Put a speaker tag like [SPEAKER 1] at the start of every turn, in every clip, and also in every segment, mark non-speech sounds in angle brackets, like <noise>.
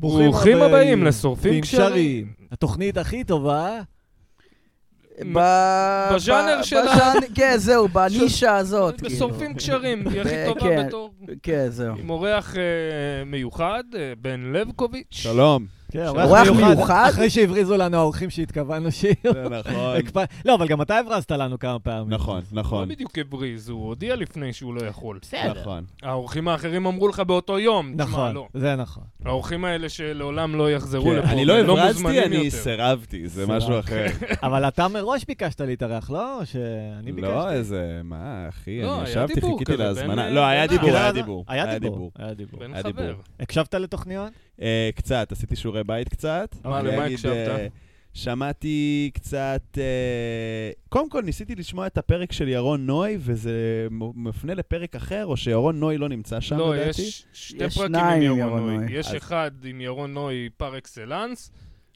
[SPEAKER 1] ברוכים הבאים לשורפים
[SPEAKER 2] קשרים. התוכנית הכי טובה.
[SPEAKER 3] ב-
[SPEAKER 1] בז'אנר
[SPEAKER 3] ב-
[SPEAKER 1] של ה-
[SPEAKER 3] בז'אנר- כן, זהו, בנישה הזאת. כאילו.
[SPEAKER 1] לשורפים קשרים, היא הכי
[SPEAKER 3] אה,
[SPEAKER 1] טובה
[SPEAKER 3] כן.
[SPEAKER 1] בתור...
[SPEAKER 3] כן, זהו.
[SPEAKER 1] עם אורח אה, מיוחד, אה, בן לבקוביץ'.
[SPEAKER 4] שלום.
[SPEAKER 2] כן,
[SPEAKER 3] אורח מיוחד?
[SPEAKER 2] אחרי שהבריזו לנו האורחים שהתכוונו
[SPEAKER 4] <laughs>
[SPEAKER 2] שיר.
[SPEAKER 4] <laughs> זה נכון.
[SPEAKER 2] הקפ- לא, אבל גם אתה הברזת לנו כמה פעמים.
[SPEAKER 4] נכון,
[SPEAKER 1] לא
[SPEAKER 4] נכון.
[SPEAKER 1] בדיוק הבריז, הוא הודיע לפני שהוא לא יכול.
[SPEAKER 4] נכון.
[SPEAKER 1] האורחים האחרים אמרו לך באותו יום, תשמע,
[SPEAKER 2] נכון,
[SPEAKER 1] לא.
[SPEAKER 2] זה נכון.
[SPEAKER 1] האורחים האלה שלעולם לא יחזרו
[SPEAKER 4] כן,
[SPEAKER 1] לפה,
[SPEAKER 4] אני לא
[SPEAKER 1] הם
[SPEAKER 4] הברזתי,
[SPEAKER 1] מוזמנים
[SPEAKER 4] אני
[SPEAKER 1] יותר.
[SPEAKER 4] סירבתי, זה
[SPEAKER 2] סירבת.
[SPEAKER 4] משהו אחר.
[SPEAKER 2] אבל אתה מראש ביקשת להתארח, לא? שאני ביקשתי.
[SPEAKER 4] לא, איזה, מה, אחי,
[SPEAKER 1] לא, היה
[SPEAKER 4] אני ישבתי,
[SPEAKER 1] דיבור
[SPEAKER 4] חיכיתי
[SPEAKER 1] כזה
[SPEAKER 4] להזמנה.
[SPEAKER 1] בין- אה,
[SPEAKER 4] לא, היה
[SPEAKER 1] בין
[SPEAKER 4] דיבור,
[SPEAKER 1] ה-
[SPEAKER 4] היה דיבור.
[SPEAKER 2] היה דיבור. היה דיבור.
[SPEAKER 1] בן
[SPEAKER 4] היה
[SPEAKER 1] חבר.
[SPEAKER 4] דיבור.
[SPEAKER 2] הקשבת לתוכניות?
[SPEAKER 4] אה, קצת, עשיתי שיעורי בית קצת.
[SPEAKER 1] מה,
[SPEAKER 4] אני
[SPEAKER 1] למה
[SPEAKER 4] אגיד,
[SPEAKER 1] הקשבת?
[SPEAKER 4] אה, שמעתי קצת... אה, קודם כל, ניסיתי לשמוע את הפרק של ירון נוי, וזה מ- מפנה לפרק אחר, או שירון נוי לא נמצא שם,
[SPEAKER 1] לא,
[SPEAKER 4] לדעתי.
[SPEAKER 1] יש שתי
[SPEAKER 3] יש
[SPEAKER 1] פרקים עם
[SPEAKER 3] שניים
[SPEAKER 1] ירון נוי. יש
[SPEAKER 4] אז-
[SPEAKER 1] אחד עם ירון נוי פר אקסלנס,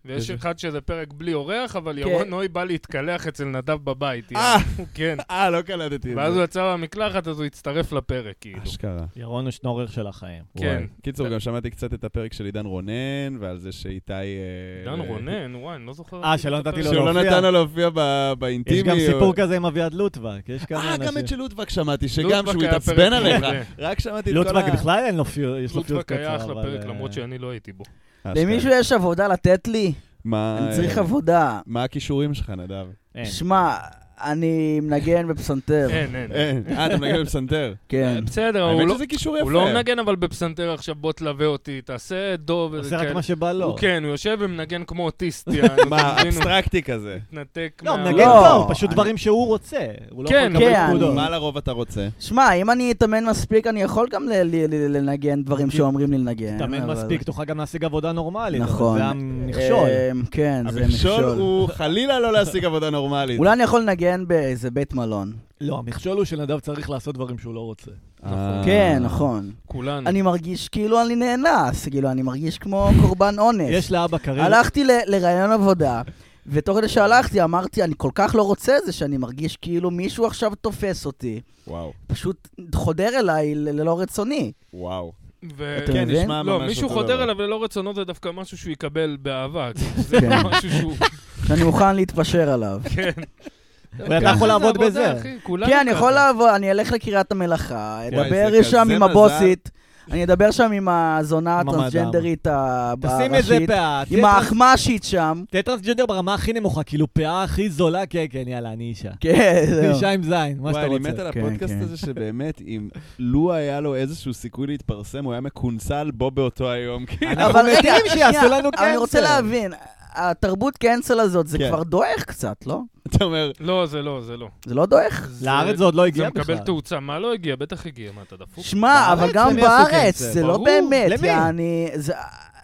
[SPEAKER 1] ויש
[SPEAKER 4] איזה?
[SPEAKER 1] אחד שזה פרק בלי אורח, אבל
[SPEAKER 3] כן.
[SPEAKER 1] ירון נוי בא להתקלח אצל נדב בבית.
[SPEAKER 4] אה!
[SPEAKER 1] יענו, כן.
[SPEAKER 4] אה, לא קלטתי את
[SPEAKER 1] ואז הוא
[SPEAKER 4] זה.
[SPEAKER 1] יצא מהמקלחת, אז הוא הצטרף לפרק, כאילו.
[SPEAKER 4] אשכרה.
[SPEAKER 2] ירון הוא שנורר של החיים.
[SPEAKER 1] כן.
[SPEAKER 4] וואי. קיצור, גם שמעתי קצת את הפרק של עידן רונן, ועל זה שאיתי... אה,
[SPEAKER 1] דן רונן, וואי, אני לא זוכר.
[SPEAKER 2] אה, שלא נתתי
[SPEAKER 3] כאילו,
[SPEAKER 2] לו
[SPEAKER 4] שהוא לא
[SPEAKER 2] להופיע.
[SPEAKER 4] נתן לו להופיע ב- באינטימי.
[SPEAKER 2] יש גם
[SPEAKER 4] או-
[SPEAKER 2] סיפור כזה עם אביעד לוטבק, יש כמה
[SPEAKER 4] אה,
[SPEAKER 2] אנשים.
[SPEAKER 4] גם את של לוטבק שמעתי, שגם
[SPEAKER 1] לוטבק
[SPEAKER 4] שהוא
[SPEAKER 1] היה
[SPEAKER 4] התעצבן
[SPEAKER 1] פרק
[SPEAKER 4] עליך.
[SPEAKER 1] מעולה.
[SPEAKER 4] רק שמעתי את כל ה...
[SPEAKER 2] לוטבק בכלל אין לו פיוט, יש לו פיוט
[SPEAKER 1] לוטבק
[SPEAKER 2] קצר.
[SPEAKER 1] היה אחלה
[SPEAKER 2] אבל,
[SPEAKER 1] פרק,
[SPEAKER 2] אה,
[SPEAKER 1] למרות שאני לא הייתי בו.
[SPEAKER 4] אה, אשכרה.
[SPEAKER 3] למישהו יש עבודה לתת לי?
[SPEAKER 4] מה,
[SPEAKER 3] אני צריך
[SPEAKER 4] אה,
[SPEAKER 3] עבודה.
[SPEAKER 4] מה הכישורים שלך, נדב?
[SPEAKER 2] אין.
[SPEAKER 3] שמע, אני מנגן בפסנתר.
[SPEAKER 1] אין, אין.
[SPEAKER 4] אין. אה, אתה מנגן בפסנתר.
[SPEAKER 3] כן.
[SPEAKER 1] בסדר, הוא
[SPEAKER 4] האמת
[SPEAKER 1] כן. לא-
[SPEAKER 2] כאילו
[SPEAKER 4] שזה כישור יפה.
[SPEAKER 1] הוא לא מנגן אבל בפסנתר עכשיו, בוא תלווה אותי, תעשה דוב.
[SPEAKER 2] עושה רק מה שבא לו.
[SPEAKER 1] הוא כן, הוא יושב ומנגן כמו
[SPEAKER 2] <laughs>
[SPEAKER 1] אוטיסט, יענו,
[SPEAKER 4] מה,
[SPEAKER 1] אתה מבין? הוא
[SPEAKER 4] אבסטרקטי כזה.
[SPEAKER 1] מתנתק
[SPEAKER 2] לא,
[SPEAKER 1] מה...
[SPEAKER 2] הוא מנגן
[SPEAKER 3] לא,
[SPEAKER 2] טוב, פשוט
[SPEAKER 3] אני-
[SPEAKER 2] דברים שהוא רוצה. הוא לא
[SPEAKER 1] כן,
[SPEAKER 2] יכול לקבל
[SPEAKER 3] כן.
[SPEAKER 2] פקודות.
[SPEAKER 4] מה לרוב אתה רוצה?
[SPEAKER 3] שמע, אם אני אתאמן מספיק, אני יכול גם ל- ל- ל- לנגן דברים שאומרים לי לנגן.
[SPEAKER 2] תאמן
[SPEAKER 3] אבל-
[SPEAKER 2] מספיק, תוכל גם להשיג עבודה נורמלית. אבל
[SPEAKER 3] נכון.
[SPEAKER 2] זה המכשול.
[SPEAKER 3] אמ, כן, זה
[SPEAKER 4] המכשול
[SPEAKER 3] מכשול.
[SPEAKER 4] הוא חלילה לא להשיג עבודה נורמלית.
[SPEAKER 3] אולי אני יכול לנגן באיזה בית מלון.
[SPEAKER 2] לא, המכשול הוא שנדב צריך לעשות דברים שהוא לא רוצה.
[SPEAKER 4] אה.
[SPEAKER 3] כן, נכון.
[SPEAKER 1] כולנו.
[SPEAKER 3] אני מרגיש כאילו אני נאנס, כאילו אני מרגיש כמו קורבן אונס.
[SPEAKER 2] יש לאבא קריירה.
[SPEAKER 3] הלכתי ל- לראיון עבודה, ותוך כדי שהלכתי אמרתי, אני כל כך לא רוצה את זה שאני מרגיש כאילו מישהו עכשיו תופס אותי,
[SPEAKER 4] וואו,
[SPEAKER 3] פשוט חודר אליי ל- ללא רצוני.
[SPEAKER 4] וואו.
[SPEAKER 1] ו-
[SPEAKER 3] אתה
[SPEAKER 4] כן,
[SPEAKER 3] מבין?
[SPEAKER 4] נשמע ממש
[SPEAKER 1] לא, מישהו
[SPEAKER 4] אותו
[SPEAKER 1] חודר
[SPEAKER 4] דבר.
[SPEAKER 1] אליו ללא רצונו זה דווקא משהו שהוא יקבל באהבה. כאילו, זה
[SPEAKER 3] כן.
[SPEAKER 1] משהו שהוא...
[SPEAKER 3] <laughs> שאני מוכן להתפשר
[SPEAKER 2] <laughs>
[SPEAKER 3] עליו.
[SPEAKER 1] כן.
[SPEAKER 2] ואתה יכול
[SPEAKER 1] ככה כן. זה
[SPEAKER 2] לעבוד
[SPEAKER 1] עבודה,
[SPEAKER 2] בזה.
[SPEAKER 1] אחי, כולנו
[SPEAKER 3] כן, אני יכול
[SPEAKER 1] ככה.
[SPEAKER 3] לעבוד, אני אלך לקריית המלאכה,
[SPEAKER 4] וואי,
[SPEAKER 3] אדבר
[SPEAKER 4] זה
[SPEAKER 3] שם
[SPEAKER 4] כזה
[SPEAKER 3] עם
[SPEAKER 4] מזל.
[SPEAKER 3] הבוסית, אני אדבר שם עם הזונה
[SPEAKER 2] עם המדעם.
[SPEAKER 3] הטרנסג'נדרית ה-
[SPEAKER 2] תשים את זה
[SPEAKER 3] הראשית,
[SPEAKER 2] פאה.
[SPEAKER 3] עם האחמ"שית שם.
[SPEAKER 2] תהיה טרנסג'נדר ברמה הכי נמוכה, כאילו פאה הכי זולה, כן, כן, יאללה, אני אישה. <laughs>
[SPEAKER 3] כן, זהו.
[SPEAKER 2] אישה עם זין, מה
[SPEAKER 4] וואי,
[SPEAKER 2] שאתה
[SPEAKER 4] אני
[SPEAKER 2] רוצה.
[SPEAKER 4] מת על
[SPEAKER 3] כן,
[SPEAKER 4] הפודקאסט
[SPEAKER 3] כן.
[SPEAKER 4] הזה שבאמת, אם לו היה לו איזשהו סיכוי להתפרסם, הוא היה מקונסל בו באותו
[SPEAKER 1] <laughs>
[SPEAKER 4] היום. כאילו.
[SPEAKER 2] אנחנו
[SPEAKER 3] רגע,
[SPEAKER 2] מתים
[SPEAKER 3] שנייה,
[SPEAKER 2] שיעשו לנו
[SPEAKER 3] אני רוצה
[SPEAKER 2] cancel.
[SPEAKER 3] להבין, התרבות קנסל הזאת, זה
[SPEAKER 4] כן.
[SPEAKER 3] כבר דועך קצת, לא?
[SPEAKER 4] אתה אומר,
[SPEAKER 1] לא, זה לא, זה לא.
[SPEAKER 3] זה לא דועך?
[SPEAKER 2] לארץ זה עוד לא הגיע
[SPEAKER 1] זה
[SPEAKER 2] בכלל.
[SPEAKER 1] מקבל תאוצה. מה לא הגיע? בטח הגיע. מה, אתה דפוק?
[SPEAKER 3] שמע,
[SPEAKER 2] בארץ
[SPEAKER 3] אבל גם
[SPEAKER 2] הם יעשו
[SPEAKER 3] בארץ,
[SPEAKER 2] קנסל.
[SPEAKER 3] זה לא
[SPEAKER 1] ברור.
[SPEAKER 3] באמת,
[SPEAKER 2] למי?
[SPEAKER 3] יעני, זה-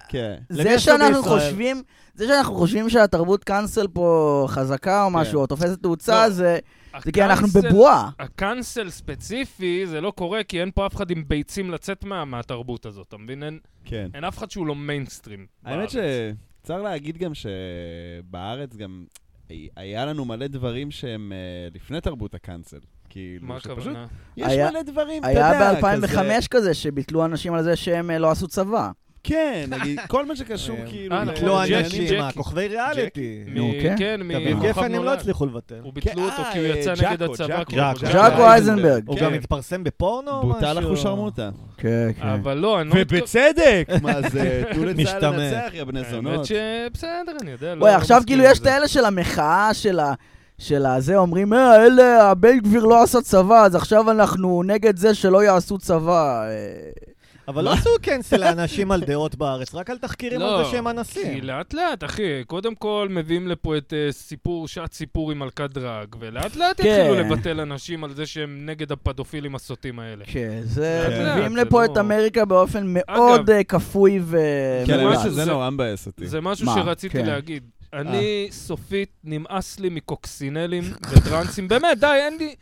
[SPEAKER 4] כן.
[SPEAKER 2] למי
[SPEAKER 3] זה
[SPEAKER 2] יעשו
[SPEAKER 3] שאנחנו
[SPEAKER 2] בישראל?
[SPEAKER 3] חושבים, זה שאנחנו חושבים שהתרבות קאנסל פה חזקה או משהו, או תופסת תאוצה,
[SPEAKER 1] לא.
[SPEAKER 3] זה זה כי אנחנו
[SPEAKER 1] הקאנסל-
[SPEAKER 3] בבועה.
[SPEAKER 1] הקאנסל ספציפי, זה לא קורה כי אין פה אף אחד עם ביצים לצאת מה- מהתרבות הזאת, אתה מבין? אין-
[SPEAKER 4] כן.
[SPEAKER 1] אין אף אחד שהוא לא מיינסטרים.
[SPEAKER 4] האמת
[SPEAKER 1] בארץ.
[SPEAKER 4] שצריך להגיד גם שבארץ גם היה לנו מלא דברים שהם אה, לפני תרבות הקאנצל. כאילו,
[SPEAKER 1] מה
[SPEAKER 4] שפשוט
[SPEAKER 1] הכוונה?
[SPEAKER 4] יש
[SPEAKER 3] היה-
[SPEAKER 4] מלא דברים, אתה יודע,
[SPEAKER 3] היה
[SPEAKER 4] כזה-
[SPEAKER 3] ב-2005 כזה, שביטלו אנשים על זה שהם אה, לא עשו צבא.
[SPEAKER 4] כן, נגיד, כל מה שקשור
[SPEAKER 2] אה,
[SPEAKER 4] כאילו...
[SPEAKER 1] אה,
[SPEAKER 4] ל-
[SPEAKER 1] נכון,
[SPEAKER 2] לא
[SPEAKER 1] ג'קי,
[SPEAKER 2] אנשים,
[SPEAKER 1] ג'קי.
[SPEAKER 2] הכוכבי ריאליטי.
[SPEAKER 1] מ-
[SPEAKER 3] נו, כן.
[SPEAKER 1] כן,
[SPEAKER 2] תביב
[SPEAKER 1] מכוכב
[SPEAKER 2] גפן הם לא
[SPEAKER 1] נולד.
[SPEAKER 2] הצליחו לבטל.
[SPEAKER 1] הוא
[SPEAKER 4] כן,
[SPEAKER 1] ביטלו אותו
[SPEAKER 4] אה,
[SPEAKER 1] כי הוא
[SPEAKER 4] אה,
[SPEAKER 1] יצא
[SPEAKER 4] ג'אקו,
[SPEAKER 1] נגד הצבא.
[SPEAKER 4] ג'אקו,
[SPEAKER 1] כל הזמן.
[SPEAKER 2] ג'אקו.
[SPEAKER 3] ז'אקו אייזנברג.
[SPEAKER 2] הוא
[SPEAKER 4] כן.
[SPEAKER 2] גם התפרסם בפורנו או משהו?
[SPEAKER 4] בוטל אחושרמוטה.
[SPEAKER 3] כן,
[SPEAKER 1] אבל לא, אני לא... מתכוון-
[SPEAKER 4] ובצדק! מה זה, תנו לצה"ל
[SPEAKER 2] משתמע.
[SPEAKER 4] לנצח, יא בני
[SPEAKER 1] האמת
[SPEAKER 4] זונות.
[SPEAKER 1] שבסדר, אני יודע. לא-
[SPEAKER 3] וואי,
[SPEAKER 1] לא
[SPEAKER 3] עכשיו
[SPEAKER 1] מסכים
[SPEAKER 3] כאילו
[SPEAKER 1] עם
[SPEAKER 3] יש את
[SPEAKER 1] זה.
[SPEAKER 3] האלה של המחאה, של ה... של הזה, אומרים, אה, אלה, הבן גביר לא עשה צבא, אז עכשיו אנחנו נגד זה שלא יעשו צבא. אה,
[SPEAKER 2] אבל לא עשו קנסל לאנשים על דעות בארץ, רק על תחקירים
[SPEAKER 1] לא,
[SPEAKER 2] על זה שהם
[SPEAKER 1] כי
[SPEAKER 2] אנסים.
[SPEAKER 1] לאט לאט, אחי, קודם כל מביאים לפה את אה, סיפור, שעת סיפור עם מלכת דרג, ולאט לאט
[SPEAKER 3] כן.
[SPEAKER 1] התחילו לבטל אנשים על זה שהם נגד הפדופילים הסוטים האלה.
[SPEAKER 3] כן, זה...
[SPEAKER 4] כן.
[SPEAKER 3] מביאים
[SPEAKER 1] זה
[SPEAKER 3] לפה
[SPEAKER 1] לא-
[SPEAKER 3] את אמריקה באופן מאוד אה, כפוי ו...
[SPEAKER 4] כן,
[SPEAKER 1] זה
[SPEAKER 4] האמת
[SPEAKER 3] מודע.
[SPEAKER 1] משהו-
[SPEAKER 4] שזה
[SPEAKER 1] זה-
[SPEAKER 4] נורא מבאס אותי.
[SPEAKER 1] זה משהו
[SPEAKER 3] מה?
[SPEAKER 1] שרציתי
[SPEAKER 3] כן.
[SPEAKER 1] להגיד.
[SPEAKER 2] אה.
[SPEAKER 1] אני סופית, נמאס לי מקוקסינלים <laughs> וטרנסים, באמת, די, אין לי...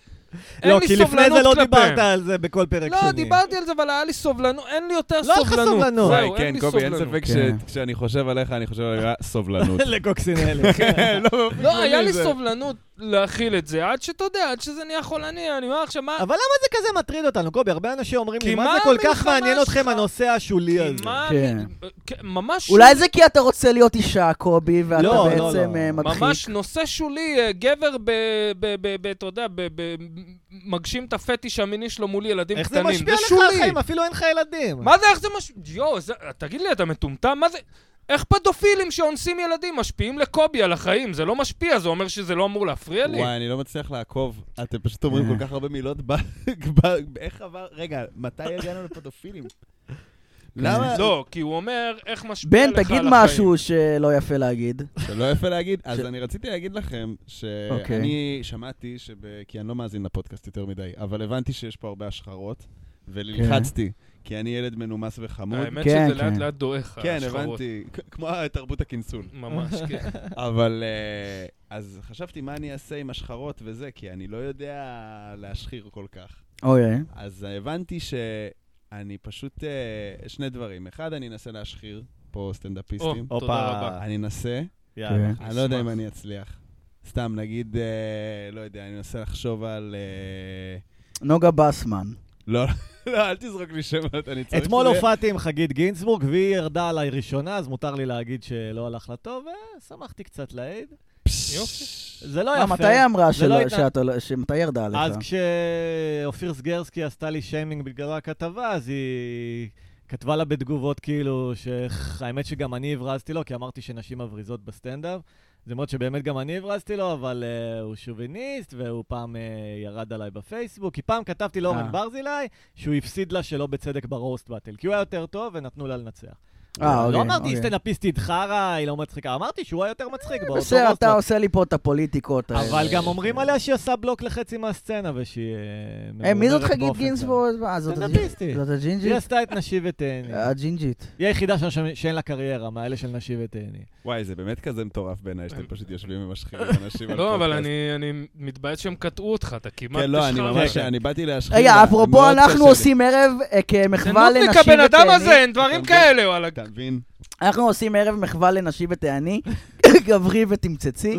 [SPEAKER 1] אין
[SPEAKER 2] לא,
[SPEAKER 1] לי
[SPEAKER 2] כי לפני זה
[SPEAKER 1] סובלנות
[SPEAKER 2] לא
[SPEAKER 1] כלפיהם.
[SPEAKER 2] דיברת על זה בכל פרק שני.
[SPEAKER 1] לא, דיברתי על זה, אבל היה לי סובלנות, אין לי יותר
[SPEAKER 2] לא היה לך
[SPEAKER 1] סובלנות.
[SPEAKER 2] סובלנות.
[SPEAKER 1] זהו,
[SPEAKER 4] וואי,
[SPEAKER 1] אין
[SPEAKER 4] כן,
[SPEAKER 1] לי
[SPEAKER 4] קובי, אין
[SPEAKER 1] סובלנות.
[SPEAKER 4] ספק
[SPEAKER 3] כן.
[SPEAKER 1] <laughs>
[SPEAKER 4] שכשאני חושב עליך, אני חושב על סובלנות.
[SPEAKER 2] לקוקסינלי.
[SPEAKER 4] כן, לא, <laughs>
[SPEAKER 1] לא, היה לי
[SPEAKER 4] זה-
[SPEAKER 1] סובלנות להכיל את זה, עד שאתה יודע, עד שזה נהיה חולני, אני אומר עכשיו, מה...
[SPEAKER 2] אבל למה זה כזה מטריד אותנו, קובי? הרבה אנשים אומרים
[SPEAKER 1] כי
[SPEAKER 2] לי, מה
[SPEAKER 1] מה
[SPEAKER 2] זה כל כך
[SPEAKER 1] המלחמה
[SPEAKER 2] מעניין
[SPEAKER 1] שלך?"
[SPEAKER 2] אתכם הנושא השולי
[SPEAKER 1] כי
[SPEAKER 2] הזה?
[SPEAKER 1] מה-
[SPEAKER 3] כן.
[SPEAKER 1] אה, כן, ממש...
[SPEAKER 3] אולי זה כי אתה רוצה להיות אישה, קובי, ואתה
[SPEAKER 2] לא, לא,
[SPEAKER 3] בעצם
[SPEAKER 2] לא.
[SPEAKER 3] אה, מדחיק.
[SPEAKER 1] ממש נושא שולי, אה, גבר ב... ב- ב- ב- אתה יודע, ב- ב- מגשים את הפטיש המיני שלו מול ילדים
[SPEAKER 2] איך זה
[SPEAKER 1] קטנים.
[SPEAKER 2] משפיע לך על
[SPEAKER 1] שולי.
[SPEAKER 2] החיים? אפילו אין לך ילדים.
[SPEAKER 1] מה זה, איך זה מש... יואו, זה... תגיד לי, אתה מטומטם? מה זה... איך פדופילים שאונסים ילדים משפיעים לקובי על החיים? זה לא משפיע, זה אומר שזה לא אמור להפריע לי?
[SPEAKER 4] וואי, אני לא מצליח לעקוב. אתם פשוט אומרים כל כך הרבה מילות ב... ב- איך עבר... רגע, מתי הגענו לפדופילים? למה?
[SPEAKER 1] לא, כי הוא אומר, איך משפיע לך על
[SPEAKER 3] בן,
[SPEAKER 1] החיים.
[SPEAKER 3] תגיד משהו שלא יפה להגיד.
[SPEAKER 4] זה לא יפה להגיד. אז
[SPEAKER 3] ש-
[SPEAKER 4] אני רציתי להגיד לכם שאני
[SPEAKER 3] אוקיי.
[SPEAKER 4] שמעתי, שב- כי אני לא מאזין לפודקאסט יותר מדי, אבל הבנתי שיש פה הרבה השחרות, וללחצתי, כי אני ילד מנומס וחמוד.
[SPEAKER 1] האמת
[SPEAKER 3] כן,
[SPEAKER 1] שזה לאט
[SPEAKER 3] כן.
[SPEAKER 1] לאט דועך,
[SPEAKER 4] כן,
[SPEAKER 1] השחרות.
[SPEAKER 4] הבנתי. כ- כמו
[SPEAKER 1] <laughs>
[SPEAKER 4] תרבות הקינצול.
[SPEAKER 1] ממש,
[SPEAKER 2] <laughs>
[SPEAKER 1] כן.
[SPEAKER 4] אבל אה, אז חשבתי מה אני אעשה עם השחרות וזה, כי אני לא יודע להשחיר כל כך.
[SPEAKER 3] אוי,
[SPEAKER 4] אז הבנתי שאני פשוט... אה, שני דברים. אחד, אני אנסה להשחיר פה סטנדאפיסטים.
[SPEAKER 1] או,
[SPEAKER 2] הופה.
[SPEAKER 1] תודה רבה.
[SPEAKER 4] אני אנסה,
[SPEAKER 2] יאללה.
[SPEAKER 3] כן.
[SPEAKER 4] אני לא יודע אם אני אצליח. סתם, נגיד, אה, לא יודע, אני מנסה לחשוב על... אה,
[SPEAKER 3] נוגה בסמן.
[SPEAKER 4] לא, <laughs> לא, אל תזרוק לי שמות, אני צריך...
[SPEAKER 2] אתמול
[SPEAKER 4] שזה-
[SPEAKER 2] הופעתי עם חגית גינזבורג, והיא ירדה עליי ראשונה, אז מותר לי להגיד שלא הלך לה טוב, ושמחתי קצת לעיד.
[SPEAKER 4] פשש.
[SPEAKER 1] יופי.
[SPEAKER 2] זה לא
[SPEAKER 3] מה,
[SPEAKER 2] יפה.
[SPEAKER 3] אה, מתי היא אמרה
[SPEAKER 2] זה
[SPEAKER 3] שלא-
[SPEAKER 2] לא הייתה-
[SPEAKER 3] שאתה לא- שמתי ירדה עליך?
[SPEAKER 2] אז כשאופיר סגרסקי עשתה לי שיימינג בגלל הכתבה, אז היא כתבה לה בתגובות כאילו, שהאמת שגם אני הברזתי לו, כי אמרתי שנשים מבריזות בסטנדאפ. זה מאוד שבאמת גם אני הברזתי לו, אבל uh, הוא שוביניסט, והוא פעם uh, ירד עליי בפייסבוק. כי פעם כתבתי
[SPEAKER 3] אה.
[SPEAKER 2] לאורן ברזילי שהוא הפסיד לה שלא בצדק ברוסט באטל, כי הוא היה יותר טוב ונתנו לה לנצח.
[SPEAKER 3] אה, אוקיי.
[SPEAKER 2] לא אמרתי
[SPEAKER 3] אוקיי.
[SPEAKER 2] סטנדאפיסטית חרא, היא לא מצחיקה, אמרתי שהוא היה יותר מצחיק באותו
[SPEAKER 3] בסדר,
[SPEAKER 2] רוסט
[SPEAKER 3] אתה עושה לי פה את הפוליטיקות אה. האלה.
[SPEAKER 2] אבל גם אומרים עליה שהיא עושה בלוק לחצי מהסצנה ושהיא... אה,
[SPEAKER 3] אה, מי זאת
[SPEAKER 2] ממורמרת
[SPEAKER 3] חגית
[SPEAKER 2] באופן
[SPEAKER 3] גינזבורג? אה, זאת
[SPEAKER 2] סטנדאפיסטית.
[SPEAKER 3] הג'ינג'ית? זאת
[SPEAKER 2] כזה. היא
[SPEAKER 3] הג'ינג'ית? אה,
[SPEAKER 2] עשתה את נשי ותהני.
[SPEAKER 3] הג'ינג'ית.
[SPEAKER 2] היא היחידה שם ש- שאין לה קריירה, מהאלה של נשי ותהני.
[SPEAKER 4] וואי, זה באמת כזה מטורף בעיניי, שאתם פשוט יושבים ומשחירים אנשים על
[SPEAKER 1] לא, אבל
[SPEAKER 4] פודקאסט.
[SPEAKER 1] אני- אני מתבייש שהם קטעו אותך, אתה כמעט
[SPEAKER 4] כן, לא, אני
[SPEAKER 1] תשחרר.
[SPEAKER 4] ממש, אני באתי להשחיר.
[SPEAKER 3] רגע,
[SPEAKER 4] לה,
[SPEAKER 3] אפרופו,
[SPEAKER 4] כן, מאוד קשה
[SPEAKER 3] אנחנו
[SPEAKER 4] לי.
[SPEAKER 3] עושים ערב אה, כמחווה לנשים
[SPEAKER 1] נובניק הבן
[SPEAKER 3] ותאנים.
[SPEAKER 1] אדם הזה, אין דברים
[SPEAKER 4] אתה
[SPEAKER 1] כאלה, וואלה.
[SPEAKER 4] אתה מבין?
[SPEAKER 3] אנחנו עושים ערב מחווה לנשי
[SPEAKER 1] <laughs>
[SPEAKER 3] ותעני, גברי ותמצצי.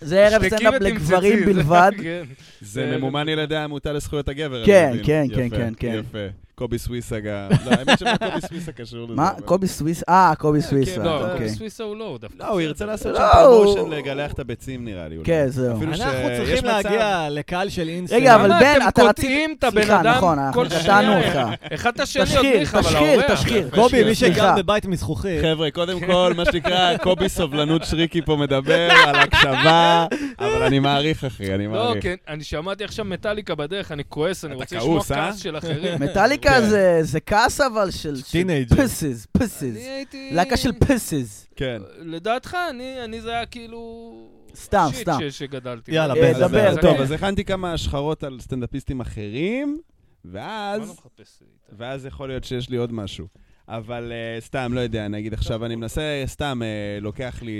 [SPEAKER 3] זה ערב
[SPEAKER 1] שתקי
[SPEAKER 3] סטנדאפ
[SPEAKER 1] ותמצצי,
[SPEAKER 3] לגברים
[SPEAKER 1] זה- <laughs>
[SPEAKER 3] בלבד.
[SPEAKER 1] כן.
[SPEAKER 4] זה ממומן על ידי העמותה לזכויות הגבר. אני
[SPEAKER 3] כן,
[SPEAKER 4] מבין.
[SPEAKER 3] כן,
[SPEAKER 4] יפה,
[SPEAKER 3] כן, כן, כן.
[SPEAKER 4] יפה. קובי סוויסה גם. לא, האמת שמה קובי סוויסה קשור לזה.
[SPEAKER 3] מה?
[SPEAKER 4] אבל-
[SPEAKER 3] קובי סוויסה? אה, קובי סוויסה,
[SPEAKER 1] לא,
[SPEAKER 3] אוקיי.
[SPEAKER 1] סוויסה הוא לא, הוא דווקא.
[SPEAKER 4] לא, הוא ירצה לעשות שם
[SPEAKER 3] לא,
[SPEAKER 4] פרמושן
[SPEAKER 3] הוא-
[SPEAKER 4] לגלח את הביצים, נראה לי. אולי.
[SPEAKER 3] כן, זהו.
[SPEAKER 4] אפילו כאילו ש-
[SPEAKER 2] אנחנו
[SPEAKER 4] יש
[SPEAKER 2] צריכים
[SPEAKER 4] מצב-
[SPEAKER 2] להגיע לקהל של אינסטנט.
[SPEAKER 3] רגע, לא, אבל
[SPEAKER 1] למה
[SPEAKER 3] בן,
[SPEAKER 1] אתם
[SPEAKER 3] אתה רצית-
[SPEAKER 1] קוטעים את הבן
[SPEAKER 3] סליחה,
[SPEAKER 1] אדם
[SPEAKER 3] נכון, אנחנו
[SPEAKER 1] כל
[SPEAKER 3] קטענו
[SPEAKER 1] שנייה?
[SPEAKER 3] אותך.
[SPEAKER 1] אחד את השני עוד
[SPEAKER 3] תשחיר,
[SPEAKER 1] מיכה, אבל
[SPEAKER 3] תשחיר,
[SPEAKER 1] האורח.
[SPEAKER 3] תשחיר.
[SPEAKER 2] קובי, מי
[SPEAKER 3] סליחה.
[SPEAKER 2] שגר בבית מזכוכית.
[SPEAKER 4] חבר'ה, קודם כל, מה שנקרא, קובי סובלנות שריקי פה מדבר על הקשבה, אבל אני מעריך, אחי, אני
[SPEAKER 1] לא,
[SPEAKER 4] מעריך.
[SPEAKER 1] כן, אני שמעתי עכשיו מטאליקה בדרך, אני כועס, אני
[SPEAKER 4] אתה
[SPEAKER 1] רוצה לשמוע
[SPEAKER 4] כעוס, אה?
[SPEAKER 1] כעס של אחרים.
[SPEAKER 3] מטאליקה
[SPEAKER 4] כן.
[SPEAKER 3] זה- זה כעס אבל של...
[SPEAKER 2] טינג'ר.
[SPEAKER 3] פסיס, פסיס.
[SPEAKER 1] אני הייתי...
[SPEAKER 3] להקה של פסיס.
[SPEAKER 4] כן.
[SPEAKER 1] לדעתך, אני, אני זה היה כאילו...
[SPEAKER 3] סתם,
[SPEAKER 1] שיט
[SPEAKER 3] סתם.
[SPEAKER 1] ש- שגדלתי.
[SPEAKER 2] יאללה,
[SPEAKER 1] עליו. אה, כן.
[SPEAKER 2] בן,
[SPEAKER 4] אז-
[SPEAKER 3] דבר,
[SPEAKER 4] אז-
[SPEAKER 3] דבר.
[SPEAKER 4] טוב, אז הכנתי כמה השחרות על סטנדאפיסטים אחרים,
[SPEAKER 1] מה לא
[SPEAKER 4] ואז...
[SPEAKER 1] מחפש איתה?
[SPEAKER 4] ואז יכול להיות שיש לי עוד משהו. אבל uh, סתם, לא יודע, נגיד עכשיו אני מנסה, סתם, uh, לוקח לי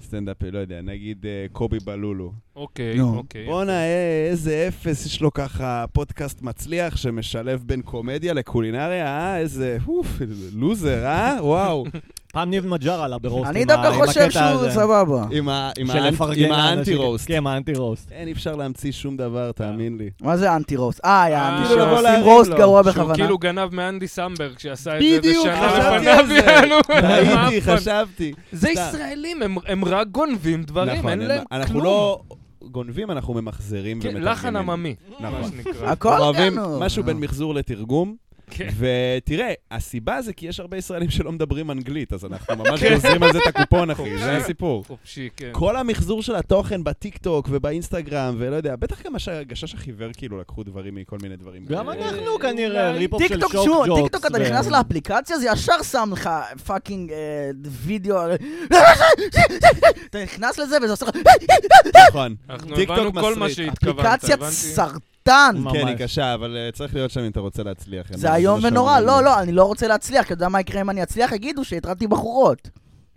[SPEAKER 4] uh, סטנדאפ, לא יודע, נגיד uh, קובי בלולו.
[SPEAKER 1] אוקיי,
[SPEAKER 3] נו.
[SPEAKER 1] אוקיי.
[SPEAKER 4] בואנה, אה, איזה אפס, יש לו ככה פודקאסט מצליח שמשלב בין קומדיה לקולינריה, אה? איזה, אוף, לוזר, אה?
[SPEAKER 1] <laughs>
[SPEAKER 4] וואו.
[SPEAKER 2] פעם ניב מג'אר עלה ברוסט.
[SPEAKER 3] אני
[SPEAKER 2] עם
[SPEAKER 3] דווקא
[SPEAKER 2] ה- עם
[SPEAKER 3] חושב
[SPEAKER 2] הקטע
[SPEAKER 3] שהוא
[SPEAKER 2] הזה.
[SPEAKER 3] סבבה.
[SPEAKER 4] עם ה- עם
[SPEAKER 2] של
[SPEAKER 4] האנט-
[SPEAKER 2] לפרגן
[SPEAKER 4] עם
[SPEAKER 2] לאנשים.
[SPEAKER 4] האנטי-רוסט.
[SPEAKER 2] כן, האנטי רוסט.
[SPEAKER 4] אין, אי אפשר להמציא שום דבר, תאמין לי.
[SPEAKER 3] מה זה אנטי רוס? אה,
[SPEAKER 1] אה,
[SPEAKER 3] יעני,
[SPEAKER 1] כאילו לבוא
[SPEAKER 3] שעושים
[SPEAKER 4] להרים
[SPEAKER 3] רוסט
[SPEAKER 4] לו.
[SPEAKER 3] גרוע
[SPEAKER 4] שהוא
[SPEAKER 1] הוא
[SPEAKER 3] בכוונה.
[SPEAKER 1] כאילו גנב מאנדי סמברג שעשה את זה איזה
[SPEAKER 4] בדיוק,
[SPEAKER 1] שנה
[SPEAKER 4] חשבתי
[SPEAKER 1] לפניו,
[SPEAKER 4] על זה.
[SPEAKER 1] <laughs> יענו. <laughs> מה
[SPEAKER 4] ראיתי,
[SPEAKER 1] הפאנ-
[SPEAKER 4] חשבתי.
[SPEAKER 1] זה
[SPEAKER 4] סתם.
[SPEAKER 1] ישראלים, הם- הם רק גונבים דברים,
[SPEAKER 4] נכון,
[SPEAKER 1] אין להם
[SPEAKER 4] מה- אנחנו
[SPEAKER 1] כלום.
[SPEAKER 4] לא גונבים, אנחנו ממחזרים
[SPEAKER 1] כן,
[SPEAKER 4] ומתרגמים.
[SPEAKER 1] לחן עממי, מה
[SPEAKER 4] נכון.
[SPEAKER 1] שנקרא.
[SPEAKER 3] הכל
[SPEAKER 4] אוהבים
[SPEAKER 3] גנוב.
[SPEAKER 4] משהו בין מחזור לתרגום.
[SPEAKER 1] כן.
[SPEAKER 4] ותראה, הסיבה זה כי יש הרבה ישראלים שלא מדברים אנגלית, אז
[SPEAKER 3] <laughs>
[SPEAKER 4] אנחנו ממש
[SPEAKER 3] כן.
[SPEAKER 4] גוזרים על זה את הקופון, אחי, זה הסיפור.
[SPEAKER 1] חופשי, כן.
[SPEAKER 4] כל המחזור של התוכן בטיקטוק ובאינסטגרם, ולא יודע, בטח גם הש- הגשש החיוור כאילו לקחו דברים מכל מיני דברים. אה,
[SPEAKER 2] גם
[SPEAKER 4] כאלה.
[SPEAKER 2] אנחנו כנראה
[SPEAKER 1] אולי.
[SPEAKER 2] ריפ-אופ של
[SPEAKER 3] טיקטוק
[SPEAKER 2] שוק
[SPEAKER 3] שוב,
[SPEAKER 2] ג'וקס.
[SPEAKER 3] טיקטוק אתה
[SPEAKER 2] ו-
[SPEAKER 3] נכנס לאפליקציה, זה ישר שם לך פאקינג אה, וידאו. אתה נכנס לזה וזה עושה לך
[SPEAKER 4] נכון.
[SPEAKER 1] אנחנו
[SPEAKER 4] טיקטוק
[SPEAKER 1] הבנו כל מה
[SPEAKER 4] מסריט.
[SPEAKER 1] שהתכוונת,
[SPEAKER 3] אפליקציית
[SPEAKER 1] הבנתי.
[SPEAKER 3] סרטן.
[SPEAKER 2] ממש.
[SPEAKER 4] כן, היא קשה, אבל אה, צריך להיות שם אם אתה רוצה להצליח. אין
[SPEAKER 3] זה
[SPEAKER 4] מה-
[SPEAKER 3] איום
[SPEAKER 4] שם
[SPEAKER 3] ונורא,
[SPEAKER 4] אני-
[SPEAKER 3] לא, לא, אני לא רוצה להצליח, כי אתה יודע מה יקרה אם אני אצליח? יגידו שהתרדתי בחורות.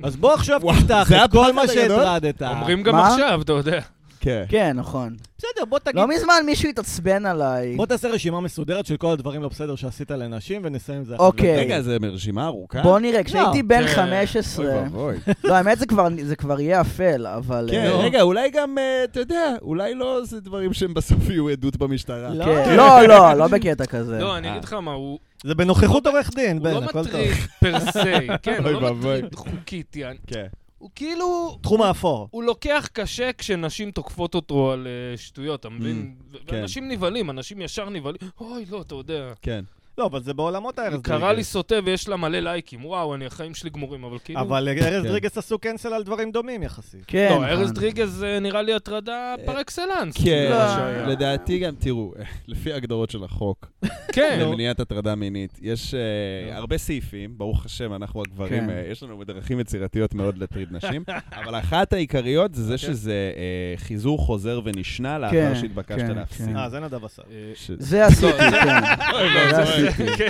[SPEAKER 2] אז בוא עכשיו
[SPEAKER 4] וואו,
[SPEAKER 2] תפתח
[SPEAKER 4] זה
[SPEAKER 2] את כל
[SPEAKER 4] הפחד
[SPEAKER 2] מה
[SPEAKER 4] הגדול?
[SPEAKER 2] שהטרדת.
[SPEAKER 1] אומרים גם
[SPEAKER 3] מה?
[SPEAKER 1] עכשיו, אתה יודע.
[SPEAKER 4] כן.
[SPEAKER 3] כן, נכון.
[SPEAKER 2] בסדר, בוא תגיד...
[SPEAKER 3] לא מזמן מישהו התעצבן עליי.
[SPEAKER 2] בוא תעשה רשימה מסודרת של כל הדברים לא בסדר שעשית לנשים ונסיים את זה.
[SPEAKER 3] אוקיי.
[SPEAKER 4] רגע, זה רשימה ארוכה?
[SPEAKER 3] בוא נראה, כשהייתי בן
[SPEAKER 1] כן.
[SPEAKER 3] 15...
[SPEAKER 4] אוי
[SPEAKER 3] <laughs>
[SPEAKER 4] ואבוי.
[SPEAKER 3] לא, האמת זה כבר- זה כבר יהיה אפל, אבל...
[SPEAKER 4] כן,
[SPEAKER 3] אה,
[SPEAKER 4] רגע, אולי גם, אה, אתה יודע, אולי לא זה דברים שהם בסוף יהיו עדות במשטרה.
[SPEAKER 2] לא.
[SPEAKER 3] כן. לא, לא, לא בקטע כזה.
[SPEAKER 1] לא, אני
[SPEAKER 4] אה.
[SPEAKER 1] אגיד לך מה, הוא
[SPEAKER 2] זה בנוכחות עורך דין,
[SPEAKER 1] הוא
[SPEAKER 2] בן,
[SPEAKER 1] לא
[SPEAKER 2] הכל טוב.
[SPEAKER 1] מטריד פר סי, כן, הוא
[SPEAKER 4] <laughs> אוי
[SPEAKER 1] לא
[SPEAKER 4] ואבוי.
[SPEAKER 1] מטריד חוקית, יעני.
[SPEAKER 4] כן.
[SPEAKER 1] הוא כאילו,
[SPEAKER 2] תחום האפור.
[SPEAKER 1] הוא לוקח קשה כשנשים תוקפות אותו על אה, שטויות, אתה מבין? ו-
[SPEAKER 4] כן.
[SPEAKER 1] ואנשים נבהלים, אנשים ישר נבהלים, אוי, לא, אתה יודע.
[SPEAKER 4] כן.
[SPEAKER 2] לא, אבל זה בעולמות הארז דריגס.
[SPEAKER 1] קרא לי סוטה ויש לה מלא לייקים, וואו, אני, החיים שלי גמורים, אבל כאילו...
[SPEAKER 2] אבל ארז
[SPEAKER 4] כן.
[SPEAKER 2] דריגס עשו קנסל על דברים דומים יחסית.
[SPEAKER 3] כן.
[SPEAKER 1] לא, ארז
[SPEAKER 3] נכון.
[SPEAKER 1] דריגז אה, נראה לי הטרדה פר אקסלנס.
[SPEAKER 3] כאילו
[SPEAKER 4] כן,
[SPEAKER 3] לא
[SPEAKER 1] זה מה שהיה.
[SPEAKER 4] לדעתי גם, תראו, <laughs> לפי ההגדרות של החוק,
[SPEAKER 1] כן.
[SPEAKER 4] למניעת הטרדה מינית, יש אה, הרבה סעיפים, ברוך השם, אנחנו הגברים,
[SPEAKER 3] כן.
[SPEAKER 4] אה, יש לנו דרכים יצירתיות מאוד להטריד נשים, <laughs> אבל אחת העיקריות זה זה שזה אה, חיזור חוזר ונשנה לאחר
[SPEAKER 3] כן,
[SPEAKER 4] שהתבקשת
[SPEAKER 3] כן,
[SPEAKER 4] להפסיק.
[SPEAKER 3] כן.
[SPEAKER 2] אה, זה נדב עשה.
[SPEAKER 1] אה,
[SPEAKER 4] ש-
[SPEAKER 3] זה עשיתי, כן.
[SPEAKER 1] לא,
[SPEAKER 3] זה
[SPEAKER 1] זה-
[SPEAKER 3] עשיתי.
[SPEAKER 1] כן,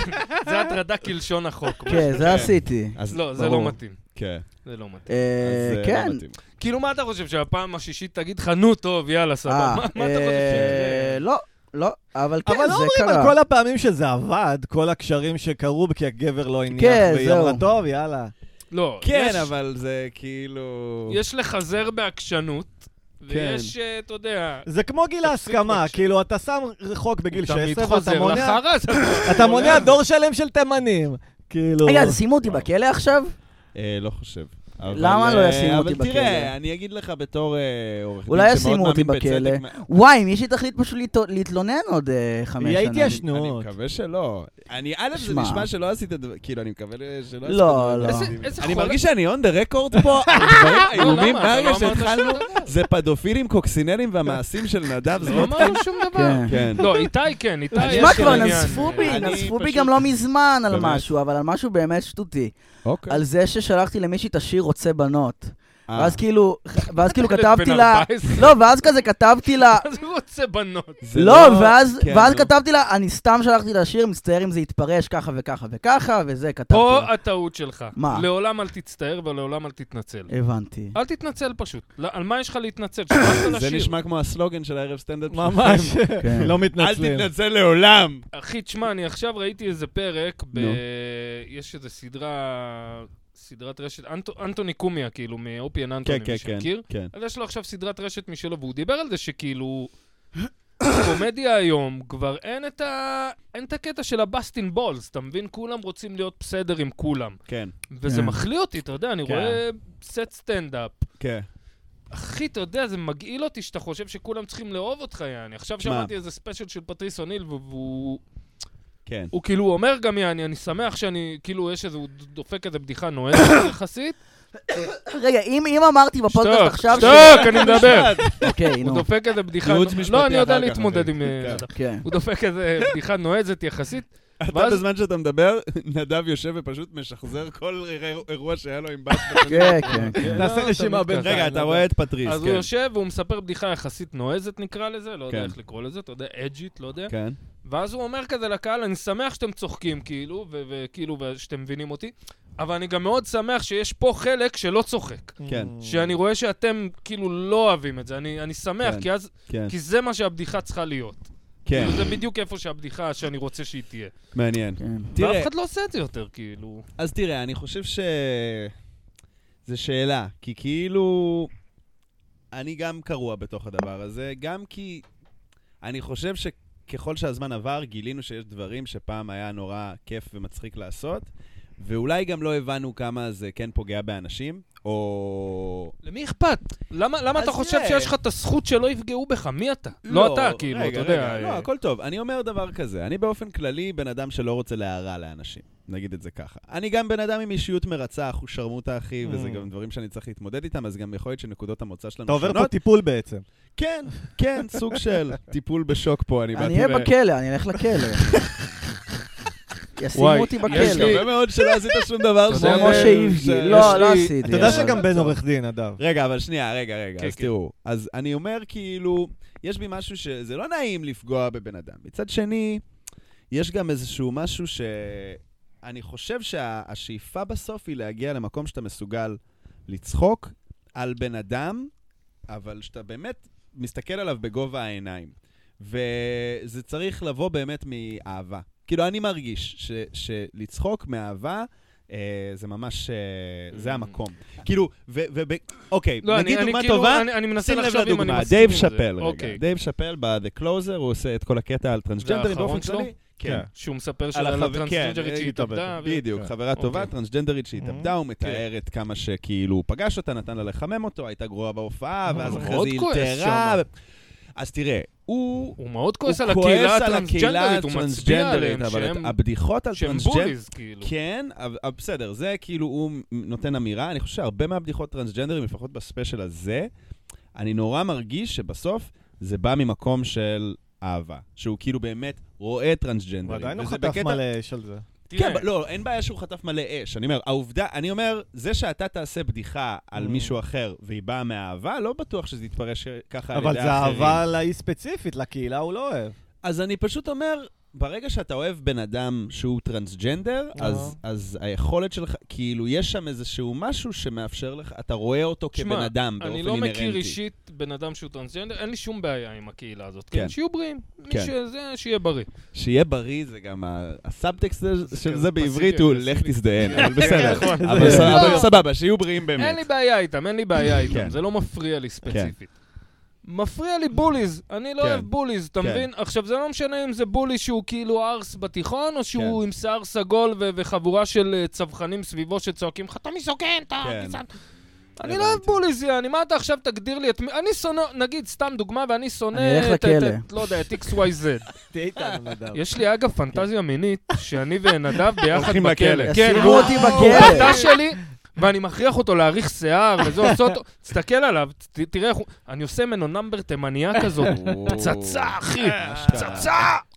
[SPEAKER 1] זה הטרדה כלשון החוק.
[SPEAKER 3] כן, זה עשיתי.
[SPEAKER 4] אז-
[SPEAKER 1] לא, זה
[SPEAKER 4] ברור.
[SPEAKER 1] לא מתאים.
[SPEAKER 4] כן,
[SPEAKER 1] זה לא מתאים.
[SPEAKER 3] אה,
[SPEAKER 4] אז, אה, לא
[SPEAKER 3] כן.
[SPEAKER 4] מתאים.
[SPEAKER 1] כאילו, מה אתה חושב, שהפעם השישית תגיד לך, נו, טוב, יאללה, סבבה.
[SPEAKER 3] אה,
[SPEAKER 1] מה- מה אתה חושב?
[SPEAKER 3] אה,
[SPEAKER 1] שזה-
[SPEAKER 3] לא, לא, אבל כן,
[SPEAKER 2] אבל לא
[SPEAKER 3] זה
[SPEAKER 2] אומרים על
[SPEAKER 3] קרה.
[SPEAKER 2] כל הפעמים שזה עבד, כל הקשרים שקרו, כי הגבר לא הניח,
[SPEAKER 3] כן,
[SPEAKER 2] והיא אמרה,
[SPEAKER 3] זהו.
[SPEAKER 2] טוב, יאללה.
[SPEAKER 1] לא,
[SPEAKER 4] כן,
[SPEAKER 1] יש-
[SPEAKER 4] אבל זה כאילו...
[SPEAKER 1] יש לחזר בעקשנות, ויש, אה, אתה יודע...
[SPEAKER 2] זה כמו גיל
[SPEAKER 1] תפסיק
[SPEAKER 2] ההסכמה,
[SPEAKER 1] בבקשה.
[SPEAKER 2] כאילו, אתה שם חוק בגיל
[SPEAKER 1] הוא תמיד
[SPEAKER 2] 16, ואתה
[SPEAKER 1] חוזר
[SPEAKER 2] מונע-
[SPEAKER 1] לחרא, זה-
[SPEAKER 2] אתה מונע דור שלם של תימנים. כאילו...
[SPEAKER 3] רגע, אז שימו אותי בכלא עכשיו?
[SPEAKER 4] אה, לא חושב. אבל,
[SPEAKER 3] למה לא
[SPEAKER 4] אה,
[SPEAKER 3] ישימו אותי
[SPEAKER 4] אבל
[SPEAKER 3] בכלא?
[SPEAKER 4] תראה, אני אגיד לך בתור אה, עורך דין
[SPEAKER 3] אולי
[SPEAKER 4] שמאוד
[SPEAKER 3] ישימו אותי
[SPEAKER 4] מאמין בצדק.
[SPEAKER 3] בכלא. וואי, מישהי תחליט פשוט להת- להתלונן עוד אה, חמש
[SPEAKER 2] יהיה
[SPEAKER 3] שנים.
[SPEAKER 4] אני
[SPEAKER 2] התיישנות.
[SPEAKER 4] מקווה שלא. אני, א', זה
[SPEAKER 3] שמע.
[SPEAKER 4] נשמע שלא עשית דבר, כאילו, אני מקווה שלא עשית
[SPEAKER 3] לא,
[SPEAKER 4] דבר.
[SPEAKER 3] לא.
[SPEAKER 1] איזה- איזה
[SPEAKER 4] אני
[SPEAKER 1] חולה-
[SPEAKER 4] מרגיש שאני on the record פה,
[SPEAKER 1] <laughs>
[SPEAKER 4] על דברים
[SPEAKER 1] לא, למה?
[SPEAKER 4] איומים,
[SPEAKER 1] אתה לא
[SPEAKER 4] מהרגע
[SPEAKER 1] אמרת
[SPEAKER 4] שהתחלנו,
[SPEAKER 1] שום דבר.
[SPEAKER 4] זה פדופילים, קוקסינלים והמעשים של נדב
[SPEAKER 1] לא
[SPEAKER 4] זמן.
[SPEAKER 1] אמרנו שום דבר.
[SPEAKER 3] כן.
[SPEAKER 4] כן.
[SPEAKER 1] לא, איתי כן, איתי יש
[SPEAKER 3] תשמע, כבר
[SPEAKER 1] עניין.
[SPEAKER 3] נזפו בי,
[SPEAKER 4] אני
[SPEAKER 3] נזפו בי
[SPEAKER 4] פשוט-
[SPEAKER 3] גם לא מזמן על
[SPEAKER 4] באמת?
[SPEAKER 3] משהו, אבל על משהו באמת שטותי.
[SPEAKER 4] אוקיי.
[SPEAKER 3] על זה ששלחתי למישהי את השיר רוצה בנות.
[SPEAKER 4] אה,
[SPEAKER 3] ואז כאילו, ואז כאילו
[SPEAKER 1] בן
[SPEAKER 3] כתבתי לה...
[SPEAKER 1] 14.
[SPEAKER 3] לא, ואז כזה כתבתי לה...
[SPEAKER 1] אז הוא רוצה בנות.
[SPEAKER 4] זה
[SPEAKER 3] לא, ואז
[SPEAKER 4] כן,
[SPEAKER 3] ואז
[SPEAKER 4] נו.
[SPEAKER 3] כתבתי לה, אני סתם שלחתי לה שיר, מצטער אם זה יתפרש ככה וככה וככה, וזה כתבתי
[SPEAKER 1] פה
[SPEAKER 3] לה.
[SPEAKER 1] הטעות שלך.
[SPEAKER 3] מה? אה.
[SPEAKER 1] לעולם אל תצטער ולעולם אל תתנצל.
[SPEAKER 3] הבנתי.
[SPEAKER 1] אל תתנצל פשוט. לא, על מה יש לך להתנצל? שלחת לה
[SPEAKER 4] זה
[SPEAKER 1] שיר.
[SPEAKER 4] נשמע כמו הסלוגן של הערב סטנדאפ.
[SPEAKER 2] ממש.
[SPEAKER 3] כן.
[SPEAKER 2] לא
[SPEAKER 4] אל
[SPEAKER 2] מתנצלים.
[SPEAKER 4] תתנצל לעולם.
[SPEAKER 1] אחי, תשמע, אני עכשיו ראיתי איזה פרק, ב...
[SPEAKER 4] נו.
[SPEAKER 1] יש איזה סדרה, סדרת רשת, אנט... אנטוני קומיה, כאילו, מאופיאן אנטוני,
[SPEAKER 4] כן,
[SPEAKER 1] מי
[SPEAKER 4] כן, כן.
[SPEAKER 1] שמכיר.
[SPEAKER 4] כן.
[SPEAKER 1] אז יש לו עכשיו סדרת רשת משלו, והוא דיבר על זה שכאילו... קומדיה היום, כבר אין את, ה... אין את הקטע של הבסטין בולס, אתה מבין? כולם רוצים להיות בסדר עם כולם.
[SPEAKER 4] כן,
[SPEAKER 1] וזה
[SPEAKER 3] כן.
[SPEAKER 1] מחליא אותי, אתה יודע, אני
[SPEAKER 4] כן.
[SPEAKER 1] רואה סט סטנדאפ.
[SPEAKER 4] כן.
[SPEAKER 1] אחי, אתה יודע, זה מגעיל אותי שאתה חושב שכולם צריכים לאהוב אותך, יעני. עכשיו
[SPEAKER 4] שמע.
[SPEAKER 1] שמעתי איזה ספיישל של פטריס אוניל, והוא...
[SPEAKER 4] כן.
[SPEAKER 1] הוא כאילו אומר גם, יעני, אני שמח שאני, כאילו, יש איזה, הוא דופק איזה בדיחה נועדת <coughs> יחסית.
[SPEAKER 3] רגע, אם אם אמרתי בפודקאסט
[SPEAKER 1] שתוק,
[SPEAKER 3] עכשיו... ש-
[SPEAKER 1] שתוק, אני מדבר.
[SPEAKER 3] אוקיי,
[SPEAKER 1] הוא
[SPEAKER 3] נו.
[SPEAKER 1] דופק איזה בדיחה...
[SPEAKER 4] ייעוץ משפטי
[SPEAKER 1] לא, אני יודע
[SPEAKER 4] אחר כך,
[SPEAKER 1] להתמודד
[SPEAKER 4] אחי.
[SPEAKER 1] עם... אה,
[SPEAKER 3] כן.
[SPEAKER 1] הוא דופק איזה בדיחה נועזת יחסית.
[SPEAKER 4] אתה
[SPEAKER 1] ואז-
[SPEAKER 4] בזמן שאתה מדבר, נדב יושב ופשוט משחזר כל אירוע- אירוע שהיה לו עם בת.
[SPEAKER 3] כן, כן, כן.
[SPEAKER 2] תעשה
[SPEAKER 1] לא,
[SPEAKER 2] רשימה
[SPEAKER 1] אתה
[SPEAKER 2] בין-
[SPEAKER 1] מתקדם.
[SPEAKER 4] רגע, אתה רואה את פטריס,
[SPEAKER 1] אז הוא
[SPEAKER 4] כן.
[SPEAKER 1] יושב והוא מספר בדיחה יחסית נועזת, נקרא לזה, לא יודע
[SPEAKER 4] כן.
[SPEAKER 1] איך לקרוא לזה, אתה יודע, אג'ית, לא יודע.
[SPEAKER 4] כן.
[SPEAKER 1] ואז הוא אומר כזה לקהל, אני שמח שאתם צוחקים, כאילו, ו- וכאילו, ושאתם מבינים אותי, אבל אני גם מאוד שמח שיש פה חלק שלא צוחק.
[SPEAKER 4] כן.
[SPEAKER 1] שאני רואה שאתם, כאילו, לא אוהבים את זה. אני, אני שמח,
[SPEAKER 4] כן.
[SPEAKER 1] כי אז...
[SPEAKER 4] כן,
[SPEAKER 1] כי זה מה שהבדיחה צריכה להיות.
[SPEAKER 4] כן,
[SPEAKER 1] זה בדיוק איפה שהבדיחה שאני רוצה שהיא תהיה.
[SPEAKER 4] מעניין.
[SPEAKER 3] כן.
[SPEAKER 1] ואף
[SPEAKER 4] תראה,
[SPEAKER 1] אחד לא עושה את זה יותר, כאילו.
[SPEAKER 4] אז תראה, אני חושב ש... זו שאלה, כי כאילו... אני גם קרוע בתוך הדבר הזה, גם כי אני חושב שככל שהזמן עבר, גילינו שיש דברים שפעם היה נורא כיף ומצחיק לעשות, ואולי גם לא הבנו כמה זה כן פוגע באנשים, או...
[SPEAKER 1] למי אכפת? למה, למה
[SPEAKER 4] אז
[SPEAKER 1] אתה חושב
[SPEAKER 4] תראה.
[SPEAKER 1] שיש לך את הזכות שלא יפגעו בך? מי אתה? לא אתה, כאילו,
[SPEAKER 4] רגע,
[SPEAKER 1] אתה
[SPEAKER 4] רגע,
[SPEAKER 1] יודע.
[SPEAKER 4] לא,
[SPEAKER 1] אה,
[SPEAKER 4] הכל טוב. אני אומר דבר כזה, אני באופן כללי בן אדם שלא רוצה להרע לאנשים. נגיד את זה ככה. אני גם בן אדם עם אישיות מרצה, אחו שרמוטה אחי, וזה
[SPEAKER 2] Mm.
[SPEAKER 4] גם דברים שאני צריך להתמודד איתם, אז גם יכול להיות שנקודות המוצא שלנו
[SPEAKER 2] אתה עובר פה
[SPEAKER 4] שונות.
[SPEAKER 2] טיפול בעצם.
[SPEAKER 4] כן, כן, סוג של טיפול בשוק פה, אני באתי
[SPEAKER 3] אני אהיה
[SPEAKER 4] ו-
[SPEAKER 3] בכלא, אני אלך לכלא.
[SPEAKER 1] וואי,
[SPEAKER 3] ישימו אותי
[SPEAKER 1] יש
[SPEAKER 4] יש לי
[SPEAKER 3] בכלא.
[SPEAKER 4] הרבה מאוד שלא עשית שום דבר
[SPEAKER 1] אתה
[SPEAKER 4] ש...
[SPEAKER 1] זה יודע, אה,
[SPEAKER 3] כמו משה איבגי. לא,
[SPEAKER 1] יש
[SPEAKER 3] לא
[SPEAKER 1] לי-
[SPEAKER 3] עשיתי.
[SPEAKER 2] אתה יודע
[SPEAKER 3] אבל-
[SPEAKER 2] שגם בן עורך דין, נדב.
[SPEAKER 4] רגע, אבל שנייה, רגע, רגע,
[SPEAKER 1] כן,
[SPEAKER 4] אז
[SPEAKER 1] כן.
[SPEAKER 4] תראו. אז אני אומר, כאילו, יש בי משהו שזה לא נעים לפגוע בבן אדם. מצד שני, יש גם איזשהו משהו ש... אני חושב שהשאיפה בסוף היא להגיע למקום שאתה מסוגל לצחוק על בן אדם, אבל שאתה באמת מסתכל עליו בגובה העיניים. וזה צריך לבוא באמת מאהבה. כאילו, אני מרגיש ש, שלצחוק מאהבה... אה, זה ממש, אה, זה
[SPEAKER 1] Mm.
[SPEAKER 4] המקום. כאילו, ו... ו- ב- אוקיי,
[SPEAKER 1] לא,
[SPEAKER 4] נגיד
[SPEAKER 1] אני- אני
[SPEAKER 4] דוגמה
[SPEAKER 1] כאילו-
[SPEAKER 4] טובה,
[SPEAKER 1] אני- אני מנסה
[SPEAKER 4] שים לב
[SPEAKER 1] לחשוב אם אני
[SPEAKER 4] לדוגמה,
[SPEAKER 1] מסכים עם
[SPEAKER 4] דייב
[SPEAKER 1] זה.
[SPEAKER 4] שאפל רגע.
[SPEAKER 1] אוקיי.
[SPEAKER 4] דייב שאפל ב-The Closer, הוא עושה את כל הקטע על טרנסג'נדרים
[SPEAKER 1] האחרון
[SPEAKER 4] באופן
[SPEAKER 1] שלו?
[SPEAKER 4] כללי.
[SPEAKER 1] כן. שהוא מספר
[SPEAKER 4] על
[SPEAKER 1] שלה
[SPEAKER 4] החבר-
[SPEAKER 1] לטרנסג'נדרית
[SPEAKER 4] כן,
[SPEAKER 1] שהיא התאבדה. ו-
[SPEAKER 4] בדיוק,
[SPEAKER 5] כן.
[SPEAKER 4] חברה טובה,
[SPEAKER 1] אוקיי. כן.
[SPEAKER 4] טרנסג'נדרית שהתאבדה, הוא מתאר את כמה שכאילו הוא פגש אותה, נתן לה לחמם אותו, הייתה גרועה בהופעה, ואז
[SPEAKER 1] הוא
[SPEAKER 4] אחרי
[SPEAKER 1] Mm-hmm. מאוד
[SPEAKER 4] זה היא
[SPEAKER 1] כועס
[SPEAKER 4] אלתרה. אז תראה, הוא...
[SPEAKER 1] הוא מאוד כועס
[SPEAKER 4] הוא
[SPEAKER 1] על הקהילה הטרנסג'נדרית, הוא מצביע עליהם
[SPEAKER 4] אבל
[SPEAKER 1] שהם-
[SPEAKER 4] את הבדיחות על
[SPEAKER 1] שהם
[SPEAKER 4] טרנסג'נדרים...
[SPEAKER 1] בוליז, כאילו.
[SPEAKER 4] כן, אבל אבל בסדר, זה כאילו הוא נותן אמירה. אני חושב שהרבה מהבדיחות טרנסג'נדרים, לפחות בספיישל הזה, אני נורא מרגיש שבסוף זה בא ממקום של אהבה. שהוא כאילו באמת רואה טרנסג'נדרים.
[SPEAKER 5] הוא עדיין לא
[SPEAKER 4] וזה
[SPEAKER 5] חטף
[SPEAKER 4] בקטע-
[SPEAKER 5] מלא אש על זה.
[SPEAKER 1] תראה,
[SPEAKER 4] כן, אבל לא, אין בעיה שהוא חטף מלא אש. אני אומר, העובדה, אני אומר, זה שאתה תעשה בדיחה על
[SPEAKER 5] Mm.
[SPEAKER 4] מישהו אחר והיא באה מאהבה, לא בטוח שזה יתפרש ככה על ידי
[SPEAKER 5] אבל
[SPEAKER 4] אחרים.
[SPEAKER 5] זה אהבה לאי ספציפית, לקהילה הוא לא אוהב.
[SPEAKER 4] אז אני פשוט אומר, ברגע שאתה אוהב בן אדם שהוא טרנסג'נדר,
[SPEAKER 5] אה.
[SPEAKER 4] אז- אז היכולת שלך, כאילו, יש שם איזשהו משהו שמאפשר לך, אתה רואה אותו
[SPEAKER 1] תשמע,
[SPEAKER 4] כבן אדם באופן
[SPEAKER 1] אני
[SPEAKER 4] אינהרנטי.
[SPEAKER 1] לא מכיר אישית בן אדם שהוא טרנסג'נדר, אין לי שום בעיה עם הקהילה הזאת. כן,
[SPEAKER 4] כן.
[SPEAKER 1] שיהיו בריאים. מי
[SPEAKER 4] כן.
[SPEAKER 1] שזה, שיהיה בריא.
[SPEAKER 4] שיהיה בריא זה גם ה- הסאבטקסט הזה- של
[SPEAKER 1] כזה
[SPEAKER 4] זה בעברית הוא
[SPEAKER 1] פסיבי,
[SPEAKER 4] לך
[SPEAKER 1] פסיבי. <laughs>
[SPEAKER 4] תזדיין, אבל בסדר.
[SPEAKER 5] נכון.
[SPEAKER 4] אבל ס-
[SPEAKER 1] כן, לא.
[SPEAKER 4] אבל סבבה, שיהיו בריאים
[SPEAKER 1] אין
[SPEAKER 4] באמת.
[SPEAKER 1] לי בעיה איתם, אין לי בעיה איתם,
[SPEAKER 4] כן.
[SPEAKER 1] זה לא מפריע לי ספציפית. מפריע לי בוליז, אני לא
[SPEAKER 4] כן.
[SPEAKER 1] אוהב בוליז, אתה
[SPEAKER 4] כן.
[SPEAKER 1] מבין? עכשיו, זה לא משנה אם זה בולי שהוא כאילו ארס בתיכון, או שהוא
[SPEAKER 4] כן.
[SPEAKER 1] עם שיער סגול ו- וחבורה של אה, צווחנים סביבו שצועקים לך, אתה מיזוגן, אתה
[SPEAKER 4] כן.
[SPEAKER 1] גזען. אני לא אוהב בוליז, יעני, מה אתה עכשיו תגדיר לי את מי... אני שונא, נגיד, סתם דוגמה, ואני שונא...
[SPEAKER 3] אני אלך
[SPEAKER 1] את- את-
[SPEAKER 3] לכלא.
[SPEAKER 1] את- לא יודע, את XYZ.
[SPEAKER 5] תהיה איתנו נדב.
[SPEAKER 1] <laughs> אוקיי. יש לי אגב פנטזיה מינית, שאני ונדב ביחד
[SPEAKER 4] הולכים
[SPEAKER 1] בכלא.
[SPEAKER 4] לכלא.
[SPEAKER 1] כן,
[SPEAKER 3] ישימו
[SPEAKER 1] הוא-
[SPEAKER 3] אותי
[SPEAKER 1] הוא
[SPEAKER 3] בכלא.
[SPEAKER 1] בתא שלי, ואני מכריח אותו להאריך שיער, וזה עושה אותו... תסתכל עליו, ת- תראה איך הוא... אני עושה ממנו נאמבר תימניה כזאת. פצצה, אחי!
[SPEAKER 4] אה,
[SPEAKER 1] פצצה!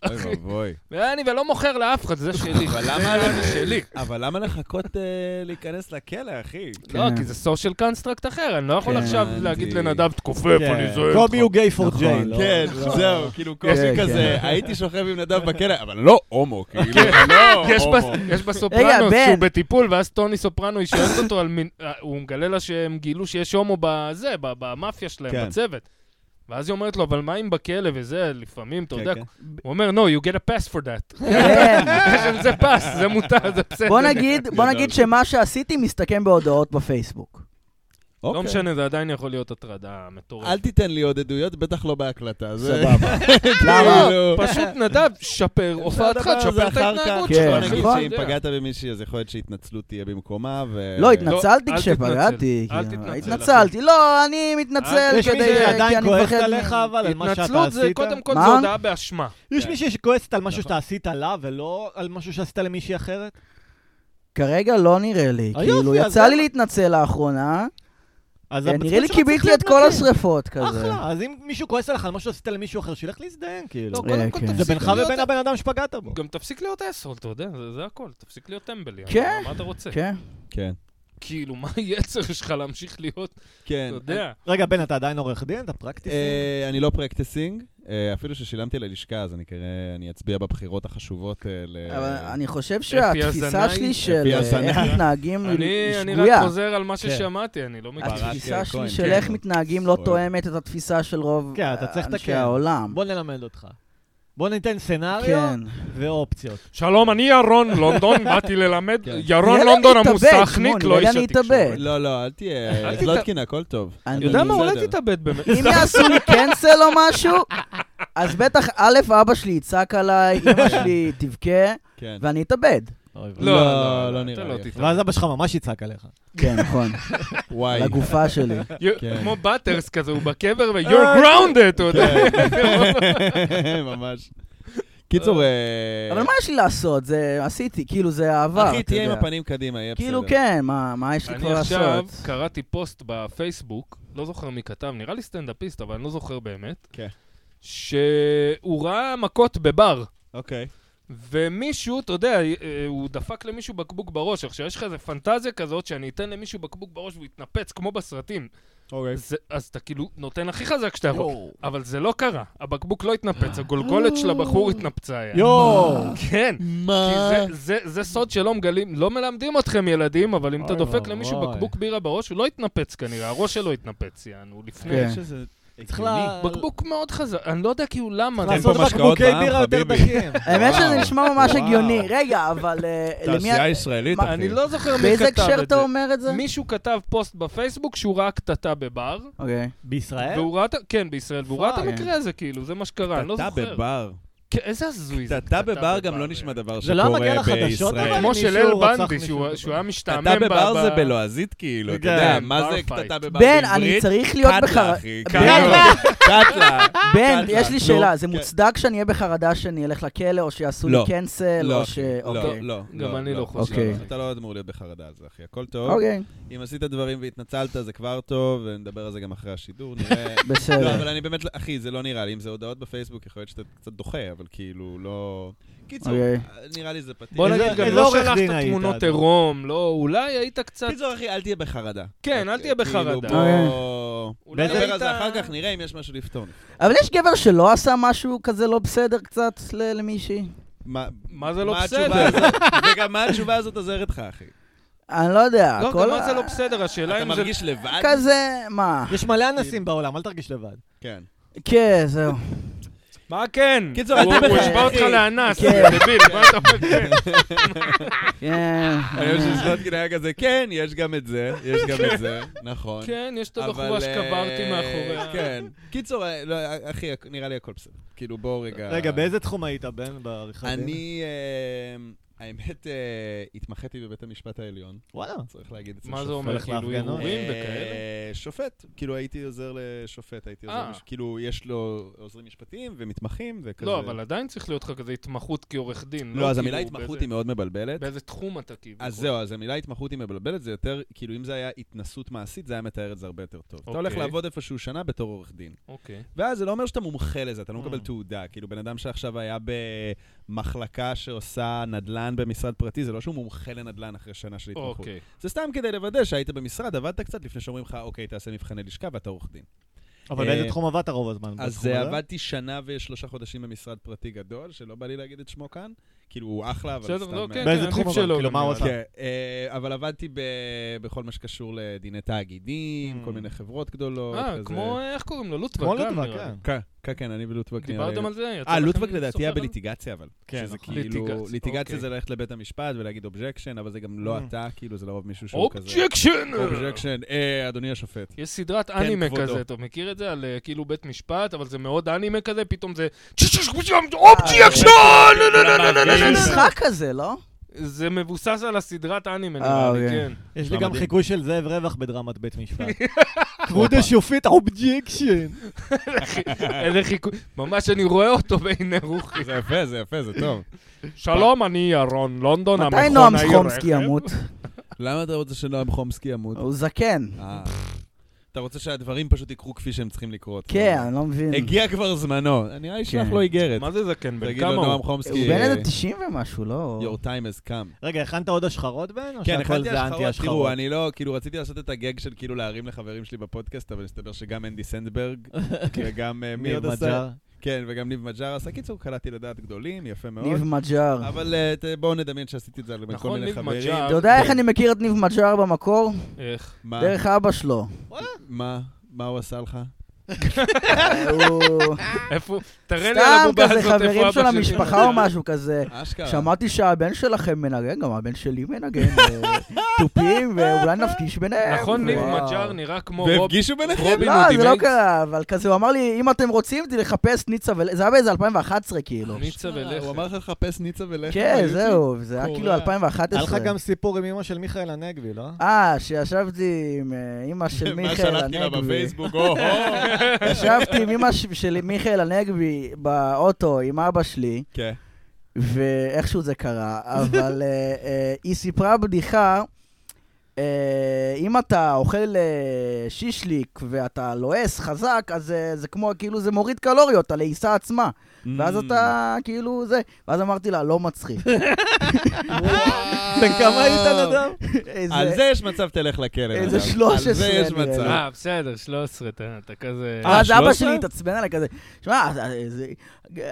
[SPEAKER 4] אוי ואבוי.
[SPEAKER 1] ואני ולא מוכר לאף אחד, זה שלי. לא,
[SPEAKER 4] אבל למה-
[SPEAKER 1] זה שלי? <laughs>
[SPEAKER 4] אבל למה לחכות אה, להיכנס לכלא, אחי?
[SPEAKER 1] לא, כי זה סושיאל קונסטרקט אחר, אני לא יכול
[SPEAKER 4] כן,
[SPEAKER 1] עכשיו להגיד
[SPEAKER 4] הבנתי.
[SPEAKER 1] לנדב, תכופף,
[SPEAKER 5] כן.
[SPEAKER 1] אני זוהה אותך.
[SPEAKER 5] קובי הוא גיי פור
[SPEAKER 3] נכון,
[SPEAKER 5] ג'יין.
[SPEAKER 3] לא.
[SPEAKER 4] כן, זהו, כאילו קושי
[SPEAKER 3] כן,
[SPEAKER 4] כזה, הייתי שוכב עם נדב
[SPEAKER 3] <laughs>
[SPEAKER 4] בכלא, אבל לא הומו, כאילו,
[SPEAKER 3] כן.
[SPEAKER 4] לא
[SPEAKER 1] יש בס-
[SPEAKER 4] הומו.
[SPEAKER 1] יש בסופרנוס
[SPEAKER 3] רגע,
[SPEAKER 1] שהוא
[SPEAKER 3] בן.
[SPEAKER 1] בטיפול, ואז טוני סופרנו, היא שואלת אותו על מין... אה, הוא מגלה לה שהם גילו שיש הומו בזה, ב- במאפיה
[SPEAKER 4] כן.
[SPEAKER 1] שלהם, בצוות. ואז היא אומרת לו, אבל מה אם בכלא וזה, לפעמים, אתה
[SPEAKER 4] כן,
[SPEAKER 1] יודע,
[SPEAKER 4] כן.
[SPEAKER 1] הוא אומר, no, you get a pass for that.
[SPEAKER 3] <laughs> כן.
[SPEAKER 1] יש על <laughs> זה פס, זה מותר, זה בסדר.
[SPEAKER 3] בוא נגיד, בוא
[SPEAKER 4] גדול.
[SPEAKER 3] נגיד שמה שעשיתי מסתכם בהודעות בפייסבוק.
[SPEAKER 1] לא
[SPEAKER 4] אוקיי.
[SPEAKER 1] משנה, זה עדיין יכול להיות הטרדה
[SPEAKER 4] אל
[SPEAKER 1] מטורפת.
[SPEAKER 4] תיתן לי עוד עדויות, בטח לא בהקלטה. זה-
[SPEAKER 3] סבבה. למה?
[SPEAKER 1] לא,
[SPEAKER 4] כאילו-
[SPEAKER 1] פשוט נדב, שפר הופעתך,
[SPEAKER 4] אפשר לדבר
[SPEAKER 1] תשפר
[SPEAKER 4] על
[SPEAKER 1] את
[SPEAKER 4] זה אחר
[SPEAKER 1] ההתנהגות
[SPEAKER 4] כך.
[SPEAKER 1] שלך.
[SPEAKER 3] כן,
[SPEAKER 4] בוא
[SPEAKER 1] אחי,
[SPEAKER 4] נגיד
[SPEAKER 3] נכון.
[SPEAKER 1] אתה
[SPEAKER 4] שאם
[SPEAKER 1] יודע.
[SPEAKER 4] פגעת במישהי, אז יכול להיות שהתנצלות תהיה במקומה, ו...
[SPEAKER 3] לא,
[SPEAKER 1] לא,
[SPEAKER 3] התנצלתי
[SPEAKER 1] אל
[SPEAKER 3] כשפגעתי.
[SPEAKER 1] תתנצל, אל
[SPEAKER 3] כאילו,
[SPEAKER 1] תתנצל, אחי.
[SPEAKER 3] התנצלתי. לא, אני מתנצל
[SPEAKER 1] אל-
[SPEAKER 5] יש
[SPEAKER 3] כדי...
[SPEAKER 5] מישהי
[SPEAKER 3] כי
[SPEAKER 5] שעדיין
[SPEAKER 3] אני
[SPEAKER 5] כועסת
[SPEAKER 3] מפחד מ-
[SPEAKER 5] עליך, אבל על מה שאתה
[SPEAKER 1] התנצלות זה
[SPEAKER 5] עשית.
[SPEAKER 1] קודם כל,
[SPEAKER 3] מה?
[SPEAKER 1] זו הודעה באשמה.
[SPEAKER 5] יש
[SPEAKER 1] כן.
[SPEAKER 5] מישהי שכועסת על משהו שאתה עשית לה, ולא על משהו שעשית למישהי אחרת?
[SPEAKER 3] כרגע לא נראה לי.
[SPEAKER 5] אה,
[SPEAKER 3] כאילו,
[SPEAKER 5] יופי, אז
[SPEAKER 3] יצא
[SPEAKER 5] למה?
[SPEAKER 3] לי להתנצל לאחרונה.
[SPEAKER 5] אז
[SPEAKER 3] אה,
[SPEAKER 5] המצפון
[SPEAKER 3] נראה לי
[SPEAKER 5] שלך
[SPEAKER 3] כיביתי
[SPEAKER 5] צריך
[SPEAKER 3] את כל
[SPEAKER 5] להיות
[SPEAKER 3] השריפות
[SPEAKER 5] נקי.
[SPEAKER 3] כזה.
[SPEAKER 5] אחלה, אז אם מישהו כועס עליך על משהו שעשית למישהו אחר, שילך להזדיין, כאילו.
[SPEAKER 1] לא,
[SPEAKER 3] אה,
[SPEAKER 1] קודם כל
[SPEAKER 3] כן.
[SPEAKER 1] תפסיק
[SPEAKER 5] זה בינך
[SPEAKER 1] להיות-
[SPEAKER 5] ובין הבן אדם שפגעת בו.
[SPEAKER 1] גם תפסיק להיות אסול, אתה יודע, זה- זה הכל. תפסיק להיות טמבלי.
[SPEAKER 3] כן.
[SPEAKER 1] מה אתה רוצה?
[SPEAKER 3] כן.
[SPEAKER 4] כן.
[SPEAKER 1] כאילו, מה היצר שלך להמשיך להיות, אתה
[SPEAKER 4] כן.
[SPEAKER 1] יודע?
[SPEAKER 5] רגע, בן, אתה עדיין עורך דין? אתה פרקטיסט?
[SPEAKER 4] אה, אני לא פרקטיסינג, אה, אפילו ששילמתי ללשכה, אז אני כנראה, אני אצביע בבחירות החשובות אה, ל...
[SPEAKER 3] אבל אני חושב
[SPEAKER 1] הזנאי.
[SPEAKER 3] שהתפיסה שלי של
[SPEAKER 4] אפי
[SPEAKER 3] אה,
[SPEAKER 4] הזנאי.
[SPEAKER 3] איך מתנהגים היא
[SPEAKER 1] אני אני
[SPEAKER 3] היא
[SPEAKER 1] רק
[SPEAKER 3] שגויה.
[SPEAKER 1] חוזר על מה
[SPEAKER 5] כן.
[SPEAKER 1] ששמעתי, אני לא מכיר.
[SPEAKER 4] ברק,
[SPEAKER 3] התפיסה
[SPEAKER 4] אה, כהן,
[SPEAKER 3] שלי של
[SPEAKER 4] כן.
[SPEAKER 3] איך מתנהגים לא
[SPEAKER 4] אוהב.
[SPEAKER 3] תואמת את התפיסה של רוב
[SPEAKER 5] כן, אתה צריך
[SPEAKER 3] אה, אנשי
[SPEAKER 5] לתקן.
[SPEAKER 3] העולם.
[SPEAKER 5] בוא נלמד אותך. בוא ניתן סצנריו
[SPEAKER 3] כן.
[SPEAKER 5] ואופציות.
[SPEAKER 1] שלום, אני ירון
[SPEAKER 3] <laughs>
[SPEAKER 1] לונדון, באתי ללמד.
[SPEAKER 4] כן.
[SPEAKER 1] ירון
[SPEAKER 3] נראה לי
[SPEAKER 1] לונדון
[SPEAKER 3] אני אתאבד,
[SPEAKER 1] המוסכניק,
[SPEAKER 3] שמעון,
[SPEAKER 1] לא
[SPEAKER 3] נראה לי
[SPEAKER 1] איש
[SPEAKER 3] אני
[SPEAKER 1] התקשורת.
[SPEAKER 3] אתאבד.
[SPEAKER 4] לא, לא, אל תהיה,
[SPEAKER 1] אל
[SPEAKER 4] את
[SPEAKER 1] תת-
[SPEAKER 4] לא תקינה, הכל טוב.
[SPEAKER 3] אני-
[SPEAKER 1] יודע מה,
[SPEAKER 4] בסדר.
[SPEAKER 1] אולי תתאבד באמת.
[SPEAKER 3] אם יעשו לי קנסל או משהו, אז בטח, א', אבא שלי יצעק עליי, אמא שלי תבכה,
[SPEAKER 4] כן.
[SPEAKER 3] ואני אתאבד.
[SPEAKER 5] אוי ואבוי.
[SPEAKER 1] לא,
[SPEAKER 4] לא,
[SPEAKER 1] לא,
[SPEAKER 4] לא
[SPEAKER 1] לא
[SPEAKER 4] נראה
[SPEAKER 1] אתה לא
[SPEAKER 4] לי.
[SPEAKER 1] תתאבד.
[SPEAKER 5] ואז אבא שלך ממש יצעק עליך.
[SPEAKER 3] כן, נכון.
[SPEAKER 4] וואי.
[SPEAKER 3] על הגופה שלי.
[SPEAKER 1] You-
[SPEAKER 4] כן.
[SPEAKER 1] כמו באטרס כזה, הוא בקבר ו-you're grounded, אתה יודע. <laughs>
[SPEAKER 4] כן. <laughs> ממש. קיצור, אה,
[SPEAKER 3] אבל מה יש לי לעשות? זה עשיתי, כאילו זה העבר,
[SPEAKER 4] אחי,
[SPEAKER 3] אתה
[SPEAKER 4] תהיה עם
[SPEAKER 3] יודע.
[SPEAKER 4] הפנים קדימה, יהיה בסדר.
[SPEAKER 3] כאילו כן, מה מה יש לי כבר
[SPEAKER 1] אני
[SPEAKER 3] לעשות?
[SPEAKER 1] עכשיו קראתי פוסט בפייסבוק, לא זוכר מי כתב, נראה לי סטנדאפיסט, אבל אני לא זוכר באמת,
[SPEAKER 4] כן.
[SPEAKER 1] שהוא ראה מכות בבר.
[SPEAKER 4] אוקיי.
[SPEAKER 1] ומישהו, אתה יודע, אה, הוא דפק למישהו בקבוק בראש. עכשיו, יש לך איזה פנטזיה כזאת שאני אתן למישהו בקבוק בראש והוא יתנפץ כמו בסרטים.
[SPEAKER 4] אוקיי.
[SPEAKER 1] זה, אז אתה כאילו נותן הכי חזק שאתה יכול. אבל זה לא קרה. הבקבוק לא התנפץ, הגולגולת של הבחור התנפצה. היה.
[SPEAKER 5] יואו!
[SPEAKER 1] כן.
[SPEAKER 4] מה?
[SPEAKER 1] כי
[SPEAKER 2] אה.
[SPEAKER 1] זה, זה, זה סוד שלא מגלים, לא מלמדים אתכם ילדים, אבל אם אתה
[SPEAKER 5] אוי
[SPEAKER 1] דופק
[SPEAKER 5] ואבוי.
[SPEAKER 1] למישהו בקבוק בירה בראש, הוא לא יתנפץ כנראה, הראש שלו יתנפץ, יענו, לפני.
[SPEAKER 3] כן.
[SPEAKER 4] שזה
[SPEAKER 2] צריך לה...
[SPEAKER 1] בקבוק מאוד חזק, אני לא יודע כאילו למה.
[SPEAKER 2] צריך
[SPEAKER 1] אני-
[SPEAKER 4] אין פה
[SPEAKER 2] לעשות
[SPEAKER 4] משקאות
[SPEAKER 2] בקבוקי
[SPEAKER 4] בעם,
[SPEAKER 2] בירה יותר
[SPEAKER 4] חביבי. <laughs>
[SPEAKER 2] דקים.
[SPEAKER 3] האמת
[SPEAKER 4] וואו.
[SPEAKER 3] שזה נשמע ממש
[SPEAKER 4] וואו.
[SPEAKER 3] הגיוני. רגע, אבל אה, למי...
[SPEAKER 4] תעשייה ישראלית,
[SPEAKER 3] מה-
[SPEAKER 4] אחי.
[SPEAKER 1] אני לא זוכר מי כתב את זה.
[SPEAKER 3] באיזה הקשר אתה אומר את זה?
[SPEAKER 1] מישהו כתב פוסט בפייסבוק שהוא ראה קטטה בבר,
[SPEAKER 3] אוקיי.
[SPEAKER 4] אה?
[SPEAKER 2] בישראל?
[SPEAKER 1] והוא ראה את ה... כן, בישראל, והוא ראה את
[SPEAKER 3] פאק.
[SPEAKER 1] המקרה הזה, כאילו, זה מה שקרה, אני לא
[SPEAKER 4] קטטה
[SPEAKER 1] זוכר.
[SPEAKER 4] בבר.
[SPEAKER 1] כן, איזה הזוי זה. אה.
[SPEAKER 4] קטטה בבר גם לא נשמע דבר
[SPEAKER 2] זה לא היה
[SPEAKER 4] שקורה
[SPEAKER 2] מגיע לחדשות,
[SPEAKER 4] בישראל.
[SPEAKER 2] אבל-
[SPEAKER 1] כמו של אל
[SPEAKER 2] מישהו רצח
[SPEAKER 1] בנדי,
[SPEAKER 2] מישהו
[SPEAKER 1] שהוא
[SPEAKER 2] בבר.
[SPEAKER 1] שהוא היה משתעמם
[SPEAKER 4] קטטה
[SPEAKER 1] ב-
[SPEAKER 4] בבר
[SPEAKER 1] ב-
[SPEAKER 4] זה בלועזית, כאילו, אתה יודע,
[SPEAKER 2] כן,
[SPEAKER 4] מה זה
[SPEAKER 1] bar fight.
[SPEAKER 4] קטטה בבר
[SPEAKER 3] בן, אני
[SPEAKER 4] בעברית?
[SPEAKER 3] צריך להיות
[SPEAKER 4] קטלה,
[SPEAKER 3] בחרדה.
[SPEAKER 4] אחי,
[SPEAKER 3] בן,
[SPEAKER 4] קטלה, קטלה.
[SPEAKER 3] בן,
[SPEAKER 4] קטלה.
[SPEAKER 3] יש לי
[SPEAKER 4] נו,
[SPEAKER 3] שאלה, זה
[SPEAKER 4] כן.
[SPEAKER 3] מוצדק שאני אהיה בחרדה שאני אלך לכלא, או שיעשו לי
[SPEAKER 4] לא.
[SPEAKER 3] קנסל,
[SPEAKER 4] לא,
[SPEAKER 3] או
[SPEAKER 4] אחי,
[SPEAKER 3] ש...
[SPEAKER 4] לא,
[SPEAKER 3] אוקיי.
[SPEAKER 4] לא.
[SPEAKER 1] גם אני לא חושב.
[SPEAKER 3] אוקיי.
[SPEAKER 4] אתה לא אמור להיות בחרדה על זה, אחי, הכל טוב.
[SPEAKER 3] אוקיי,
[SPEAKER 4] אם עשית דברים והתנצלת, זה כבר טוב, ונדבר על זה גם אחרי
[SPEAKER 3] <laughs>
[SPEAKER 4] השידור, נראה... לא,
[SPEAKER 3] בסדר.
[SPEAKER 4] אבל אני באמת, לא- אחי, זה לא נראה לי. אם זה הודעות בפייסבוק, יכול להיות שאתה קצת דוחה, אבל כאילו, לא... קיצור,
[SPEAKER 3] אוקיי.
[SPEAKER 4] נראה לי זה פתיר.
[SPEAKER 1] בוא
[SPEAKER 2] איזה-
[SPEAKER 1] נגיד, גם
[SPEAKER 2] איזה
[SPEAKER 1] לא
[SPEAKER 2] עורך דין
[SPEAKER 1] שלחת
[SPEAKER 2] היית,
[SPEAKER 1] תמונות
[SPEAKER 2] אגב?
[SPEAKER 1] עירום, לא, אולי היית קצת...
[SPEAKER 4] קיצור, אחי, אל תהיה בחרדה.
[SPEAKER 1] כן, אל תהיה בחרדה.
[SPEAKER 4] כאילו, בוא...
[SPEAKER 3] אוקיי.
[SPEAKER 1] אולי
[SPEAKER 2] באיזה-
[SPEAKER 4] נדבר על זה
[SPEAKER 1] היית-
[SPEAKER 4] אחר כך, נראה אם יש משהו לפתור.
[SPEAKER 3] אבל יש גבר שלא עשה משהו כזה לא בסדר קצת ל- למישהי?
[SPEAKER 4] מה
[SPEAKER 1] מה זה לא
[SPEAKER 4] מה
[SPEAKER 1] בסדר?
[SPEAKER 4] התשובה הזאת-
[SPEAKER 1] <laughs>
[SPEAKER 4] וגם מה התשובה הזאת עוזרת לך, אחי?
[SPEAKER 3] אני לא יודע.
[SPEAKER 1] לא,
[SPEAKER 3] כל
[SPEAKER 1] גם מה
[SPEAKER 3] ה-
[SPEAKER 1] זה לא בסדר, השאלה
[SPEAKER 4] אתה
[SPEAKER 1] אם זה...
[SPEAKER 4] מרגיש לבד?
[SPEAKER 3] כזה, מה?
[SPEAKER 2] יש מלא אנסים בעולם, אל תרגיש לבד.
[SPEAKER 4] כן.
[SPEAKER 3] כן, זהו.
[SPEAKER 1] מה כן?
[SPEAKER 4] קיצור,
[SPEAKER 1] הוא הוא
[SPEAKER 4] אתה בחייך,
[SPEAKER 1] השווה אותך
[SPEAKER 4] אחי.
[SPEAKER 1] לאנס,
[SPEAKER 3] כן.
[SPEAKER 1] דביל, מה אתה אומר? כן.
[SPEAKER 3] כן.
[SPEAKER 1] אה,
[SPEAKER 4] אני חושב שסלוטקין היה כזה, כן, יש גם את זה, יש גם
[SPEAKER 1] <laughs>
[SPEAKER 4] את זה, נכון.
[SPEAKER 1] כן, יש את
[SPEAKER 4] אבל,
[SPEAKER 1] הבחורה שקברתי
[SPEAKER 4] אה,
[SPEAKER 1] מאחוריה.
[SPEAKER 4] כן. קיצור, אה, לא, אחי, הכ- נראה לי הכל בסדר. כאילו, בואו רגע...
[SPEAKER 2] רגע, באיזה תחום היית, בן, בעריכת דין?
[SPEAKER 4] אני, אה, האמת, אה, התמחיתי בבית המשפט העליון,
[SPEAKER 2] וואלה.
[SPEAKER 4] צריך להגיד את זה.
[SPEAKER 1] מה זה
[SPEAKER 4] שופט.
[SPEAKER 1] אומר?
[SPEAKER 2] הולך
[SPEAKER 1] כאילו
[SPEAKER 2] להפגנות.
[SPEAKER 1] ערעורים
[SPEAKER 4] אה,
[SPEAKER 1] וכאלה?
[SPEAKER 4] שופט, כאילו הייתי עוזר לשופט, הייתי עוזר,
[SPEAKER 1] אה.
[SPEAKER 4] מש- כאילו יש לו עוזרים משפטיים ומתמחים וכזה.
[SPEAKER 1] לא, אבל עדיין צריך להיות לך כזה התמחות כעורך דין.
[SPEAKER 4] לא, אז
[SPEAKER 1] כאילו
[SPEAKER 4] המילה התמחות
[SPEAKER 1] באיזה-
[SPEAKER 4] היא מאוד מבלבלת.
[SPEAKER 1] באיזה תחום אתה כאילו.
[SPEAKER 4] אז זהו, אז המילה התמחות היא מבלבלת, זה יותר, כאילו אם זה היה התנסות מעשית, זה היה מתאר את זה הרבה יותר טוב. אתה הולך
[SPEAKER 1] אוקיי.
[SPEAKER 4] לעבוד איפשהו שנה בתור עורך דין.
[SPEAKER 1] אוקיי.
[SPEAKER 4] ואז זה לא אומר שאתה מומחה לזה, אתה לא מקבל
[SPEAKER 2] Mm.
[SPEAKER 4] תעודה. כאילו, בן אדם שעכשיו היה במחלקה שעושה נדל"ן במשרד פרטי, זה לא שהוא מומחה לנדל"ן אחרי שנה של התמחות.
[SPEAKER 1] אוקיי.
[SPEAKER 4] זה סתם כדי לוודא שהיית במשרד, עבדת קצת לפני שאומרים לך, אוקיי, תעשה מבחני לשכה ואתה עורך דין.
[SPEAKER 2] אבל
[SPEAKER 4] אה,
[SPEAKER 2] באיזה תחום עבדת רוב הזמן?
[SPEAKER 4] אז
[SPEAKER 2] בתחום
[SPEAKER 4] אה,
[SPEAKER 2] הזה?
[SPEAKER 4] עבדתי שנה ושלושה חודשים במשרד פרטי גדול, שלא בא לי להגיד את שמו כאן. כאילו, הוא אחלה, אבל
[SPEAKER 1] בסדר,
[SPEAKER 4] סתם... אה.
[SPEAKER 1] לא, כן,
[SPEAKER 2] באיזה
[SPEAKER 1] כן,
[SPEAKER 2] תחום
[SPEAKER 1] עדיף
[SPEAKER 2] אבל?
[SPEAKER 1] שלא,
[SPEAKER 2] כאילו, מה הוא
[SPEAKER 1] גם
[SPEAKER 2] עשה?
[SPEAKER 1] נראה
[SPEAKER 4] כן, אה, אבל עבדתי ב- בכל מה שקשור לדיני תאגידים,
[SPEAKER 2] Mm.
[SPEAKER 4] כל מיני חברות גדולות.
[SPEAKER 1] לי.
[SPEAKER 4] כזה.
[SPEAKER 1] אה, כמו, אה, איך קוראים לו? לוטבק.
[SPEAKER 2] כמו
[SPEAKER 1] גם
[SPEAKER 2] לטבק,
[SPEAKER 1] נראה לי.
[SPEAKER 2] כן.
[SPEAKER 4] כן, כן, כן, אני ולוטבק. נראה לי-
[SPEAKER 1] דיברתם על אוקיי, זה? יצא
[SPEAKER 4] אה,
[SPEAKER 1] לכם
[SPEAKER 4] לוטבק לדעתי היה
[SPEAKER 1] לשוחח על זה?
[SPEAKER 4] בליטיגציה, אבל.
[SPEAKER 2] כן,
[SPEAKER 4] שזה
[SPEAKER 2] נכון.
[SPEAKER 4] כאילו,
[SPEAKER 1] ליטיגציה,
[SPEAKER 4] ליטיגציה
[SPEAKER 1] אוקיי.
[SPEAKER 4] זה ללכת לבית המשפט ולהגיד אובג'קשן, אבל זה גם לא
[SPEAKER 2] Mm.
[SPEAKER 4] אתה, כאילו, זה לרוב מישהו שהוא כזה...
[SPEAKER 1] אובג'קשן!
[SPEAKER 4] אובג'קשן, אה, אדוני השופט.
[SPEAKER 1] יש סדרת אנימה
[SPEAKER 4] כן, כבודו.
[SPEAKER 1] כזה, אתה מכיר את זה? על אה, כאילו בית משפט, אבל זה מאוד אנימה כזה, פתאום זה... אובג'קשן!
[SPEAKER 3] אה,
[SPEAKER 1] לא, לא, לא, לא, לא, לא,
[SPEAKER 3] יש
[SPEAKER 1] לא, לא.
[SPEAKER 3] משחק כזה, לא?
[SPEAKER 1] זה מבוסס על הסדרת אנימה,
[SPEAKER 3] אה,
[SPEAKER 1] נראה לי,
[SPEAKER 3] אוקיי.
[SPEAKER 1] כן.
[SPEAKER 2] יש לי
[SPEAKER 4] מדהים.
[SPEAKER 2] גם חיקוי של זאב רווח בדרמת בית
[SPEAKER 4] <laughs>
[SPEAKER 2] משפט. כבוד השופט אובג'קשן.
[SPEAKER 1] איזה כן. חיקוי, ממש אני רואה אותו בעיני רוחי.
[SPEAKER 4] זה יפה, זה יפה, זה טוב.
[SPEAKER 1] שלום, אני ירון לונדון, המכון
[SPEAKER 3] מתי
[SPEAKER 1] העיר.
[SPEAKER 3] נועם סחומסקי
[SPEAKER 1] רכב.
[SPEAKER 3] ימות?
[SPEAKER 4] למה אתה רוצה שנועם חומסקי ימות?
[SPEAKER 3] הוא זקן.
[SPEAKER 4] אה. אתה רוצה שהדברים פשוט יקרו כפי שהם צריכים לקרות. אה,
[SPEAKER 3] כן, אני לא מבין.
[SPEAKER 1] אה,
[SPEAKER 4] הגיע כבר זמנו, אני נראה לי שלח
[SPEAKER 3] כן.
[SPEAKER 4] לו איגרת.
[SPEAKER 1] מה זה זקן? בן
[SPEAKER 4] תגיד
[SPEAKER 1] כמה
[SPEAKER 4] לו, נועם
[SPEAKER 1] הוא?
[SPEAKER 3] הוא
[SPEAKER 4] חומסקי, אה,
[SPEAKER 3] בן
[SPEAKER 1] אה,
[SPEAKER 3] איזה 90 ומשהו, לא?
[SPEAKER 4] your time has come.
[SPEAKER 2] רגע, הכנת עוד השחרות, בן? או
[SPEAKER 4] כן,
[SPEAKER 2] שהכל
[SPEAKER 4] הכנתי
[SPEAKER 2] זה אנטי
[SPEAKER 4] השחרות.
[SPEAKER 2] השחרות?
[SPEAKER 4] תראו, אני לא, כאילו, רציתי לעשות את הגג של כאילו להרים לחברים שלי בפודקאסט, אבל הסתבר שגם אנדי
[SPEAKER 3] <laughs>
[SPEAKER 4] סנדברג,
[SPEAKER 3] אוקיי.
[SPEAKER 4] וגם אה, מי
[SPEAKER 2] ניר
[SPEAKER 4] עוד עשה?
[SPEAKER 2] מג'אר.
[SPEAKER 4] כן, וגם ניב מג'אר עשה. קיצור, קלעתי לדעת גדולים, יפה מאוד.
[SPEAKER 3] ניב מג'אר.
[SPEAKER 4] אבל אה, ת- בואו נדמיין שעשיתי את זה על כל
[SPEAKER 1] נכון,
[SPEAKER 4] מיני
[SPEAKER 1] ניב
[SPEAKER 4] חברים.
[SPEAKER 1] מג'אר.
[SPEAKER 3] אתה יודע איך אני מכיר את ניב מג'אר במקור?
[SPEAKER 1] איך?
[SPEAKER 4] מה?
[SPEAKER 3] דרך אבא
[SPEAKER 1] <laughs>
[SPEAKER 3] שלו.
[SPEAKER 4] מה? מה הוא עשה לך?
[SPEAKER 3] הוא-
[SPEAKER 1] איפה? תראה לי על
[SPEAKER 3] סתם
[SPEAKER 1] הבובה
[SPEAKER 3] כזה
[SPEAKER 1] הזאת,
[SPEAKER 3] חברים
[SPEAKER 1] איפה
[SPEAKER 3] של
[SPEAKER 1] אבא שלי?
[SPEAKER 3] המשפחה או משהו כזה.
[SPEAKER 4] אשכרה.
[SPEAKER 3] שמעתי שהבן שלכם מנגן, גם הבן שלי מנגן אה,
[SPEAKER 4] <laughs>
[SPEAKER 3] תופים, ואולי נפגיש ביניהם.
[SPEAKER 1] נכון, ניב
[SPEAKER 3] וואו.
[SPEAKER 1] מג'אר נראה כמו רוב...
[SPEAKER 4] והפגישו אה, ביניכם?
[SPEAKER 1] רובין
[SPEAKER 3] לא,
[SPEAKER 1] הוא
[SPEAKER 3] זה לא
[SPEAKER 1] דימנט?
[SPEAKER 3] קרה, אבל כזה, הוא אמר לי, אם אתם רוצים, תחפש ניצה ול... זה היה באיזה 2011, כאילו.
[SPEAKER 1] ניצה ולחם.
[SPEAKER 4] לא, הוא אמר לך לחפש ניצה ולחם?
[SPEAKER 3] כן,
[SPEAKER 4] ביוטיוב?
[SPEAKER 3] זהו, זה היה
[SPEAKER 4] קורה.
[SPEAKER 3] כאילו
[SPEAKER 2] היה לך
[SPEAKER 3] 2011.
[SPEAKER 2] גם סיפור עם אמא של מיכאל הנגבי, לא?
[SPEAKER 3] אה, שישבתי עם אה, אימא של
[SPEAKER 4] <laughs> מה
[SPEAKER 3] מיכאל
[SPEAKER 4] שלחתי לה
[SPEAKER 3] הנגבי. <laughs>
[SPEAKER 4] בפייסבוק, או-הו.
[SPEAKER 3] ישבתי עם אימא ש- של מיכאל הנגבי באוטו עם אבא שלי,
[SPEAKER 4] כן.
[SPEAKER 3] ואיכשהו זה קרה, אבל אה, אה, היא סיפרה בדיחה, אה, אם אתה אוכל אה, שישליק ואתה לועס חזק, אז אה, זה כמו, כאילו זה מוריד קלוריות, הלעיסה עצמה.
[SPEAKER 4] Mm. <laughs>
[SPEAKER 3] ואז אתה, כאילו, זה. ואז אמרתי לה, לא מצחיק.
[SPEAKER 2] בן
[SPEAKER 1] אה,
[SPEAKER 2] כמה היית, נדב?
[SPEAKER 1] נכון.
[SPEAKER 3] איזה-
[SPEAKER 4] על זה יש מצב תלך לכלא.
[SPEAKER 3] איזה
[SPEAKER 4] נדב.
[SPEAKER 3] 13
[SPEAKER 4] על זה יש
[SPEAKER 3] נראה לי.
[SPEAKER 4] מצב.
[SPEAKER 1] אה, בסדר, 13, אתה אתה כזה...
[SPEAKER 4] אה,
[SPEAKER 3] אז אבא
[SPEAKER 4] 13?
[SPEAKER 3] שלי התעצבן עליי כזה, שמע, אז- אז- זה-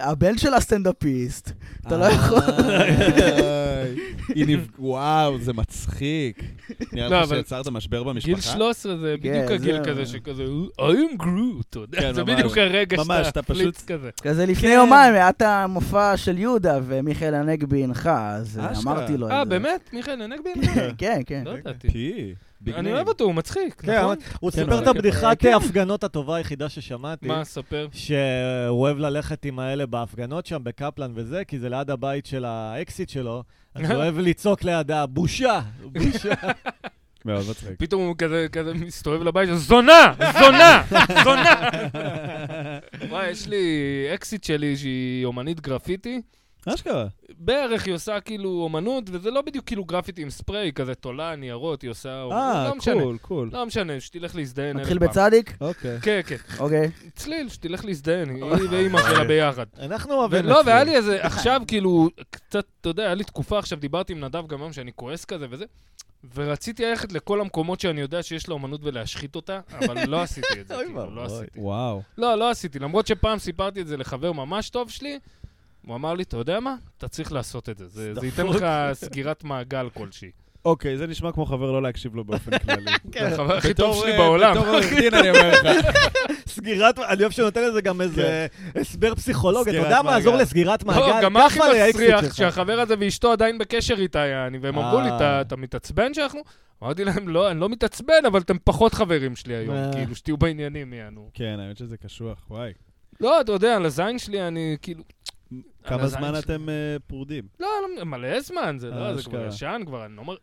[SPEAKER 3] הבן שלה סטנדאפיסט, אתה לא
[SPEAKER 4] אה.
[SPEAKER 3] יכול.
[SPEAKER 4] איי, היא נפ- וואו, זה <laughs> מצחיק.
[SPEAKER 1] לא,
[SPEAKER 4] נראה לך
[SPEAKER 1] אבל-
[SPEAKER 4] שיצרת משבר במשפחה?
[SPEAKER 1] גיל 13 זה בדיוק
[SPEAKER 3] כן,
[SPEAKER 1] הגיל
[SPEAKER 3] זה-
[SPEAKER 1] כזה שכזה, "אה, I'm גרוט, אתה יודע,
[SPEAKER 4] כן,
[SPEAKER 1] זה
[SPEAKER 4] ממש.
[SPEAKER 1] בדיוק הרגע
[SPEAKER 4] ממש,
[SPEAKER 1] שאתה
[SPEAKER 4] אתה פשוט-
[SPEAKER 1] פליץ כזה.
[SPEAKER 3] כזה
[SPEAKER 4] כן.
[SPEAKER 3] לפני יומיים היה את המופע של יהודה ומיכאל הנגבי הנחה, אז
[SPEAKER 4] אשכרה.
[SPEAKER 3] אמרתי לו את לא, זה.
[SPEAKER 1] אה, באמת? מיכאל הנגבי?
[SPEAKER 3] כן, כן.
[SPEAKER 1] לא ידעתי.
[SPEAKER 4] פי, ביג
[SPEAKER 1] אני
[SPEAKER 4] ניים.
[SPEAKER 1] אוהב אותו, הוא מצחיק,
[SPEAKER 2] כן,
[SPEAKER 1] נכון?
[SPEAKER 2] הוא
[SPEAKER 1] כן,
[SPEAKER 2] סיפר
[SPEAKER 1] אבל-
[SPEAKER 2] את הבדיחת
[SPEAKER 1] כן.
[SPEAKER 2] הפגנות הטובה היחידה ששמעתי.
[SPEAKER 1] מה, ספר?
[SPEAKER 2] שהוא אוהב ללכת עם האלה בהפגנות שם, בקפלן וזה, כי זה ליד הבית של האקסיט שלו, אז
[SPEAKER 1] <laughs>
[SPEAKER 2] הוא אוהב לצעוק לידה, בושה, בושה.
[SPEAKER 4] מאוד
[SPEAKER 1] <laughs>
[SPEAKER 4] מצחיק.
[SPEAKER 1] פתאום הוא כזה, כזה מסתובב לבית, זונה! זונה! זונה! וואי, יש לי אקסיט שלי שהיא אומנית גרפיטי.
[SPEAKER 4] אשכרה.
[SPEAKER 1] בערך היא עושה כאילו אומנות, וזה לא בדיוק כאילו גרפיטי עם ספרי, היא כזה תולה ניירות, היא עושה אומנות,
[SPEAKER 4] אה,
[SPEAKER 1] לא משנה.
[SPEAKER 4] קול, קול.
[SPEAKER 1] לא משנה, שתלך להזדיין.
[SPEAKER 3] נתחיל
[SPEAKER 1] אלף פעם.
[SPEAKER 3] בצדיק?
[SPEAKER 4] אוקיי.
[SPEAKER 1] כן, כן. <laughs>
[SPEAKER 3] אוקיי.
[SPEAKER 1] צליל, שתלך להזדיין, היא ואימא
[SPEAKER 4] <laughs>
[SPEAKER 1] שלה
[SPEAKER 4] אוקיי.
[SPEAKER 1] ביחד.
[SPEAKER 2] אנחנו אוהבים
[SPEAKER 1] ולא,
[SPEAKER 2] זה.
[SPEAKER 1] לא, והיה לי איזה,
[SPEAKER 2] <laughs>
[SPEAKER 1] עכשיו כאילו, קצת, אתה יודע, היה לי תקופה עכשיו, דיברתי עם נדב גם היום שאני כועס כזה וזה, ורציתי ללכת לכל המקומות שאני יודע שיש לה אומנות ולהשחית אותה, אבל לא עשיתי את
[SPEAKER 2] <laughs>
[SPEAKER 1] זה,
[SPEAKER 2] אוי
[SPEAKER 1] כאילו, לא
[SPEAKER 2] ואבוי.
[SPEAKER 1] עשיתי.
[SPEAKER 4] וואו.
[SPEAKER 1] לא, לא עשיתי, למרות שפעם סיפרתי את זה לחבר ממש טוב שלי, הוא אמר לי, אתה יודע מה? אתה צריך לעשות את זה, זה זה ייתן לך סגירת מעגל כלשהי.
[SPEAKER 4] אוקיי, זה נשמע כמו חבר לא להקשיב לו <laughs> באופן כללי.
[SPEAKER 2] כן.
[SPEAKER 1] זה החבר הכי
[SPEAKER 4] כן. בתור,
[SPEAKER 1] טוב שלי
[SPEAKER 4] אה,
[SPEAKER 1] בעולם.
[SPEAKER 4] בתור עורך דין אני אומר לך.
[SPEAKER 2] סגירת, אני אוהב שנותן לזה גם איזה הסבר פסיכולוגי, אתה יודע
[SPEAKER 4] סגירת
[SPEAKER 2] מה יעזור
[SPEAKER 4] מעגל.
[SPEAKER 2] לסגירת
[SPEAKER 1] כן. לא,
[SPEAKER 2] מעגל?
[SPEAKER 1] גם הכי
[SPEAKER 2] ככה לאקזיט
[SPEAKER 1] מסריח,
[SPEAKER 2] שלך.
[SPEAKER 1] שהחבר הזה ואשתו עדיין בקשר איתה, יעני, והם אמרו לי,
[SPEAKER 2] אה.
[SPEAKER 1] "אתה- אתה מתעצבן שאנחנו? אמרתי להם, לא, אני לא מתעצבן, אבל אתם פחות חברים שלי היום,
[SPEAKER 2] אה.
[SPEAKER 1] כאילו, שתהיו בעניינים, יענו.
[SPEAKER 4] <laughs> כן, האמת שזה קשוח, וואי.
[SPEAKER 1] לא, אתה יודע, על הזין שלי אני, כאילו... על
[SPEAKER 4] כמה
[SPEAKER 1] הזין
[SPEAKER 4] זמן
[SPEAKER 1] שלי.
[SPEAKER 4] אתם אה, פרודים?
[SPEAKER 1] לא, לא, מלא זמן, זה
[SPEAKER 4] אה,
[SPEAKER 1] לא, זה כבר
[SPEAKER 4] אשכרה.
[SPEAKER 1] ישן, כבר, אני לא אומר...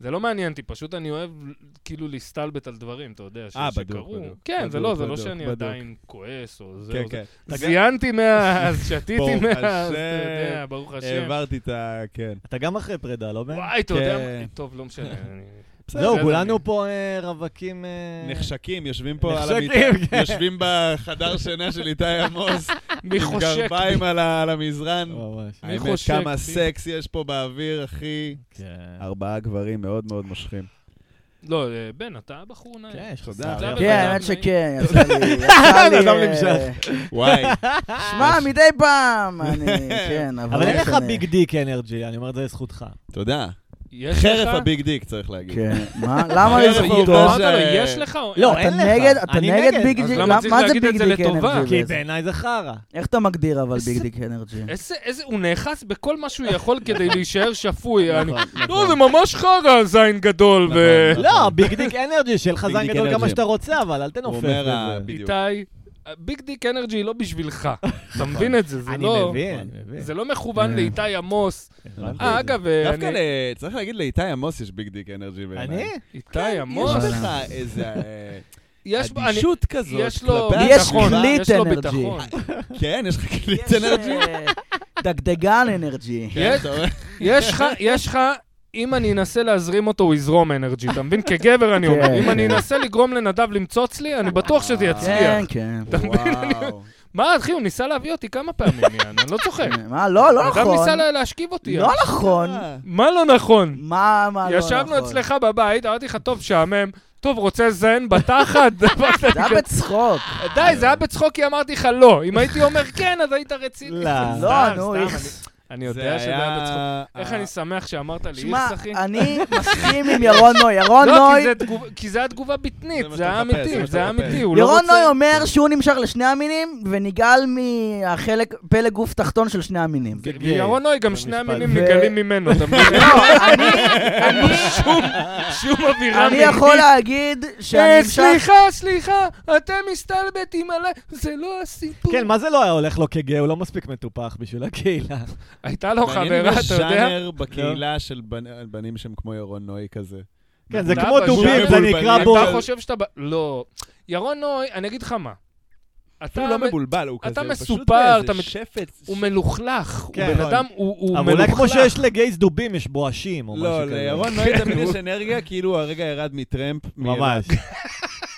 [SPEAKER 1] זה לא מעניין אותי, פשוט אני אוהב כאילו להסתלבט על דברים, אתה יודע, ש-
[SPEAKER 4] אה, בדוק,
[SPEAKER 1] שקרו.
[SPEAKER 4] בדוק.
[SPEAKER 1] כן, זה
[SPEAKER 4] בדוק,
[SPEAKER 1] לא, זה לא
[SPEAKER 4] בדוק,
[SPEAKER 1] שאני
[SPEAKER 4] בדוק.
[SPEAKER 1] עדיין כועס או זה.
[SPEAKER 4] כן,
[SPEAKER 1] או זה.
[SPEAKER 4] כן.
[SPEAKER 1] זיינתי מאז, שתיתי
[SPEAKER 4] ברוך
[SPEAKER 1] מאז, אתה
[SPEAKER 4] השם.
[SPEAKER 1] יודע, ברוך השם.
[SPEAKER 4] העברתי את ה... כן.
[SPEAKER 2] אתה גם אחרי פרידה, לא בן?
[SPEAKER 1] וואי, אתה יודע
[SPEAKER 4] כן.
[SPEAKER 1] מה? טוב, לא משנה. אני-
[SPEAKER 2] לא,
[SPEAKER 1] בסדר,
[SPEAKER 2] כולנו פה אה, רווקים... אה,
[SPEAKER 4] נחשקים, יושבים פה על המיטה.
[SPEAKER 2] נחשקים, כן.
[SPEAKER 4] יושבים בחדר שינה של איתי עמוס,
[SPEAKER 1] אני- מי
[SPEAKER 4] עם
[SPEAKER 1] חושק?
[SPEAKER 4] גרביים על ה- על המזרן.
[SPEAKER 2] ממש.
[SPEAKER 1] מי
[SPEAKER 4] האמת,
[SPEAKER 1] חושק,
[SPEAKER 4] כמה
[SPEAKER 1] אחי?
[SPEAKER 4] סקס יש פה באוויר, אחי.
[SPEAKER 2] כן.
[SPEAKER 4] ארבעה גברים מאוד מאוד מושכים.
[SPEAKER 1] לא, אה, בן, אתה בחור נעים.
[SPEAKER 2] כן, יש לך
[SPEAKER 4] תודה.
[SPEAKER 2] שיער
[SPEAKER 1] כן,
[SPEAKER 2] יפה.
[SPEAKER 3] כן, האמת שכן, יצא
[SPEAKER 1] <laughs>
[SPEAKER 3] לי... יצא לי,
[SPEAKER 2] אדם
[SPEAKER 3] אה,
[SPEAKER 2] נמשך.
[SPEAKER 4] וואי,
[SPEAKER 3] שמע, מדי פעם, אני... כן, אבל
[SPEAKER 2] אבל
[SPEAKER 3] לא
[SPEAKER 2] אין לך
[SPEAKER 3] משנה.
[SPEAKER 2] ביג דיק אנרגי, אני אומר את זה לזכותך.
[SPEAKER 4] תודה.
[SPEAKER 1] יש לך? לא,
[SPEAKER 4] חרף הביג דיק, צריך להגיד.
[SPEAKER 3] כן, מה? למה
[SPEAKER 1] <laughs>
[SPEAKER 4] חרף
[SPEAKER 1] אמרת
[SPEAKER 3] לזכותו?
[SPEAKER 1] לו,
[SPEAKER 4] העובדה ש-
[SPEAKER 1] יש לך? אה, או-
[SPEAKER 2] לא,
[SPEAKER 3] אתה
[SPEAKER 2] אין לך.
[SPEAKER 3] נגד- אתה
[SPEAKER 2] אני
[SPEAKER 3] נגד ביג
[SPEAKER 1] אז
[SPEAKER 3] דיק?
[SPEAKER 1] למה
[SPEAKER 3] למה-
[SPEAKER 1] צריך
[SPEAKER 3] מה זה
[SPEAKER 1] להגיד את
[SPEAKER 3] ביג
[SPEAKER 1] זה
[SPEAKER 3] דיק
[SPEAKER 1] לטובה?
[SPEAKER 3] אנרגי?
[SPEAKER 2] כי
[SPEAKER 3] וזה?
[SPEAKER 2] בעיניי זה חרא.
[SPEAKER 3] איך אתה מגדיר אבל
[SPEAKER 1] איזה-
[SPEAKER 3] ביג דיק אנרגי?
[SPEAKER 1] איזה, איזה, הוא נאחז בכל מה שהוא יכול
[SPEAKER 4] <laughs>
[SPEAKER 1] כדי להישאר שפוי. אני- לא, זה ממש חרא, זין גדול.
[SPEAKER 4] נכון,
[SPEAKER 1] ו-
[SPEAKER 4] נכון.
[SPEAKER 2] לא, ביג דיק אנרגי, שיהיה לך
[SPEAKER 4] ביג
[SPEAKER 2] זין
[SPEAKER 4] דיק
[SPEAKER 2] גדול כמה
[SPEAKER 4] אנרגי.
[SPEAKER 2] שאתה רוצה, אבל אל
[SPEAKER 4] הוא
[SPEAKER 2] תנופף
[SPEAKER 4] אומר,
[SPEAKER 2] בזה.
[SPEAKER 4] ה- בדיוק.
[SPEAKER 1] איתי, ביג דיק אנרגי היא לא בשבילך. אתה מבין את זה? זה
[SPEAKER 2] אני
[SPEAKER 1] לא...
[SPEAKER 2] מבין, אני מבין.
[SPEAKER 1] זה לא מכוון
[SPEAKER 2] אה. כן.
[SPEAKER 1] לאיתי עמוס.
[SPEAKER 2] הבנתי
[SPEAKER 1] אה,
[SPEAKER 2] את זה.
[SPEAKER 1] אגב,
[SPEAKER 4] דווקא
[SPEAKER 1] אני-
[SPEAKER 4] ל... צריך להגיד לאיתי עמוס יש ביג דיק אנרגי בעיניי.
[SPEAKER 2] אני?
[SPEAKER 1] איתי עמוס,
[SPEAKER 4] יש לך איזה אה,
[SPEAKER 1] <laughs> יש בו... אני-
[SPEAKER 4] אדישות כזאת.
[SPEAKER 1] יש לו
[SPEAKER 4] כלפי
[SPEAKER 3] לי יש
[SPEAKER 1] ביטחון,
[SPEAKER 4] הסביבה.
[SPEAKER 3] גליט
[SPEAKER 1] יש לו
[SPEAKER 3] אנרגי.
[SPEAKER 1] ביטחון.
[SPEAKER 4] כן, יש לך
[SPEAKER 3] יש,
[SPEAKER 4] קליט אנרגי.
[SPEAKER 3] אה, דגדגן
[SPEAKER 1] <laughs>
[SPEAKER 3] אנרגי.
[SPEAKER 4] כן,
[SPEAKER 1] יש-
[SPEAKER 4] אתה רואה?
[SPEAKER 1] יש לך, יש לך, אם אני אנסה להזרים אותו, הוא יזרום אנרג'י, אתה מבין? כגבר אני אומר,
[SPEAKER 3] כן.
[SPEAKER 1] אם אני אנסה לגרום לנדב למצוץ לי, אני בטוח שזה
[SPEAKER 3] כן,
[SPEAKER 1] יצליח.
[SPEAKER 3] כן.
[SPEAKER 4] וואו.
[SPEAKER 1] מה, אחי, הוא ניסה להביא אותי כמה פעמים, יאן, אני לא צוחק.
[SPEAKER 3] מה, לא, לא
[SPEAKER 1] אדם
[SPEAKER 3] נכון.
[SPEAKER 1] ניסה לה- להשכיב אותי.
[SPEAKER 3] לא
[SPEAKER 1] יעני.
[SPEAKER 3] נכון.
[SPEAKER 4] אה,
[SPEAKER 1] מה לא נכון?
[SPEAKER 3] מה, מה לא נכון?
[SPEAKER 1] ישבנו אצלך בבית, אמרתי לך, טוב, שעמם. טוב, רוצה זן בתחת?
[SPEAKER 3] <laughs> זה היה בצחוק.
[SPEAKER 1] די, זה היה בצחוק כי אמרתי לך לא. אם הייתי אומר כן, אז היית רציני.
[SPEAKER 2] לא.
[SPEAKER 1] סתם,
[SPEAKER 3] לא,
[SPEAKER 1] אה, סתם,
[SPEAKER 3] נו,
[SPEAKER 1] אני-
[SPEAKER 3] איכס.
[SPEAKER 1] אני
[SPEAKER 4] זה
[SPEAKER 1] יודע שזה היה
[SPEAKER 4] היה-
[SPEAKER 1] בצחוק. איך
[SPEAKER 4] אה,
[SPEAKER 1] אני שמח שאמרת לי
[SPEAKER 3] שמע,
[SPEAKER 1] איכס, אחי. <laughs>
[SPEAKER 3] אני מסכים עם ירון נוי. ירון
[SPEAKER 1] לא, כי
[SPEAKER 3] נוי
[SPEAKER 1] זה תגוב- כי זה התגובה ביטנית,
[SPEAKER 4] זה מה
[SPEAKER 1] זה היה
[SPEAKER 4] שאתה מחפש, זה
[SPEAKER 1] אמיתי,
[SPEAKER 4] מה
[SPEAKER 1] זה היה
[SPEAKER 4] שאתה
[SPEAKER 1] אמיתי,
[SPEAKER 4] מחפש.
[SPEAKER 1] הוא לא רוצה...
[SPEAKER 3] ירון נוי אומר שהוא נמשך לשני המינים, ונגעל מהחלק, פלג גוף תחתון של שני המינים.
[SPEAKER 1] כן, וירון נוי, גם
[SPEAKER 2] זה
[SPEAKER 1] שני
[SPEAKER 2] משפט.
[SPEAKER 1] המינים
[SPEAKER 3] ו-
[SPEAKER 1] נגלים ממנו, אתה מבין? <laughs>
[SPEAKER 3] לא, אני- אני-
[SPEAKER 1] שום- שום אווירה
[SPEAKER 3] אני
[SPEAKER 1] מינית.
[SPEAKER 3] יכול להגיד שאני
[SPEAKER 1] אה,
[SPEAKER 3] נמשך...
[SPEAKER 1] סליחה, סליחה, אתם מסתלבטים עליי, זה לא הסיפור.
[SPEAKER 2] כן, מה זה לא היה הולך לו כגאה? הוא לא מספיק מטופח בשביל הקהילה. כן,
[SPEAKER 1] הייתה לו
[SPEAKER 4] מעניין
[SPEAKER 1] חברה,
[SPEAKER 4] אם יש
[SPEAKER 1] אתה יודע?
[SPEAKER 4] ז'אנר בקהילה של בנ- בנים שהם כמו ירון נוי כזה.
[SPEAKER 2] כן, זה
[SPEAKER 1] אתה
[SPEAKER 2] כמו
[SPEAKER 1] בשעה
[SPEAKER 2] דובים, זה
[SPEAKER 4] מבולבלים.
[SPEAKER 2] נקרא
[SPEAKER 4] אתה
[SPEAKER 2] בו...
[SPEAKER 1] אתה חושב שאתה... ב- לא. ירון נוי, אני אגיד לך מה. אתה
[SPEAKER 4] אפילו לא
[SPEAKER 1] מ-
[SPEAKER 4] מבולבל, הוא
[SPEAKER 1] אתה
[SPEAKER 4] כזה, הוא פשוט
[SPEAKER 1] מסופר, אתה
[SPEAKER 4] באיזה
[SPEAKER 1] מת-
[SPEAKER 4] שפץ.
[SPEAKER 1] הוא מלוכלך, הוא
[SPEAKER 2] כן,
[SPEAKER 1] בן
[SPEAKER 2] נכון.
[SPEAKER 1] אדם, הוא הוא מלוכלך.
[SPEAKER 2] אבל אולי כמו שיש לגייז דובים, יש בואשים או משהו
[SPEAKER 4] לא, <laughs>
[SPEAKER 2] כזה.
[SPEAKER 4] <laughs> לירון נוי תמיד יש אנרגיה, כאילו הרגע ירד מטרמפ. מ-
[SPEAKER 2] ממש.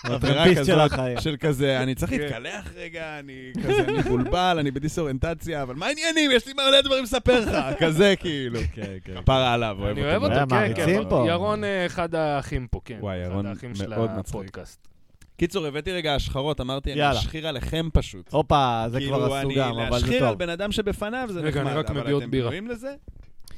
[SPEAKER 2] הוא
[SPEAKER 4] אווירה
[SPEAKER 2] הטרמפיסט של
[SPEAKER 4] כזאת
[SPEAKER 2] החיים.
[SPEAKER 4] של כזה, אני צריך
[SPEAKER 1] כן.
[SPEAKER 4] להתקלח רגע, אני כזה אני מבולבל, אני בדיסאוריינטציה, אבל מה העניינים? יש לי מלא דברים לספר <laughs> לך, כזה כאילו.
[SPEAKER 2] כן, כן.
[SPEAKER 4] כפרה עליו, אוהב
[SPEAKER 1] אני אוהב אותו,
[SPEAKER 2] אה,
[SPEAKER 1] כן,
[SPEAKER 2] מעריצים
[SPEAKER 1] כן.
[SPEAKER 2] פה.
[SPEAKER 1] ירון אה, אחד האחים פה, כן.
[SPEAKER 4] וואי,
[SPEAKER 1] אחד
[SPEAKER 4] ירון
[SPEAKER 1] האחים
[SPEAKER 4] מאוד
[SPEAKER 1] של
[SPEAKER 4] מצחיק.
[SPEAKER 1] הפודקאסט.
[SPEAKER 4] קיצור, הבאתי רגע השחרות, אמרתי, אני
[SPEAKER 2] יאללה.
[SPEAKER 4] אשחיר עליכם פשוט.
[SPEAKER 2] הופה, זה
[SPEAKER 4] כאילו,
[SPEAKER 2] כבר עשו
[SPEAKER 4] אני-
[SPEAKER 2] גם, אבל זה
[SPEAKER 4] להשחיר על
[SPEAKER 2] טוב.
[SPEAKER 4] בן אדם שבפניו זה
[SPEAKER 1] רגע,
[SPEAKER 4] נחמד,
[SPEAKER 1] אני רק מביא
[SPEAKER 4] אבל
[SPEAKER 1] עוד
[SPEAKER 4] אתם
[SPEAKER 1] בירה.
[SPEAKER 4] גאים לזה?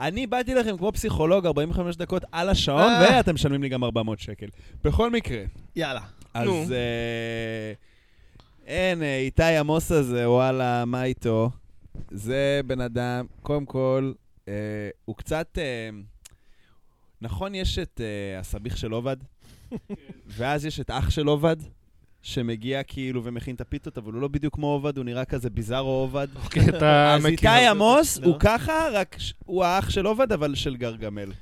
[SPEAKER 4] אני באתי לכם כמו פסיכולוג 45 דקות על השעון,
[SPEAKER 2] אה.
[SPEAKER 4] ואתם משלמים לי גם 400 שקל. בכל מקרה,
[SPEAKER 2] יאללה.
[SPEAKER 1] נו.
[SPEAKER 4] אז אה, אין, אה, איתי עמוס הזה, וואלה, מה איתו? זה בן אדם, קודם כל, אה, הוא קצת... אה, נכון, יש את אה, הסביך של עובד, ואז יש את אח של עובד, שמגיע כאילו ומכין את הפיתות, אבל הוא לא בדיוק כמו עובד, הוא נראה כזה ביזארו עובד.
[SPEAKER 1] אוקיי, אתה
[SPEAKER 4] <laughs> אז
[SPEAKER 1] מכיר.
[SPEAKER 4] איתי עמוס
[SPEAKER 2] לא?
[SPEAKER 4] הוא ככה, רק ש- הוא האח של עובד, אבל של גרגמל.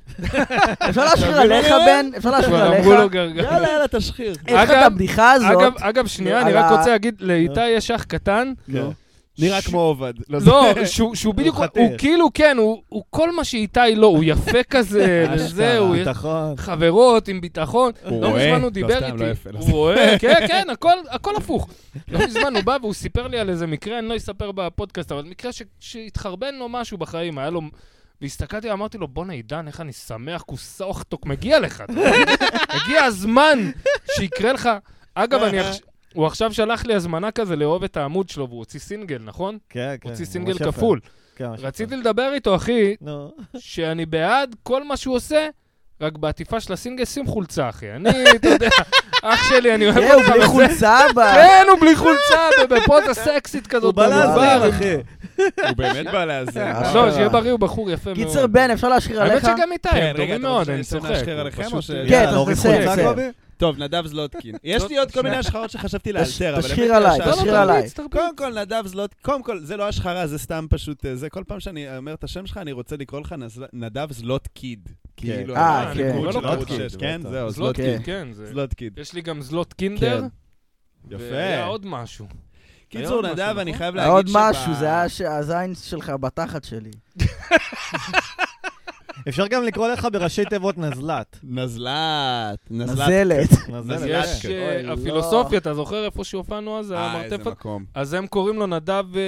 [SPEAKER 3] אפשר להשחיר
[SPEAKER 4] תביא לו
[SPEAKER 3] עליך,
[SPEAKER 4] רעיון.
[SPEAKER 3] בן? אפשר להשחיר
[SPEAKER 1] אה, כבר אמרו לו
[SPEAKER 3] עליך?
[SPEAKER 1] גרגל.
[SPEAKER 4] <laughs> יאללה, יאללה, תשחיר.
[SPEAKER 2] אה,
[SPEAKER 3] יש
[SPEAKER 1] אגב-
[SPEAKER 3] לך את הבדיחה הזאת?
[SPEAKER 1] אגב, אגב, שנייה, אני
[SPEAKER 3] על
[SPEAKER 1] רק
[SPEAKER 3] ה-
[SPEAKER 1] רוצה להגיד, לאיתי יש אח קטן.
[SPEAKER 2] כן.
[SPEAKER 4] נו.
[SPEAKER 1] ש-
[SPEAKER 4] נראה כמו עובד.
[SPEAKER 1] לא, שהוא- שהוא בדיוק,
[SPEAKER 2] חתיך.
[SPEAKER 1] הוא כאילו, כן, הוא- הוא כל מה שאיתי לא, הוא יפה
[SPEAKER 2] <laughs>
[SPEAKER 1] כזה, וזה, אה, הוא יש
[SPEAKER 2] אה, ביטחון.
[SPEAKER 1] חברות עם ביטחון.
[SPEAKER 4] הוא
[SPEAKER 1] לא מזמן הוא
[SPEAKER 4] לא,
[SPEAKER 1] דיבר
[SPEAKER 4] סתם, לא
[SPEAKER 1] איתי.
[SPEAKER 4] יפה, לא
[SPEAKER 1] הוא רואה, כן, כן, הכל- הכל הפוך. לא מזמן הוא בא והוא סיפר לי על איזה מקרה, אני לא אספר בפודקאסט, אבל מקרה ש- שהתחרבן לו משהו בחיים, היה לו... והסתכלתי, אמרתי לו, בואנה, עידן, איך אני שמח, כוסה אוכטוק, מגיע לך. אתה מבין? הגיע הזמן שיקרה לך. אגב, אני עכש- הוא עכשיו שלח לי הזמנה כזה לאהוב את העמוד שלו, והוא הוציא סינגל, נכון?
[SPEAKER 2] כן, כן.
[SPEAKER 1] הוציא
[SPEAKER 2] ממש
[SPEAKER 1] סינגל
[SPEAKER 2] יפה.
[SPEAKER 1] כפול.
[SPEAKER 2] כן, ממש יפה.
[SPEAKER 1] רציתי לדבר איתו, אחי,
[SPEAKER 2] נו.
[SPEAKER 1] שאני בעד כל מה שהוא עושה, רק בעטיפה של הסינגל שים חולצה, אחי. אני, אתה יודע, אח שלי, אני אוהב
[SPEAKER 3] אה, הוא
[SPEAKER 1] אותך.
[SPEAKER 3] בלי
[SPEAKER 1] וזה- <laughs>
[SPEAKER 3] חולצה ב...
[SPEAKER 1] כן, הוא בלי חולצה, ובפוזה סקסית כזאת.
[SPEAKER 2] הוא בא
[SPEAKER 1] במדבר.
[SPEAKER 2] לעזור, אחי.
[SPEAKER 4] הוא באמת בא לאזן.
[SPEAKER 3] אה,
[SPEAKER 1] לא, שיהיה בריא, הוא בחור יפה מאוד.
[SPEAKER 3] קיצר, בן, אפשר להשחיר
[SPEAKER 1] האמת
[SPEAKER 3] עליך?
[SPEAKER 1] שגם איתי,
[SPEAKER 4] כן,
[SPEAKER 1] הם
[SPEAKER 4] רגע,
[SPEAKER 1] טובים
[SPEAKER 4] אתה
[SPEAKER 1] מאוד,
[SPEAKER 4] רוצה
[SPEAKER 1] אני
[SPEAKER 4] שנסיים
[SPEAKER 1] צוחק.
[SPEAKER 4] להשחיר
[SPEAKER 1] הוא
[SPEAKER 4] עליכם, או
[SPEAKER 1] פשוט-
[SPEAKER 4] ש-
[SPEAKER 3] כן,
[SPEAKER 2] יאללה,
[SPEAKER 3] אתה
[SPEAKER 2] להוריד
[SPEAKER 3] תעשה,
[SPEAKER 2] חולצה,
[SPEAKER 3] בסדר.
[SPEAKER 2] קובי?
[SPEAKER 4] טוב, נדב
[SPEAKER 3] <laughs>
[SPEAKER 4] זלוטקין. יש לי עוד כל מיני השחרות שחשבתי לאלתר, אבל...
[SPEAKER 3] תשחיר
[SPEAKER 4] הבאתי
[SPEAKER 3] עליי,
[SPEAKER 4] השערה.
[SPEAKER 1] לא,
[SPEAKER 3] תשחיר
[SPEAKER 1] לא,
[SPEAKER 3] עליי.
[SPEAKER 1] תרביץ, תרביץ.
[SPEAKER 4] קודם כל, נדב זלוט... קודם כל, זה לא השחרה, זה סתם פשוט... אה, זה כל פעם שאני אומר את השם שלך, אני רוצה לקרוא לך נז- נדב זלוטקיד. כאילו,
[SPEAKER 3] אה,
[SPEAKER 4] אני-
[SPEAKER 3] כן.
[SPEAKER 4] הליכוד של
[SPEAKER 1] זלוטקיד,
[SPEAKER 4] ערוץ שש, כן,
[SPEAKER 2] בטח.
[SPEAKER 4] זהו,
[SPEAKER 1] זלוטקין,
[SPEAKER 3] אוקיי.
[SPEAKER 4] זלוטקיד.
[SPEAKER 1] כן. זה-
[SPEAKER 4] זלוטקיד.
[SPEAKER 1] יש לי גם זלוט קינדר.
[SPEAKER 4] כן.
[SPEAKER 1] והיה
[SPEAKER 4] יפה.
[SPEAKER 1] עוד משהו.
[SPEAKER 4] קיצור,
[SPEAKER 1] היה עוד
[SPEAKER 4] נדב,
[SPEAKER 1] משהו,
[SPEAKER 4] אני
[SPEAKER 1] נכון?
[SPEAKER 4] חייב
[SPEAKER 3] היה
[SPEAKER 4] להגיד
[SPEAKER 3] עוד
[SPEAKER 4] שב-
[SPEAKER 3] משהו, זה היה שהזין שלך בתחת שלי.
[SPEAKER 2] אפשר גם לקרוא לך בראשי תיבות נזל"ט.
[SPEAKER 4] נזל"ט. נזל"ט. אה,
[SPEAKER 3] נזלת.
[SPEAKER 2] נזל"ט.
[SPEAKER 1] אז
[SPEAKER 4] זה
[SPEAKER 1] יש
[SPEAKER 4] לדעת.
[SPEAKER 1] אה,
[SPEAKER 3] אוי, לא.
[SPEAKER 1] הפילוסופיה, אתה זוכר איפה שהופענו אז?
[SPEAKER 4] אה, איזה
[SPEAKER 1] המרתף?
[SPEAKER 4] מקום.
[SPEAKER 1] אז הם קוראים לו נדב אה,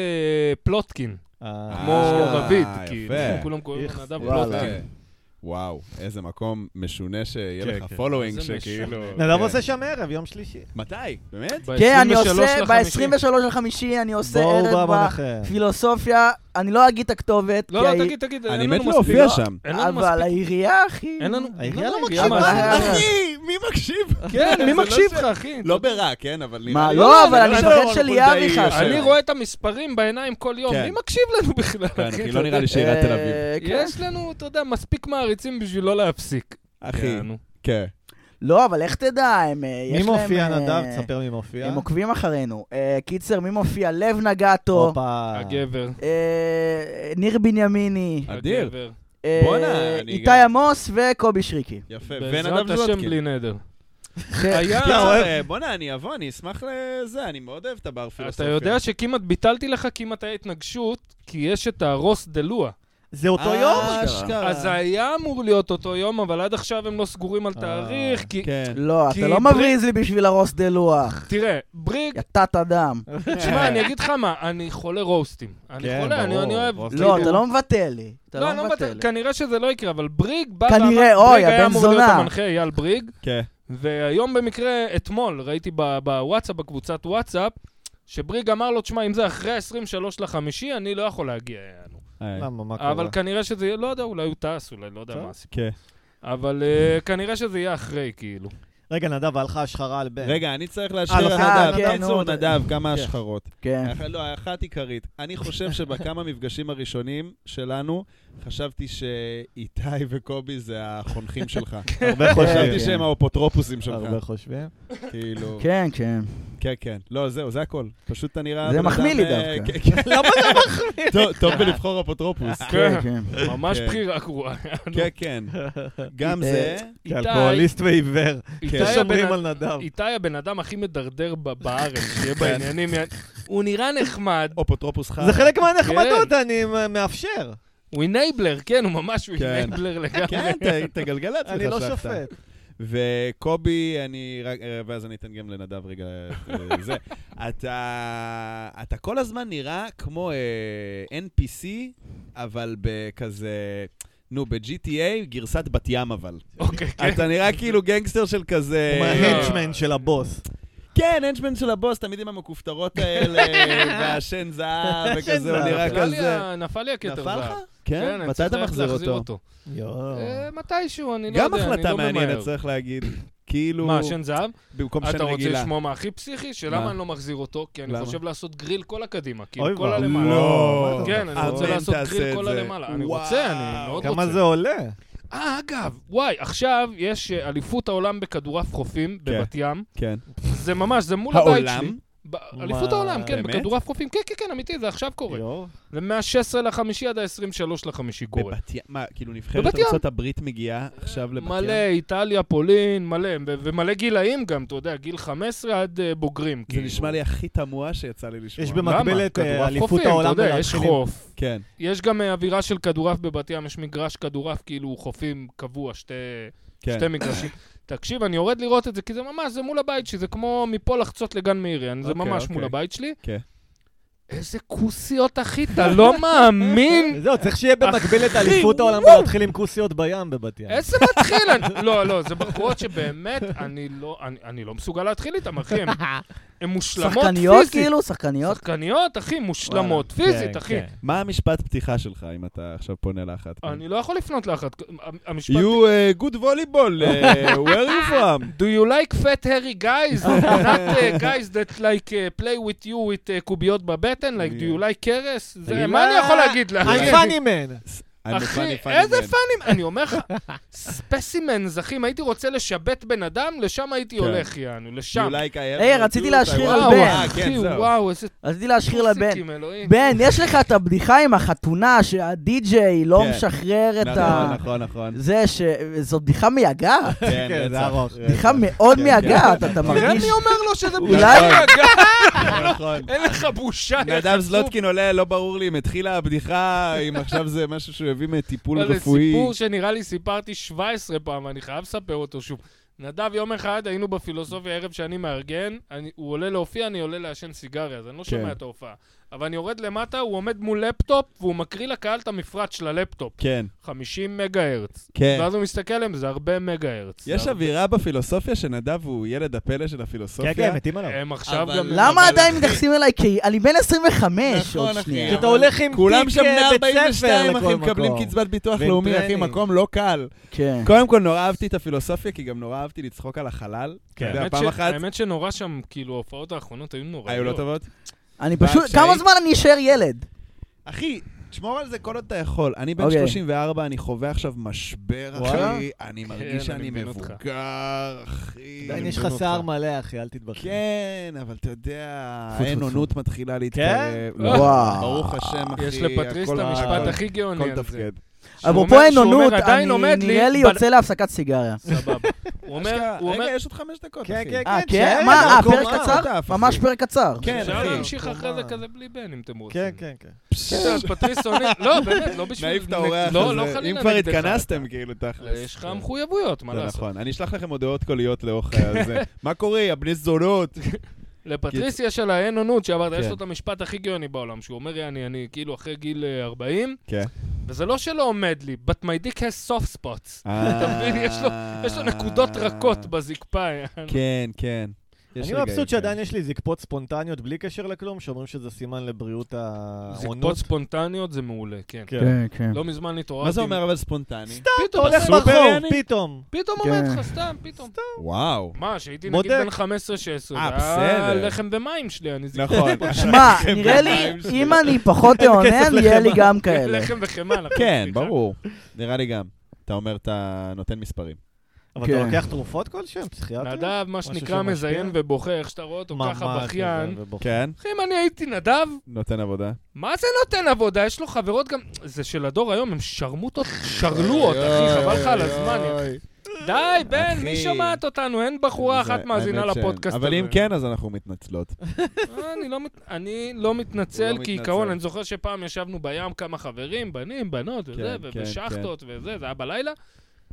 [SPEAKER 1] פלוטקין.
[SPEAKER 2] אה,
[SPEAKER 1] כמו
[SPEAKER 4] אה,
[SPEAKER 1] רביד,
[SPEAKER 4] יפה.
[SPEAKER 1] כאילו, כולם קוראים
[SPEAKER 2] איך-
[SPEAKER 1] לו נדב לא
[SPEAKER 3] וואלה.
[SPEAKER 1] פלוטקין.
[SPEAKER 4] כן. וואו, איזה מקום משונה שיהיה
[SPEAKER 2] כן,
[SPEAKER 4] לך
[SPEAKER 2] כן.
[SPEAKER 4] פולואינג
[SPEAKER 1] איזה
[SPEAKER 4] שכאילו...
[SPEAKER 1] כאילו,
[SPEAKER 2] נדב
[SPEAKER 4] כן.
[SPEAKER 2] עושה שם ערב, יום שלישי.
[SPEAKER 4] מתי? באמת?
[SPEAKER 3] כן, אני
[SPEAKER 1] 23
[SPEAKER 3] עושה,
[SPEAKER 1] לחמישי.
[SPEAKER 3] ב-23 לחמישי אני עושה
[SPEAKER 2] בואו, בואו,
[SPEAKER 3] ערב
[SPEAKER 2] בואו נחם.
[SPEAKER 3] בפילוסופיה, אני לא אגיד את הכתובת,
[SPEAKER 1] לא,
[SPEAKER 3] כי
[SPEAKER 1] לא,
[SPEAKER 3] היא-
[SPEAKER 1] תגיד, תגיד,
[SPEAKER 4] אני
[SPEAKER 1] אין
[SPEAKER 4] מת
[SPEAKER 1] לנו מספיק. לא,
[SPEAKER 4] להופיע שם.
[SPEAKER 1] אין לנו
[SPEAKER 3] אבל
[SPEAKER 1] מספיק.
[SPEAKER 3] העירייה, אחי.
[SPEAKER 1] אין לנו...
[SPEAKER 2] העירייה
[SPEAKER 1] לא
[SPEAKER 2] לא
[SPEAKER 1] מגיעה
[SPEAKER 3] מקשיבה.
[SPEAKER 1] מה-
[SPEAKER 3] אה.
[SPEAKER 4] אחי, <laughs> מי מקשיב?
[SPEAKER 1] כן, מי
[SPEAKER 4] זה לא
[SPEAKER 1] מקשיב
[SPEAKER 4] ש-
[SPEAKER 1] לך, אחי?
[SPEAKER 4] לא ברע, כן, אבל נראה
[SPEAKER 3] מה,
[SPEAKER 4] לי-
[SPEAKER 3] לא, אבל
[SPEAKER 4] נראה
[SPEAKER 3] אני
[SPEAKER 4] לי
[SPEAKER 3] זוכר
[SPEAKER 4] לא
[SPEAKER 3] שלי
[SPEAKER 4] רון
[SPEAKER 3] אביך
[SPEAKER 4] חולדאי
[SPEAKER 3] שם.
[SPEAKER 1] אני
[SPEAKER 4] יושב.
[SPEAKER 1] רואה את המספרים בעיניים כל יום,
[SPEAKER 4] כן.
[SPEAKER 1] מי מקשיב לנו בכלל,
[SPEAKER 4] כן,
[SPEAKER 1] אחי?
[SPEAKER 4] אחי,
[SPEAKER 1] אתה
[SPEAKER 4] לא נראה
[SPEAKER 1] יודע.
[SPEAKER 4] לי שעיריית תל אביב.
[SPEAKER 3] אה, כן.
[SPEAKER 1] יש לנו, אתה יודע, מספיק מעריצים בשביל לא להפסיק.
[SPEAKER 4] אחי,
[SPEAKER 1] יענו.
[SPEAKER 4] כן.
[SPEAKER 3] לא, אבל איך תדע, הם... אה,
[SPEAKER 2] מי
[SPEAKER 3] יש להם,
[SPEAKER 2] מופיע,
[SPEAKER 3] אה,
[SPEAKER 2] נדב? תספר מי מופיע.
[SPEAKER 3] הם עוקבים אחרינו. אה, קיצר, מי מופיע? לב נגטו,
[SPEAKER 2] הופה.
[SPEAKER 1] הגבר.
[SPEAKER 3] אה, ניר בנימיני,
[SPEAKER 4] אדיר.
[SPEAKER 1] הגבר.
[SPEAKER 3] אה,
[SPEAKER 4] בואנה, אני
[SPEAKER 3] איתי
[SPEAKER 4] גם-
[SPEAKER 3] עמוס וקובי שריקי.
[SPEAKER 4] יפה,
[SPEAKER 1] בעזרת
[SPEAKER 4] ונדב
[SPEAKER 1] השם
[SPEAKER 4] זלוטקין.
[SPEAKER 1] בלי נדר.
[SPEAKER 3] כן.
[SPEAKER 1] היה...
[SPEAKER 4] קיצור, אה, בואנה, אני אבוא, אני אשמח לזה, אני מאוד אוהב את הבר
[SPEAKER 1] אתה
[SPEAKER 4] פילוסופיה. אה,
[SPEAKER 1] יודע שכמעט ביטלתי לך, כמעט היה התנגשות, כי יש את הרוס דה לואה.
[SPEAKER 2] זה אותו
[SPEAKER 3] אה,
[SPEAKER 2] יום?
[SPEAKER 4] אשכרה.
[SPEAKER 1] אז זה היה אמור להיות אותו יום, אבל עד עכשיו הם לא סגורים על
[SPEAKER 2] אה,
[SPEAKER 1] תאריך, כי...
[SPEAKER 4] <laughs> כן.
[SPEAKER 3] לא,
[SPEAKER 1] כי
[SPEAKER 3] אתה לא
[SPEAKER 1] ברי-
[SPEAKER 3] מבריז לי בשביל הרוס דה לוח.
[SPEAKER 1] תראה, בריג
[SPEAKER 3] יא תת אדם.
[SPEAKER 4] כן,
[SPEAKER 1] תשמע, אני אגיד לך מה, אני חולה רוסטים. אני
[SPEAKER 2] כן,
[SPEAKER 1] חולה, אני
[SPEAKER 2] ברור,
[SPEAKER 1] אני אוהב.
[SPEAKER 2] רוסטים.
[SPEAKER 1] כאילו-
[SPEAKER 3] לא, אתה לא מבטל לי. אתה
[SPEAKER 1] לא,
[SPEAKER 3] לא
[SPEAKER 1] אני לא
[SPEAKER 3] מבטל
[SPEAKER 1] מבטל.
[SPEAKER 3] לי.
[SPEAKER 1] כנראה שזה לא יקרה, אבל בריג בא
[SPEAKER 3] כנראה,
[SPEAKER 1] ואמר-
[SPEAKER 3] אוי,
[SPEAKER 1] בריג היה
[SPEAKER 3] הבן
[SPEAKER 1] אמור להיות
[SPEAKER 3] זונה.
[SPEAKER 1] המנחה, אייל בריג,
[SPEAKER 4] כן.
[SPEAKER 1] והיום במקרה, אתמול, ראיתי ב- בוואטסאפ, בקבוצת וואטסאפ, שבריג אמר לו, תשמע, אם זה אחרי ה-23 לחמישי, אני לא יכול להגיע אלינו.
[SPEAKER 4] אה,
[SPEAKER 2] אה, למה, מה קורה?
[SPEAKER 1] אבל כנראה שזה יהיה, לא יודע, אולי הוא טס, אולי לא יודע
[SPEAKER 2] טוב.
[SPEAKER 1] מה הסיפור.
[SPEAKER 4] כן.
[SPEAKER 1] אבל אה, כנראה שזה יהיה אחרי, כאילו.
[SPEAKER 2] רגע, נדב, היה לך השחרה על בן.
[SPEAKER 4] רגע, אני צריך
[SPEAKER 2] אה,
[SPEAKER 4] להשחיר
[SPEAKER 2] לא,
[SPEAKER 4] על
[SPEAKER 3] אה,
[SPEAKER 4] נדב.
[SPEAKER 3] כן,
[SPEAKER 4] קיצור,
[SPEAKER 3] נו,
[SPEAKER 4] נדב, כמה השחרות.
[SPEAKER 3] כן.
[SPEAKER 4] אח- לא, אחת עיקרית. אני חושב שבכמה מפגשים הראשונים שלנו, חשבתי שאיתי וקובי זה החונכים שלך.
[SPEAKER 2] כן.
[SPEAKER 1] <laughs>
[SPEAKER 2] הרבה חושבים.
[SPEAKER 4] חשבתי שהם האפוטרופוסים שלך.
[SPEAKER 2] הרבה חושבים.
[SPEAKER 4] כאילו...
[SPEAKER 3] כן, כן.
[SPEAKER 4] כן, כן. לא, זהו, זה הכל. פשוט אתה נראה...
[SPEAKER 3] זה
[SPEAKER 4] בן
[SPEAKER 3] מחמיא לי
[SPEAKER 4] אדם, אה,
[SPEAKER 3] דווקא.
[SPEAKER 2] <laughs>
[SPEAKER 4] כן, כן.
[SPEAKER 2] למה לא, זה מחמיא? אה,
[SPEAKER 4] טוב- טוב בלבחור אפוטרופוס.
[SPEAKER 1] כן.
[SPEAKER 3] כן, כן.
[SPEAKER 1] ממש
[SPEAKER 4] כן.
[SPEAKER 1] בחירה גרועה.
[SPEAKER 4] כן, כן. גם
[SPEAKER 2] אה,
[SPEAKER 4] זה.
[SPEAKER 1] איתי-
[SPEAKER 2] כאלכוהוליסט ועיוור.
[SPEAKER 1] איתי
[SPEAKER 4] כן.
[SPEAKER 1] הבן-
[SPEAKER 2] שומרים על נדב.
[SPEAKER 1] איתי הבן אדם הכי מדרדר ב-
[SPEAKER 4] <laughs>
[SPEAKER 1] בארץ, שיהיה
[SPEAKER 4] כן.
[SPEAKER 1] בעניינים. יעני- הוא נראה נחמד,
[SPEAKER 4] אפוטרופוס חד.
[SPEAKER 2] זה חלק מהנחמדות,
[SPEAKER 1] כן.
[SPEAKER 2] אני אה, מאפשר.
[SPEAKER 1] הוא אינבלר, כן, הוא ממש הוא
[SPEAKER 4] כן.
[SPEAKER 1] אינבלר לגמרי.
[SPEAKER 4] <laughs> כן, ת- תגלגל לעצמך
[SPEAKER 2] אני לא
[SPEAKER 4] שאתה.
[SPEAKER 2] שופט.
[SPEAKER 4] וקובי, אני רק... אה, ואז אני אתן גם לנדב רגע את אה, <laughs> זה. אתה, אתה כל הזמן נראה כמו אה, NPC, אבל בכזה... נו, ב-GTA, גרסת בת ים אבל.
[SPEAKER 1] אוקיי, כן.
[SPEAKER 4] אתה נראה כאילו גנגסטר של
[SPEAKER 1] אה,
[SPEAKER 4] כזה...
[SPEAKER 2] הוא מההנצ'מן של הבוס.
[SPEAKER 4] כן, הנצ'מן של הבוס, תמיד עם
[SPEAKER 1] <laughs>
[SPEAKER 4] המכופתרות האלה, והשן זהב,
[SPEAKER 2] השן
[SPEAKER 4] וכזה, הוא
[SPEAKER 2] זהב.
[SPEAKER 4] נראה
[SPEAKER 1] נפל לי
[SPEAKER 4] כזה.
[SPEAKER 1] ה- נפל לי הכתר
[SPEAKER 4] נפל לך?
[SPEAKER 1] זהב.
[SPEAKER 4] כן,
[SPEAKER 1] אוקיי. אני
[SPEAKER 4] מתי
[SPEAKER 1] צריך
[SPEAKER 4] אתה
[SPEAKER 1] ללכת
[SPEAKER 4] מחזיר
[SPEAKER 1] להחזיר
[SPEAKER 4] אותו?
[SPEAKER 2] יואו.
[SPEAKER 1] אה, מתישהו, אני לא יודע,
[SPEAKER 4] גם
[SPEAKER 1] אני לא ממהר.
[SPEAKER 4] החלטה מעניינת, צריך להגיד. כאילו,
[SPEAKER 1] מה, שן זהב?
[SPEAKER 4] במקום שן
[SPEAKER 1] אתה רוצה
[SPEAKER 4] רגילה.
[SPEAKER 1] לשמוע מה הכי פסיכי?
[SPEAKER 4] מה?
[SPEAKER 1] שלמה אני לא מחזיר אותו? כי אני
[SPEAKER 4] למה?
[SPEAKER 1] חושב לעשות גריל כל הקדימה.
[SPEAKER 2] אוי
[SPEAKER 1] כאילו, כל
[SPEAKER 2] ואבוי.
[SPEAKER 1] הלמעלה.
[SPEAKER 4] לא.
[SPEAKER 1] כן, אני רוצה
[SPEAKER 4] אמן
[SPEAKER 1] לעשות
[SPEAKER 4] תעשה
[SPEAKER 1] גריל
[SPEAKER 4] את
[SPEAKER 1] כל
[SPEAKER 4] זה.
[SPEAKER 1] הלמעלה. אני
[SPEAKER 4] וואו.
[SPEAKER 1] רוצה, אני מאוד
[SPEAKER 2] כמה
[SPEAKER 1] רוצה.
[SPEAKER 2] זה עולה?
[SPEAKER 1] אה, אגב, וואי, עכשיו יש אה, אליפות העולם בכדורעף חופים בבת ים.
[SPEAKER 4] כן.
[SPEAKER 1] זה ממש, זה מול הבית שלי.
[SPEAKER 4] העולם?
[SPEAKER 1] ב- אליפות
[SPEAKER 2] מה,
[SPEAKER 1] העולם, כן,
[SPEAKER 4] באמת?
[SPEAKER 1] בכדורעף חופים. כן, כן, כן, אמיתי, זה עכשיו קורה.
[SPEAKER 2] יואו.
[SPEAKER 1] זה מה-16 לחמישי עד ה-23 לחמישי קורה.
[SPEAKER 4] בבת ים, מה, כאילו נבחרת
[SPEAKER 1] בבת ים.
[SPEAKER 4] ארצות הברית מגיעה עכשיו לבת ים?
[SPEAKER 1] מלא, איטליה, פולין, מלא, ו- ומלא גילאים גם, אתה יודע, גיל 15 עד אה, בוגרים.
[SPEAKER 4] זה
[SPEAKER 1] כאילו.
[SPEAKER 4] נשמע לי הכי תמוה שיצא לי לשמוע.
[SPEAKER 2] יש במקביל את
[SPEAKER 1] כדורעף
[SPEAKER 2] אה, אליפות
[SPEAKER 1] חופים,
[SPEAKER 2] העולם
[SPEAKER 1] אתה יודע, יש
[SPEAKER 2] ללהתחילים.
[SPEAKER 1] חוף.
[SPEAKER 4] כן.
[SPEAKER 1] יש גם אה, אווירה של כדורעף בבת ים, יש מגרש כדורעף, כאילו חופים קבוע, שתי,
[SPEAKER 4] כן.
[SPEAKER 1] שתי מגרשים. תקשיב, אני יורד לראות את זה, כי זה ממש, זה מול הבית שלי, זה כמו מפה לחצות לגן מאירי, אני- זה
[SPEAKER 4] אוקיי,
[SPEAKER 1] ממש
[SPEAKER 4] אוקיי.
[SPEAKER 1] מול הבית שלי.
[SPEAKER 4] כן.
[SPEAKER 1] איזה כוסיות, אחי, אתה לא מאמין?
[SPEAKER 2] זהו, צריך שיהיה במקביל את אליפות העולם
[SPEAKER 1] וואו.
[SPEAKER 2] ולהתחיל עם כוסיות בים בבת ים.
[SPEAKER 1] איזה מתחיל? אני- לא, לא, זה בחורות שבאמת, אני לא- אני אני לא מסוגל להתחיל איתן, אחי, הן- הן מושלמות
[SPEAKER 3] שחקניות
[SPEAKER 1] פיזית.
[SPEAKER 3] כאילו? שחקניות?
[SPEAKER 1] שחקניות, אחי, מושלמות פיזית,
[SPEAKER 2] כן,
[SPEAKER 1] אחי.
[SPEAKER 2] כן.
[SPEAKER 4] מה המשפט פתיחה שלך, אם אתה עכשיו פונה לאחת?
[SPEAKER 1] אני לא יכול לפנות לאחת. המשפט...
[SPEAKER 4] You uh, good volleyball, uh, where you from?
[SPEAKER 1] Do you like fat hairy
[SPEAKER 3] <laughs>
[SPEAKER 1] guys? Not uh, guys that like uh, play with you with uh, קוביות בבטן? Like, do you like קרס? זה-
[SPEAKER 4] לא
[SPEAKER 2] תגיד לה,
[SPEAKER 1] מה אני יכול להגיד לך?
[SPEAKER 2] I'm funny man.
[SPEAKER 4] I'm
[SPEAKER 1] <laughs>
[SPEAKER 4] a
[SPEAKER 1] אחי,
[SPEAKER 4] funny, funny
[SPEAKER 1] איזה
[SPEAKER 4] man.
[SPEAKER 1] פאנים, אני אומר לך, ספסימנס, אחי, אם הייתי רוצה לשבת בן אדם, לשם הייתי
[SPEAKER 4] כן.
[SPEAKER 1] הולך, יענו, לשם.
[SPEAKER 4] You like I have
[SPEAKER 3] היי,
[SPEAKER 4] no
[SPEAKER 3] רציתי
[SPEAKER 4] tooth, I
[SPEAKER 3] להשחיר
[SPEAKER 4] want-
[SPEAKER 3] על
[SPEAKER 1] וואו,
[SPEAKER 3] בן.
[SPEAKER 4] אה, כן,
[SPEAKER 1] אחי,
[SPEAKER 4] זהו.
[SPEAKER 1] וואו, איזה
[SPEAKER 3] רציתי להשחיר לבן.
[SPEAKER 1] טוסיקים, אלוהים.
[SPEAKER 3] בן, יש לך את הבדיחה עם החתונה שהדי-ג'יי לא
[SPEAKER 4] כן.
[SPEAKER 3] משחרר את ה...
[SPEAKER 4] נכון, נכון,
[SPEAKER 3] <laughs>
[SPEAKER 4] נכון.
[SPEAKER 3] זה ש... זאת בדיחה מייגעת.
[SPEAKER 4] כן,
[SPEAKER 2] כן, זה
[SPEAKER 4] רצח.
[SPEAKER 2] ארוך.
[SPEAKER 3] בדיחה מאוד
[SPEAKER 4] <laughs> כן,
[SPEAKER 3] מייגעת,
[SPEAKER 1] תראה
[SPEAKER 3] אתה מרגיש...
[SPEAKER 1] מי אומר לו שזה
[SPEAKER 4] אולי-
[SPEAKER 1] בדיחה, גיא,
[SPEAKER 4] נכון.
[SPEAKER 1] אין לך בושה. יא
[SPEAKER 4] נדב
[SPEAKER 1] חצוף.
[SPEAKER 4] זלוטקין עולה, לא ברור לי אם התחילה הבדיחה, אם עכשיו זה משהו שהוא הביא מטיפול
[SPEAKER 1] אבל זה
[SPEAKER 4] רפואי.
[SPEAKER 1] סיפור שנראה לי סיפרתי 17 פעם, אני חייב לספר אותו שוב. נדב, יום אחד היינו בפילוסופיה ערב שאני מארגן, אני, הוא עולה להופיע, אני עולה לעשן סיגריה, אז אני לא
[SPEAKER 4] כן.
[SPEAKER 1] שומע את ההופעה. אבל אני יורד למטה, הוא עומד מול לפטופ, והוא מקריא לקהל את המפרט של הלפטופ.
[SPEAKER 4] כן,
[SPEAKER 1] 50 מגה הרץ.
[SPEAKER 4] כן.
[SPEAKER 1] ואז הוא מסתכל עליהם, זה הרבה מגה הרץ.
[SPEAKER 4] יש
[SPEAKER 1] זה הרבה-
[SPEAKER 4] אווירה בפילוסופיה שנדב הוא ילד הפלא של
[SPEAKER 2] כן,
[SPEAKER 4] הפילוסופיה.
[SPEAKER 2] כן, מתים עליו.
[SPEAKER 1] הם עכשיו
[SPEAKER 4] אבל
[SPEAKER 1] גם...
[SPEAKER 3] למה
[SPEAKER 1] אבל-
[SPEAKER 3] עדיין מתייחסים אליי כ... אני בן 25
[SPEAKER 4] נכון,
[SPEAKER 3] עוד
[SPEAKER 4] אחי.
[SPEAKER 3] שנייה.
[SPEAKER 1] כן.
[SPEAKER 2] כי אתה הולך עם
[SPEAKER 4] כולם שם
[SPEAKER 2] תיק אה,
[SPEAKER 4] בני
[SPEAKER 2] בית ספר
[SPEAKER 4] 42, אחי,
[SPEAKER 2] לכל
[SPEAKER 4] מקבלים
[SPEAKER 2] מקום.
[SPEAKER 4] קצבת ביטוח
[SPEAKER 2] ועם
[SPEAKER 4] לאומי, אחי,
[SPEAKER 2] טרנינג.
[SPEAKER 4] מקום לא קל.
[SPEAKER 3] כן.
[SPEAKER 4] קודם כל, נורא אהבתי את הפילוסופיה, כי גם נורא אהבתי לצחוק על החלל.
[SPEAKER 2] כן.
[SPEAKER 4] אתה יודע,
[SPEAKER 1] האמת
[SPEAKER 4] פעם
[SPEAKER 1] ש-
[SPEAKER 4] אחת
[SPEAKER 1] האמת שנורא שם, כאילו, ההופעות האחרונות היו
[SPEAKER 4] היו לא
[SPEAKER 1] נוראיות.
[SPEAKER 4] טובות.
[SPEAKER 3] אני פשוט...
[SPEAKER 4] והקשיים-
[SPEAKER 3] כמה זמן אני אשאר ילד?
[SPEAKER 4] אחי, תשמור על זה כל עוד אתה יכול. אני בן
[SPEAKER 3] אוקיי.
[SPEAKER 4] 34, אני חווה עכשיו משבר,
[SPEAKER 2] וואלה?
[SPEAKER 4] אחי. אני מרגיש שאני
[SPEAKER 1] כן, אני מבין אותך.
[SPEAKER 4] מבוגר, אחי.
[SPEAKER 2] עדיין
[SPEAKER 4] אני
[SPEAKER 2] יש לך
[SPEAKER 4] מבין
[SPEAKER 2] שיער
[SPEAKER 4] אותך.
[SPEAKER 2] מלא, אחי, אל תתבכי.
[SPEAKER 4] כן, אבל אתה יודע,
[SPEAKER 3] טפו, טפו,
[SPEAKER 4] האין-אונות מתחילה להתקרב. לא,
[SPEAKER 3] וואו.
[SPEAKER 4] ברוך השם, אחי.
[SPEAKER 1] כן? אה, יש לפטריס את
[SPEAKER 4] הכל-
[SPEAKER 1] המשפט הכי גאוני
[SPEAKER 4] הכל
[SPEAKER 1] על זה.
[SPEAKER 4] תפקד.
[SPEAKER 1] שהוא אומר-
[SPEAKER 3] אפרופו
[SPEAKER 1] שהוא
[SPEAKER 3] עינונות,
[SPEAKER 1] אומר, עדיין
[SPEAKER 3] אני
[SPEAKER 1] עומד לי...
[SPEAKER 3] נראה לי
[SPEAKER 1] בנ-
[SPEAKER 3] יוצא להפסקת סיגריה.
[SPEAKER 1] סבבה.
[SPEAKER 4] <laughs>
[SPEAKER 1] הוא אומר,
[SPEAKER 4] אשכרה,
[SPEAKER 1] הוא
[SPEAKER 4] רגע,
[SPEAKER 1] אומר,
[SPEAKER 4] יש עוד חמש דקות, אחי.
[SPEAKER 2] כן, כן,
[SPEAKER 3] אה,
[SPEAKER 2] שאין
[SPEAKER 3] כן? מה, אה,
[SPEAKER 2] מקום,
[SPEAKER 3] פרק
[SPEAKER 2] אה.
[SPEAKER 3] קצר?
[SPEAKER 4] טף, אחי.
[SPEAKER 3] ממש פרק קצר.
[SPEAKER 4] כן,
[SPEAKER 1] אפשר
[SPEAKER 4] אחי.
[SPEAKER 1] להמשיך אחרי זה
[SPEAKER 2] קומה.
[SPEAKER 1] כזה בלי בן, אם אתם רוצים.
[SPEAKER 2] אה, כן, כן, כן.
[SPEAKER 1] כן,
[SPEAKER 4] <laughs>
[SPEAKER 1] אז פטריס עונה, לא, באמת, לא בשביל...
[SPEAKER 4] נעיף את האורח
[SPEAKER 1] לא, לא
[SPEAKER 4] הזה.
[SPEAKER 1] חלילה
[SPEAKER 4] אם כבר
[SPEAKER 1] נגדך.
[SPEAKER 4] התכנסתם, כאילו,
[SPEAKER 1] אה,
[SPEAKER 4] תכלס.
[SPEAKER 1] יש לך מחויבויות, מה
[SPEAKER 4] זה
[SPEAKER 1] לעשות?
[SPEAKER 4] נכון. אני אשלח לכם הודעות קוליות לאורך
[SPEAKER 1] <laughs>
[SPEAKER 4] הזה. מה קורה, יא בני זונות?
[SPEAKER 1] לפטריס יש על האין אונות שאמרת, יש
[SPEAKER 4] נכון. כן.
[SPEAKER 1] לו את המשפט הכי גאוני בעולם, שהוא אומר, יעני, אני כאילו אחרי גיל אה, 40,
[SPEAKER 4] כן.
[SPEAKER 1] וזה לא שלא עומד לי, but my dick has soft spots.
[SPEAKER 4] אה.
[SPEAKER 1] אתה מבין? יש לו- יש לו נקודות רכות בזקפה. <laughs> יענו.
[SPEAKER 4] כן, כן. יש
[SPEAKER 2] אני
[SPEAKER 4] רגעים
[SPEAKER 2] מבסוט
[SPEAKER 4] כאלה.
[SPEAKER 2] שעדיין יש לי זקפות ספונטניות בלי קשר לכלום, שאומרים שזה סימן לבריאות
[SPEAKER 1] זקפות
[SPEAKER 2] העונות.
[SPEAKER 1] ספונטניות זה מעולה, כן.
[SPEAKER 2] כן.
[SPEAKER 3] כן.
[SPEAKER 1] לא מזמן התעוררתי.
[SPEAKER 4] מה זה אומר אבל ספונטני?
[SPEAKER 2] אתה
[SPEAKER 1] פתאום
[SPEAKER 2] הולך
[SPEAKER 1] עשו-
[SPEAKER 4] בסופר,
[SPEAKER 2] ברחוב,
[SPEAKER 4] יעני?
[SPEAKER 2] פתאום.
[SPEAKER 1] פתאום
[SPEAKER 3] כן.
[SPEAKER 1] עומד לך, סתם, פתאום.
[SPEAKER 4] וואו.
[SPEAKER 1] מה, שהייתי
[SPEAKER 2] בודק.
[SPEAKER 1] נגיד בן 15-16,
[SPEAKER 4] אה,
[SPEAKER 1] זה היה
[SPEAKER 4] בסדר.
[SPEAKER 1] לחם במים שלי, אני זוכר.
[SPEAKER 4] <laughs> נכון.
[SPEAKER 1] <laughs>
[SPEAKER 3] שמע, נראה לי, אם אני פחות אעונן, יהיה לי גם
[SPEAKER 1] <laughs>
[SPEAKER 3] כאלה.
[SPEAKER 1] לחם וחמאה. נכון,
[SPEAKER 4] <laughs> כן,
[SPEAKER 1] סליחה.
[SPEAKER 4] ברור. נראה לי גם. אתה אומר, אתה נותן מספרים.
[SPEAKER 5] אבל
[SPEAKER 3] כן.
[SPEAKER 5] אתה לוקח תרופות כלשהן? פסיכיאטר?
[SPEAKER 1] נדב, מה שנקרא,
[SPEAKER 5] שמשפיע?
[SPEAKER 1] מזיין ובוכה, איך שאתה רואה אותו ככה בכיין.
[SPEAKER 4] כן,
[SPEAKER 1] אחי, אם אני הייתי נדב,
[SPEAKER 4] נותן עבודה.
[SPEAKER 1] מה זה נותן עבודה? יש לו חברות גם... זה של הדור היום, הם שרמוטות, שרלוות, אחי,
[SPEAKER 4] אוי,
[SPEAKER 1] חבל לך על
[SPEAKER 4] אוי,
[SPEAKER 1] הזמן.
[SPEAKER 4] <laughs>
[SPEAKER 1] יא.
[SPEAKER 4] אוי.
[SPEAKER 1] די, בן, מי
[SPEAKER 4] אחי.
[SPEAKER 1] שומעת אותנו? אין בחורה
[SPEAKER 4] זה-
[SPEAKER 1] אחת מאזינה
[SPEAKER 4] האמת שאין.
[SPEAKER 1] לפודקאסט הזה.
[SPEAKER 4] אבל אם כן, אז אנחנו מתנצלות.
[SPEAKER 1] אה, אני לא מת- אני לא
[SPEAKER 4] הוא
[SPEAKER 1] מתנצל,
[SPEAKER 4] לא
[SPEAKER 1] כעיקרון,
[SPEAKER 4] מתנצל.
[SPEAKER 1] אני זוכר שפעם ישבנו בים כמה חברים, בנים, בנות וזה,
[SPEAKER 4] כן, כן,
[SPEAKER 1] ובשחטות וזה, זה היה בלילה.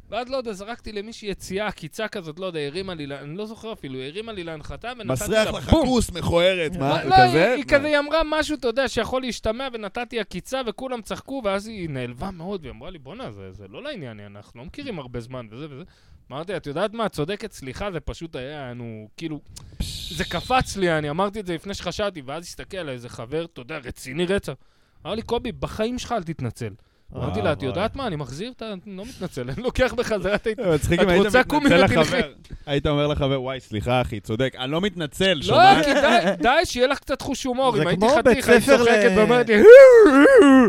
[SPEAKER 1] ואז לא יודע, זרקתי למישהי יציאה, עקיצה כזאת, לא יודע, הרימה לי, ל- אני לא זוכר אפילו, הרימה לי להנחתה ונתתי לה
[SPEAKER 4] מסריח לך
[SPEAKER 1] בום.
[SPEAKER 4] כוס מכוערת, מה?
[SPEAKER 1] לא, היא-
[SPEAKER 4] כזה?
[SPEAKER 1] היא כזה, היא אמרה משהו, אתה יודע, שיכול להשתמע, ונתתי עקיצה, וכולם צחקו, ואז היא נעלבה מאוד, והיא אמרה לי, בואנה, זה- זה לא לעניין, אנחנו לא מכירים הרבה זמן, וזה וזה. אמרתי, את יודעת מה, את צודקת, סליחה, זה פשוט היה, נו, כאילו, זה קפץ לי, אני אמרתי את זה לפני שחשבתי, ואז הסתכל על איזה חבר, אתה יודע, רציני רצח. אמר לי, קובי, בחיים שלך אל תתנצל.
[SPEAKER 5] אה,
[SPEAKER 2] אה,
[SPEAKER 1] אמרתי לה, את יודעת מה, אני מחזיר את ה... אני לא מתנצל, אני לוקח בחזרה את ה...
[SPEAKER 4] אה, מצחיק
[SPEAKER 1] את
[SPEAKER 4] אם היית
[SPEAKER 1] רוצה, קומי
[SPEAKER 4] מתנצל
[SPEAKER 1] ותלכי.
[SPEAKER 4] לחבר. היית אומר לחבר, וואי, סליחה אחי, צודק, אני לא מתנצל,
[SPEAKER 1] לא,
[SPEAKER 4] שומעת?
[SPEAKER 1] כי די, די, שיהיה לך קצת חוש הומור.
[SPEAKER 5] זה
[SPEAKER 1] אם הייתי
[SPEAKER 5] כמו בית
[SPEAKER 1] חתיך, היית
[SPEAKER 5] ספר ל-
[SPEAKER 1] צוחקת ואומרת לי,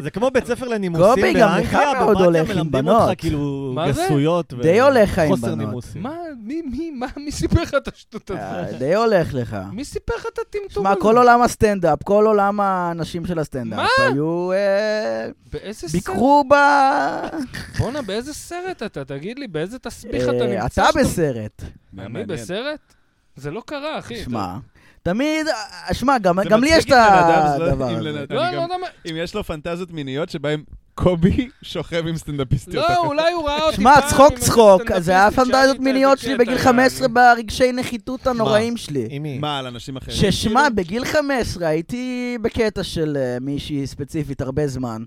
[SPEAKER 5] זה כמו בית ספר
[SPEAKER 3] קובי,
[SPEAKER 5] לנימוסים
[SPEAKER 3] גם
[SPEAKER 5] באנגליה,
[SPEAKER 3] לך מאוד
[SPEAKER 5] בבתיה
[SPEAKER 3] הולך עם
[SPEAKER 5] מלמדים
[SPEAKER 3] בנות.
[SPEAKER 5] אותך כאילו
[SPEAKER 1] מה זה?
[SPEAKER 5] גסויות ו-
[SPEAKER 3] די הולך עם
[SPEAKER 5] חוסר
[SPEAKER 3] בנות.
[SPEAKER 5] נימוסים.
[SPEAKER 1] מה, מי, מי, מה, מי סיפר לך את השטות הזאת?
[SPEAKER 3] אה, די הולך לך.
[SPEAKER 1] מי סיפר לך את הטמטום
[SPEAKER 3] שמע,
[SPEAKER 1] הזה?
[SPEAKER 3] כל עולם הסטנדאפ, כל עולם האנשים של הסטנדאפ היו... אה,
[SPEAKER 1] באיזה סרט?
[SPEAKER 3] ביקרו ב...
[SPEAKER 1] בואנה, באיזה סרט אתה? תגיד לי, באיזה תסביך
[SPEAKER 3] אה,
[SPEAKER 1] אתה נמצא?
[SPEAKER 3] אתה
[SPEAKER 1] שאתה- כן,
[SPEAKER 3] בסרט.
[SPEAKER 1] אני בסרט? זה לא קרה, אחי.
[SPEAKER 3] שמע, תמיד... אה, שמע, גם גם לי יש את הדבר הזה.
[SPEAKER 1] לא, אני לא יודע מה...
[SPEAKER 4] אם יש לו פנטזיות מיניות שבהן קובי שוכב עם סטנדאפיסטיות.
[SPEAKER 1] לא, אולי הוא ראה אותי
[SPEAKER 3] שמע,
[SPEAKER 1] פעם
[SPEAKER 3] צחוק
[SPEAKER 1] עם
[SPEAKER 3] צחוק,
[SPEAKER 1] הסטנדאפיסט,
[SPEAKER 3] זה היה
[SPEAKER 1] שאל לי
[SPEAKER 3] פנטזיות
[SPEAKER 1] את
[SPEAKER 3] מיניות
[SPEAKER 1] זה
[SPEAKER 3] שלי
[SPEAKER 1] בקטע,
[SPEAKER 3] בגיל
[SPEAKER 1] יעני.
[SPEAKER 3] 15 ברגשי נחיתות הנוראים שלי.
[SPEAKER 5] עם
[SPEAKER 1] לא.
[SPEAKER 5] מי?
[SPEAKER 4] מה, על אנשים
[SPEAKER 1] כן.
[SPEAKER 4] אחרים?
[SPEAKER 3] ששמע, בגיל 15 הייתי בקטע של אה, מישהי ספציפית הרבה זמן.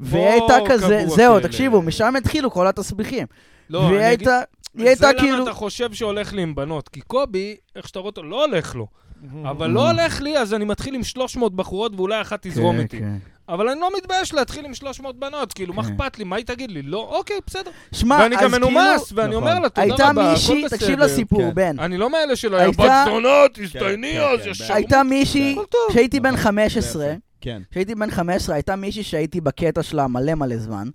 [SPEAKER 3] והיא הייתה
[SPEAKER 1] בוא,
[SPEAKER 3] כזה,
[SPEAKER 1] קבוע
[SPEAKER 3] זהו,
[SPEAKER 1] כאלה.
[SPEAKER 3] תקשיבו, משם התחילו כל התסביכים.
[SPEAKER 1] לא,
[SPEAKER 3] והיא
[SPEAKER 1] אני אגיד-
[SPEAKER 3] הייתה, היא הייתה
[SPEAKER 1] זה למה
[SPEAKER 3] כאילו...
[SPEAKER 1] אתה חושב שהולך לי עם בנות, כי קובי, איך שאתה רואה אותו, לא הולך לו.
[SPEAKER 5] Mhm.
[SPEAKER 1] אבל לא הולך לי, אז אני מתחיל עם 300 בחורות ואולי אחת תזרום
[SPEAKER 3] Mm. כן,
[SPEAKER 1] איתי.
[SPEAKER 3] כן.
[SPEAKER 1] אבל אני לא מתבייש להתחיל עם 300 בנות, כאילו, מה
[SPEAKER 3] כן.
[SPEAKER 1] אכפת לי? מה היא תגיד לי? לא, אוקיי, בסדר.
[SPEAKER 3] שמע,
[SPEAKER 1] ואני
[SPEAKER 3] אה, אז
[SPEAKER 1] גם
[SPEAKER 3] כאילו,
[SPEAKER 1] מנומס, ואני
[SPEAKER 4] נכון.
[SPEAKER 1] אומר לה, תודה רבה,
[SPEAKER 3] הייתה
[SPEAKER 1] הכל בסדר.
[SPEAKER 3] מישהי, תקשיב לסיפור,
[SPEAKER 4] כן.
[SPEAKER 3] בן.
[SPEAKER 1] אני לא מאלה שלא היה
[SPEAKER 3] הייתה-
[SPEAKER 1] בת זונות,
[SPEAKER 4] כן,
[SPEAKER 1] תסתייני
[SPEAKER 4] כן,
[SPEAKER 1] אז,
[SPEAKER 4] כן,
[SPEAKER 1] ישר.
[SPEAKER 3] הייתה מישהי,
[SPEAKER 1] הכל טוב. אה,
[SPEAKER 3] כשהייתי בן
[SPEAKER 4] נכון,
[SPEAKER 3] 15,
[SPEAKER 4] כן.
[SPEAKER 3] כשהייתי בן 15, הייתה מישהי שהייתי בקטע שלה מלא מלא זמן,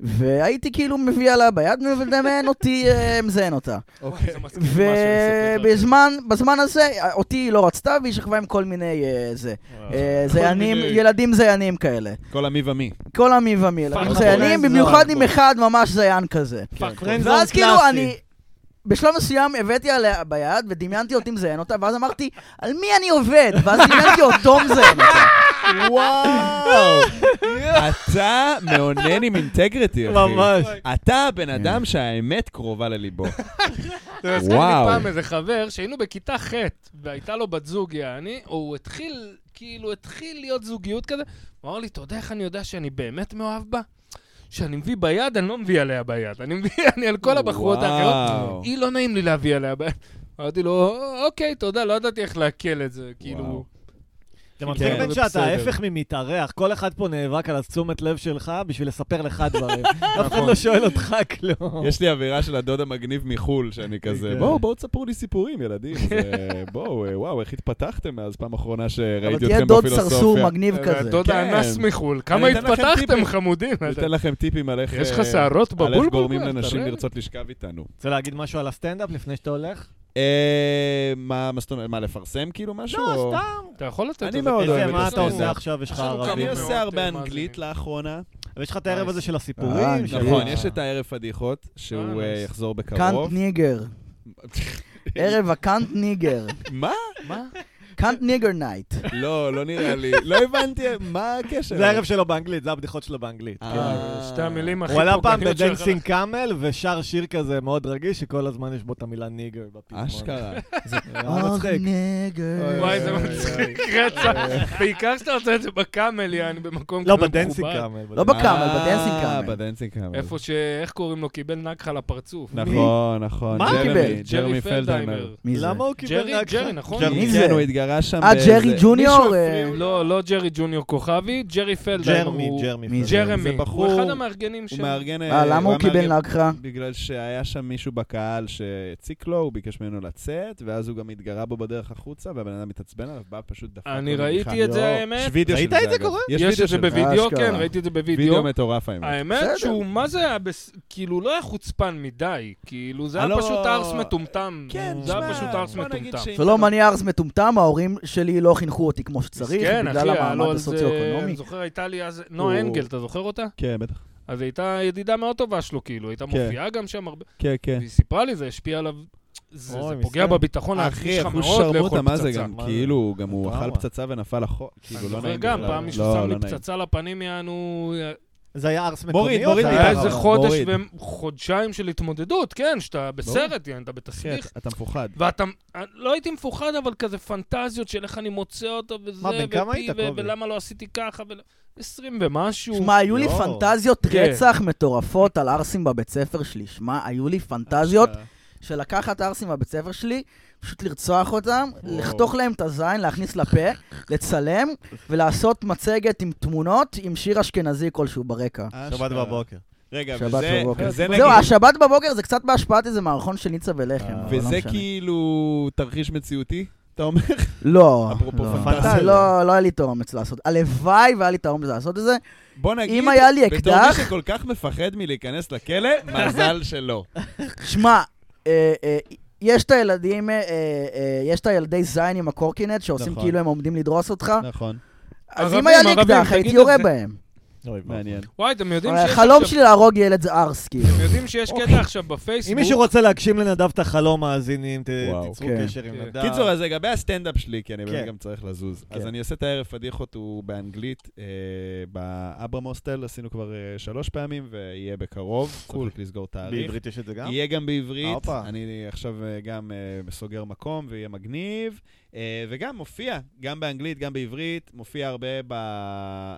[SPEAKER 3] והייתי כאילו מביא עליה ביד ומדמיין אותי אה, מזיין אותה.
[SPEAKER 1] וואי, אוקיי, זה מצחיק כאילו, מה שאני מספר לך.
[SPEAKER 3] ובזמן הזה, אה, אותי היא לא רצתה, והיא שכבה עם כל מיני אה, זה, אה,
[SPEAKER 1] <laughs>
[SPEAKER 3] זיינים,
[SPEAKER 4] מיני.
[SPEAKER 3] ילדים זיינים כאלה.
[SPEAKER 4] כל המי ומי.
[SPEAKER 3] כל המי ומיל,
[SPEAKER 1] פאק
[SPEAKER 3] זיינים,
[SPEAKER 5] פרנז,
[SPEAKER 3] במיוחד
[SPEAKER 5] לא.
[SPEAKER 3] עם אחד ממש זיין כזה.
[SPEAKER 1] פאק,
[SPEAKER 5] פרנד זון
[SPEAKER 3] ואז כאילו
[SPEAKER 5] קלאסי.
[SPEAKER 3] אני... בשלב מסוים הבאתי עליה ביד ודמיינתי אותי מזיין אותה, ואז אמרתי, על מי אני עובד? ואז דמיינתי אותו
[SPEAKER 1] <laughs>
[SPEAKER 3] מזיין אותה.
[SPEAKER 4] וואו! אתה מאונן עם אינטגריטי, אחי.
[SPEAKER 5] ממש.
[SPEAKER 4] אתה הבן אדם שהאמת
[SPEAKER 1] <laughs>
[SPEAKER 4] קרובה לליבו.
[SPEAKER 1] אתה
[SPEAKER 4] כן,
[SPEAKER 1] מזכיר לי
[SPEAKER 4] וואו.
[SPEAKER 1] פעם איזה חבר שהיינו בכיתה ח' והייתה לו בת זוג, יעני, הוא התחיל, כאילו, התחיל להיות זוגיות כזה. הוא אמר לי, אתה יודע איך אני יודע שאני באמת מאוהב בה? שאני מביא ביד, אני לא מביא עליה ביד. אני מביא, <laughs> אני על כל הבחורות
[SPEAKER 4] וואו.
[SPEAKER 1] האחרות. היא לא נעים לי להביא עליה ביד. אמרתי לו, אוקיי, תודה, לא ידעתי איך לעכל את זה, כאילו...
[SPEAKER 4] וואו.
[SPEAKER 5] זה מצחיק
[SPEAKER 4] כן,
[SPEAKER 5] בין
[SPEAKER 1] זה
[SPEAKER 5] שאתה
[SPEAKER 1] בסדר.
[SPEAKER 5] ההפך ממתארח, כל אחד פה נאבק על התשומת לב שלך בשביל לספר לך דברים. אף אחד
[SPEAKER 4] <laughs> נכון.
[SPEAKER 5] לא שואל אותך כלום.
[SPEAKER 4] יש לי אווירה של הדוד המגניב מחול, שאני כזה,
[SPEAKER 5] כן.
[SPEAKER 4] בואו, בואו תספרו לי
[SPEAKER 1] <laughs>
[SPEAKER 4] סיפורים, ילדים. זה- בואו, אה, וואו, איך התפתחתם מאז פעם אחרונה
[SPEAKER 3] אבל
[SPEAKER 4] שראיתי
[SPEAKER 3] תהיה
[SPEAKER 4] אתכם
[SPEAKER 3] דוד
[SPEAKER 4] בפילוסופיה.
[SPEAKER 3] סרסור מגניב כזה.
[SPEAKER 1] אה, דוד
[SPEAKER 4] כן.
[SPEAKER 1] האנס מחו"ל, כמה
[SPEAKER 4] אני אתן לכם
[SPEAKER 1] התפתחתם,
[SPEAKER 4] טיפים.
[SPEAKER 1] חמודים.
[SPEAKER 4] ניתן לכם טיפים על איך...
[SPEAKER 1] יש לך
[SPEAKER 4] אה,
[SPEAKER 1] שערות
[SPEAKER 4] על
[SPEAKER 1] בבולבול?
[SPEAKER 4] איך גורמים
[SPEAKER 1] אתה
[SPEAKER 4] לנשים
[SPEAKER 1] ראה לי?
[SPEAKER 4] לרצות לשכב איתנו.
[SPEAKER 5] רוצה להגיד משהו על הסטנדאפ לפני שאתה הולך?
[SPEAKER 4] אה, מה מה זאת אומרת? מה, לפרסם כאילו משהו? או- לא,
[SPEAKER 5] לא, סתם.
[SPEAKER 1] אתה יכול לתת
[SPEAKER 4] אני
[SPEAKER 1] לזה
[SPEAKER 4] מאוד
[SPEAKER 1] טיפ?
[SPEAKER 4] אוהב
[SPEAKER 5] איזה,
[SPEAKER 4] את
[SPEAKER 5] מה אתה עושה
[SPEAKER 4] הסטנדאפ.
[SPEAKER 5] עכשיו? יש לך
[SPEAKER 1] אנחנו
[SPEAKER 5] ערבים.
[SPEAKER 4] אני
[SPEAKER 1] כמה
[SPEAKER 4] עושה
[SPEAKER 1] מאוד, אה,
[SPEAKER 4] הרבה אנגלית
[SPEAKER 1] מאזינים.
[SPEAKER 4] לאחרונה.
[SPEAKER 5] ויש לך את הערב הזה של
[SPEAKER 3] אה,
[SPEAKER 5] הסיפורים. של
[SPEAKER 4] נכון,
[SPEAKER 5] ה-
[SPEAKER 4] יש את הערב פדיחות, שהוא
[SPEAKER 1] אה,
[SPEAKER 4] אה,
[SPEAKER 1] nice.
[SPEAKER 4] יחזור בקרוב.
[SPEAKER 3] קאנט
[SPEAKER 1] <laughs>
[SPEAKER 3] ניגר. ערב הקאנט ניגר.
[SPEAKER 4] מה?
[SPEAKER 1] מה?
[SPEAKER 3] קאנט ניגר נייט.
[SPEAKER 4] לא, לא נראה לי. לא הבנתי מה הקשר.
[SPEAKER 5] זה הערב שלו באנגלית, זה הבדיחות שלו באנגלית.
[SPEAKER 4] אה,
[SPEAKER 5] כן.
[SPEAKER 1] שתי המילים הכי
[SPEAKER 5] הוא עלה פעם
[SPEAKER 1] פוגעניות שיכול-
[SPEAKER 5] בדנסינג קאמל ושר שיר כזה מאוד רגיש, שכל הזמן יש בו את המילה ניגר בפזמון.
[SPEAKER 2] <laughs>
[SPEAKER 4] אשכרה.
[SPEAKER 5] זה
[SPEAKER 2] אה,
[SPEAKER 5] היה מצחיק.
[SPEAKER 3] אה, ניגר.
[SPEAKER 1] וואי, זה מצחיק רצח. בעיקר שאתה עושה את זה בקאמל, יעני, במקום
[SPEAKER 5] לא,
[SPEAKER 1] כזה
[SPEAKER 5] בדנסינג
[SPEAKER 1] מכובד.
[SPEAKER 5] קאמל.
[SPEAKER 3] לא בקאמל,
[SPEAKER 4] אה,
[SPEAKER 3] בדנסינג קאמל.
[SPEAKER 4] בדנסינג קאמל.
[SPEAKER 1] איפה ש... איך קוראים לו? קיבל נקחה לפרצוף.
[SPEAKER 4] נכון, נכון.
[SPEAKER 5] מה הוא
[SPEAKER 4] ג'רמי,
[SPEAKER 3] קיבל?
[SPEAKER 4] ג'רמי פלדהיימר.
[SPEAKER 3] מי זה?
[SPEAKER 5] למה הוא קיבל
[SPEAKER 1] ג'רי,
[SPEAKER 5] נקחה?
[SPEAKER 1] ג'רי, נכון?
[SPEAKER 5] ג'רי.
[SPEAKER 3] מי
[SPEAKER 4] כן,
[SPEAKER 3] זה?
[SPEAKER 4] הוא התגר- קרה שם
[SPEAKER 3] אה, ג'רי ג'וניור?
[SPEAKER 4] מישהו
[SPEAKER 3] אה,
[SPEAKER 4] הפריעו לו.
[SPEAKER 1] לא, לא ג'רי ג'וניור כוכבי, ג'רי פלדהיים.
[SPEAKER 2] ג'רמי,
[SPEAKER 1] הוא-
[SPEAKER 2] ג'רמי.
[SPEAKER 3] מי זה?
[SPEAKER 2] פלדהיים.
[SPEAKER 1] ג'רמי.
[SPEAKER 4] זה
[SPEAKER 1] הוא
[SPEAKER 4] בחור-
[SPEAKER 1] אחד המארגנים
[SPEAKER 4] הוא
[SPEAKER 1] של...
[SPEAKER 4] מארגן...
[SPEAKER 3] אה, למה הוא
[SPEAKER 4] המארגן-
[SPEAKER 3] קיבל נגחה?
[SPEAKER 4] בגלל שהיה שם מישהו בקהל שהציק לו, הוא ביקש ממנו לצאת, ואז הוא גם התגרה בו בדרך החוצה, והבן אדם התעצבן עליו, בא פשוט דפק.
[SPEAKER 1] אני
[SPEAKER 4] לו
[SPEAKER 1] ראיתי
[SPEAKER 4] נגיחה.
[SPEAKER 1] את זה,
[SPEAKER 4] לא,
[SPEAKER 1] האמת.
[SPEAKER 4] יש וידאו של
[SPEAKER 2] ראית את זה
[SPEAKER 4] אגב.
[SPEAKER 2] קורה?
[SPEAKER 1] יש את זה
[SPEAKER 4] וידאו של
[SPEAKER 1] בווידאו, אה,
[SPEAKER 3] אשכרה.
[SPEAKER 1] כן, ראיתי את זה בווידאו.
[SPEAKER 4] וידאו מטורף, האמת.
[SPEAKER 1] האמת
[SPEAKER 3] בסדר.
[SPEAKER 1] שהוא, מה זה היה, בס- כאילו, לא היה חוצפן מדי, כאילו, זה היה
[SPEAKER 4] הלו-
[SPEAKER 1] פשוט ארס מטומטם.
[SPEAKER 4] כן,
[SPEAKER 1] זה
[SPEAKER 4] שמע,
[SPEAKER 1] היה פשוט ארס
[SPEAKER 4] בוא נגיד
[SPEAKER 1] מטומטם.
[SPEAKER 4] שאם אתה
[SPEAKER 3] שלום, אני ארז מטומטם, ההורים שלי לא חינכו אותי כמו שצריך,
[SPEAKER 1] מסכן, כן, אחי,
[SPEAKER 3] בגלל
[SPEAKER 1] היה לו
[SPEAKER 3] המעמד
[SPEAKER 1] על זה-
[SPEAKER 3] הסוציו-אקונומי.
[SPEAKER 1] אני זוכר, הייתה לי אז...
[SPEAKER 4] הוא-
[SPEAKER 1] נועה אנגל, אתה זוכר אותה?
[SPEAKER 4] כן, בטח.
[SPEAKER 1] אז היא הייתה ידידה מאוד טובה שלו, כאילו, הייתה מופיעה גם שם הרבה.
[SPEAKER 4] כן, כן.
[SPEAKER 1] והיא סיפרה לי, זה השפיע עליו... זה
[SPEAKER 2] אוי,
[SPEAKER 1] זה פוגע
[SPEAKER 2] מסכן.
[SPEAKER 1] בביטחון האחי
[SPEAKER 4] אה, אחי,
[SPEAKER 1] שלך
[SPEAKER 4] אחוז
[SPEAKER 1] מאוד
[SPEAKER 4] שרמוטה,
[SPEAKER 1] לאכול
[SPEAKER 4] מה זה
[SPEAKER 1] פצצה.
[SPEAKER 4] גם?
[SPEAKER 2] מה זה?
[SPEAKER 4] כאילו, גם הוא אכל
[SPEAKER 2] טראומה.
[SPEAKER 4] פצצה ונפל לחור.
[SPEAKER 1] אני
[SPEAKER 4] כאילו, לא
[SPEAKER 1] זוכר
[SPEAKER 4] נעים
[SPEAKER 1] גם,
[SPEAKER 4] בכלל.
[SPEAKER 1] פעם מישהו
[SPEAKER 4] לא,
[SPEAKER 1] שם
[SPEAKER 4] לא
[SPEAKER 1] לי
[SPEAKER 4] נעים. אה,
[SPEAKER 1] פצצה לפנים, יענו...
[SPEAKER 2] זה היה ארס מקומי?
[SPEAKER 4] מוריד,
[SPEAKER 2] או
[SPEAKER 4] מוריד,
[SPEAKER 2] זה
[SPEAKER 4] היה
[SPEAKER 1] היה
[SPEAKER 4] אבל,
[SPEAKER 1] איזה חודש
[SPEAKER 4] מוריד.
[SPEAKER 1] וחודשיים של התמודדות, כן, שאתה בסרט, יעני, אתה
[SPEAKER 4] אחי,
[SPEAKER 1] בתסביך.
[SPEAKER 4] כן, אתה- אתה מפוחד.
[SPEAKER 1] ואתה, לא הייתי מפוחד, אבל כזה פנטזיות של איך אני מוצא אותו וזה,
[SPEAKER 2] מה, בן כמה
[SPEAKER 1] ופי,
[SPEAKER 2] היית,
[SPEAKER 1] ו-
[SPEAKER 2] קובי?
[SPEAKER 1] ולמה לא עשיתי ככה, ול- עשרים ומשהו.
[SPEAKER 3] שמע, היו לי
[SPEAKER 2] לא.
[SPEAKER 3] פנטזיות
[SPEAKER 1] כן.
[SPEAKER 3] רצח מטורפות על ערסים בבית ספר שלי. שמע, היו לי פנטזיות של לקחת ערסים בבית ספר שלי, פשוט לרצוח אותם,
[SPEAKER 2] וואו.
[SPEAKER 3] לחתוך להם את הזין, להכניס לפה, לצלם, ולעשות מצגת עם תמונות עם שיר אשכנזי כלשהו ברקע.
[SPEAKER 4] אשכרה.
[SPEAKER 2] שבת בבוקר.
[SPEAKER 4] רגע,
[SPEAKER 3] שבת
[SPEAKER 4] אה, וזה-
[SPEAKER 3] בבוקר.
[SPEAKER 4] וזה
[SPEAKER 1] כאילו-
[SPEAKER 3] זהו,
[SPEAKER 4] נגיד...
[SPEAKER 3] השבת בבוקר זה קצת בהשפעת איזה מערכון של ניצה ולחם.
[SPEAKER 2] אה,
[SPEAKER 3] אבל לא
[SPEAKER 4] וזה
[SPEAKER 3] משנה.
[SPEAKER 4] כאילו תרחיש מציאותי, אתה אומר?
[SPEAKER 3] לא,
[SPEAKER 4] אפרופו
[SPEAKER 3] לא.
[SPEAKER 4] פנטזיה.
[SPEAKER 3] זה לא, לא היה לי את האומץ לעשות. הלוואי והיה לי את האומץ לעשות את זה.
[SPEAKER 4] בוא נגיד,
[SPEAKER 3] אם היה לי
[SPEAKER 4] בתור
[SPEAKER 3] אקדח-
[SPEAKER 4] מי שכל כך מפחד מלהיכנס לכלא, מזל
[SPEAKER 3] <laughs>
[SPEAKER 4] שלא.
[SPEAKER 3] שמע, אה, אה, יש את הילדים, אה, אה, אה, יש את הילדי זין עם הקורקינט שעושים
[SPEAKER 4] נכון.
[SPEAKER 3] כאילו הם עומדים לדרוס אותך.
[SPEAKER 4] נכון,
[SPEAKER 3] אז
[SPEAKER 1] ערבים,
[SPEAKER 3] אם היה לי
[SPEAKER 1] ערבים,
[SPEAKER 3] אקדח,
[SPEAKER 1] תגיד
[SPEAKER 3] הייתי
[SPEAKER 1] את
[SPEAKER 3] יורה
[SPEAKER 1] זה.
[SPEAKER 3] בהם.
[SPEAKER 2] אוי, ואבוי.
[SPEAKER 4] מעניין.
[SPEAKER 1] וואי, אתם יודעים
[SPEAKER 4] אה,
[SPEAKER 1] שיש
[SPEAKER 3] החלום
[SPEAKER 1] עכשיו-
[SPEAKER 3] שלי להרוג ילד זה ארס, כאילו.
[SPEAKER 1] אתם יודעים שיש קטע עכשיו בפייסבוק.
[SPEAKER 2] אם מישהו רוצה להגשים לנדב את החלום, מאזינים, ת-
[SPEAKER 4] וואו.
[SPEAKER 2] תיצרו
[SPEAKER 3] כן.
[SPEAKER 2] קשר עם
[SPEAKER 1] כן.
[SPEAKER 2] נדב.
[SPEAKER 4] קיצור, אז לגבי הסטנדאפ שלי, כי אני באמת
[SPEAKER 2] כן.
[SPEAKER 4] גם צריך לזוז. אז
[SPEAKER 2] כן.
[SPEAKER 4] אני עושה את הערב פדיחות, הוא באנגלית, אה, באברהם הוסטל, עשינו כבר אה, שלוש פעמים, ויהיה בקרוב.
[SPEAKER 2] קול.
[SPEAKER 4] צריך לסגור תאריך.
[SPEAKER 2] בעברית יש את זה גם? אה,
[SPEAKER 4] יהיה גם בעברית,
[SPEAKER 2] הופה.
[SPEAKER 4] אני עכשיו אה, גם אה, סוגר מקום ויהיה מגניב, אה, וגם מופיע, גם באנגלית, גם בעברית, מופיע הרבה ב-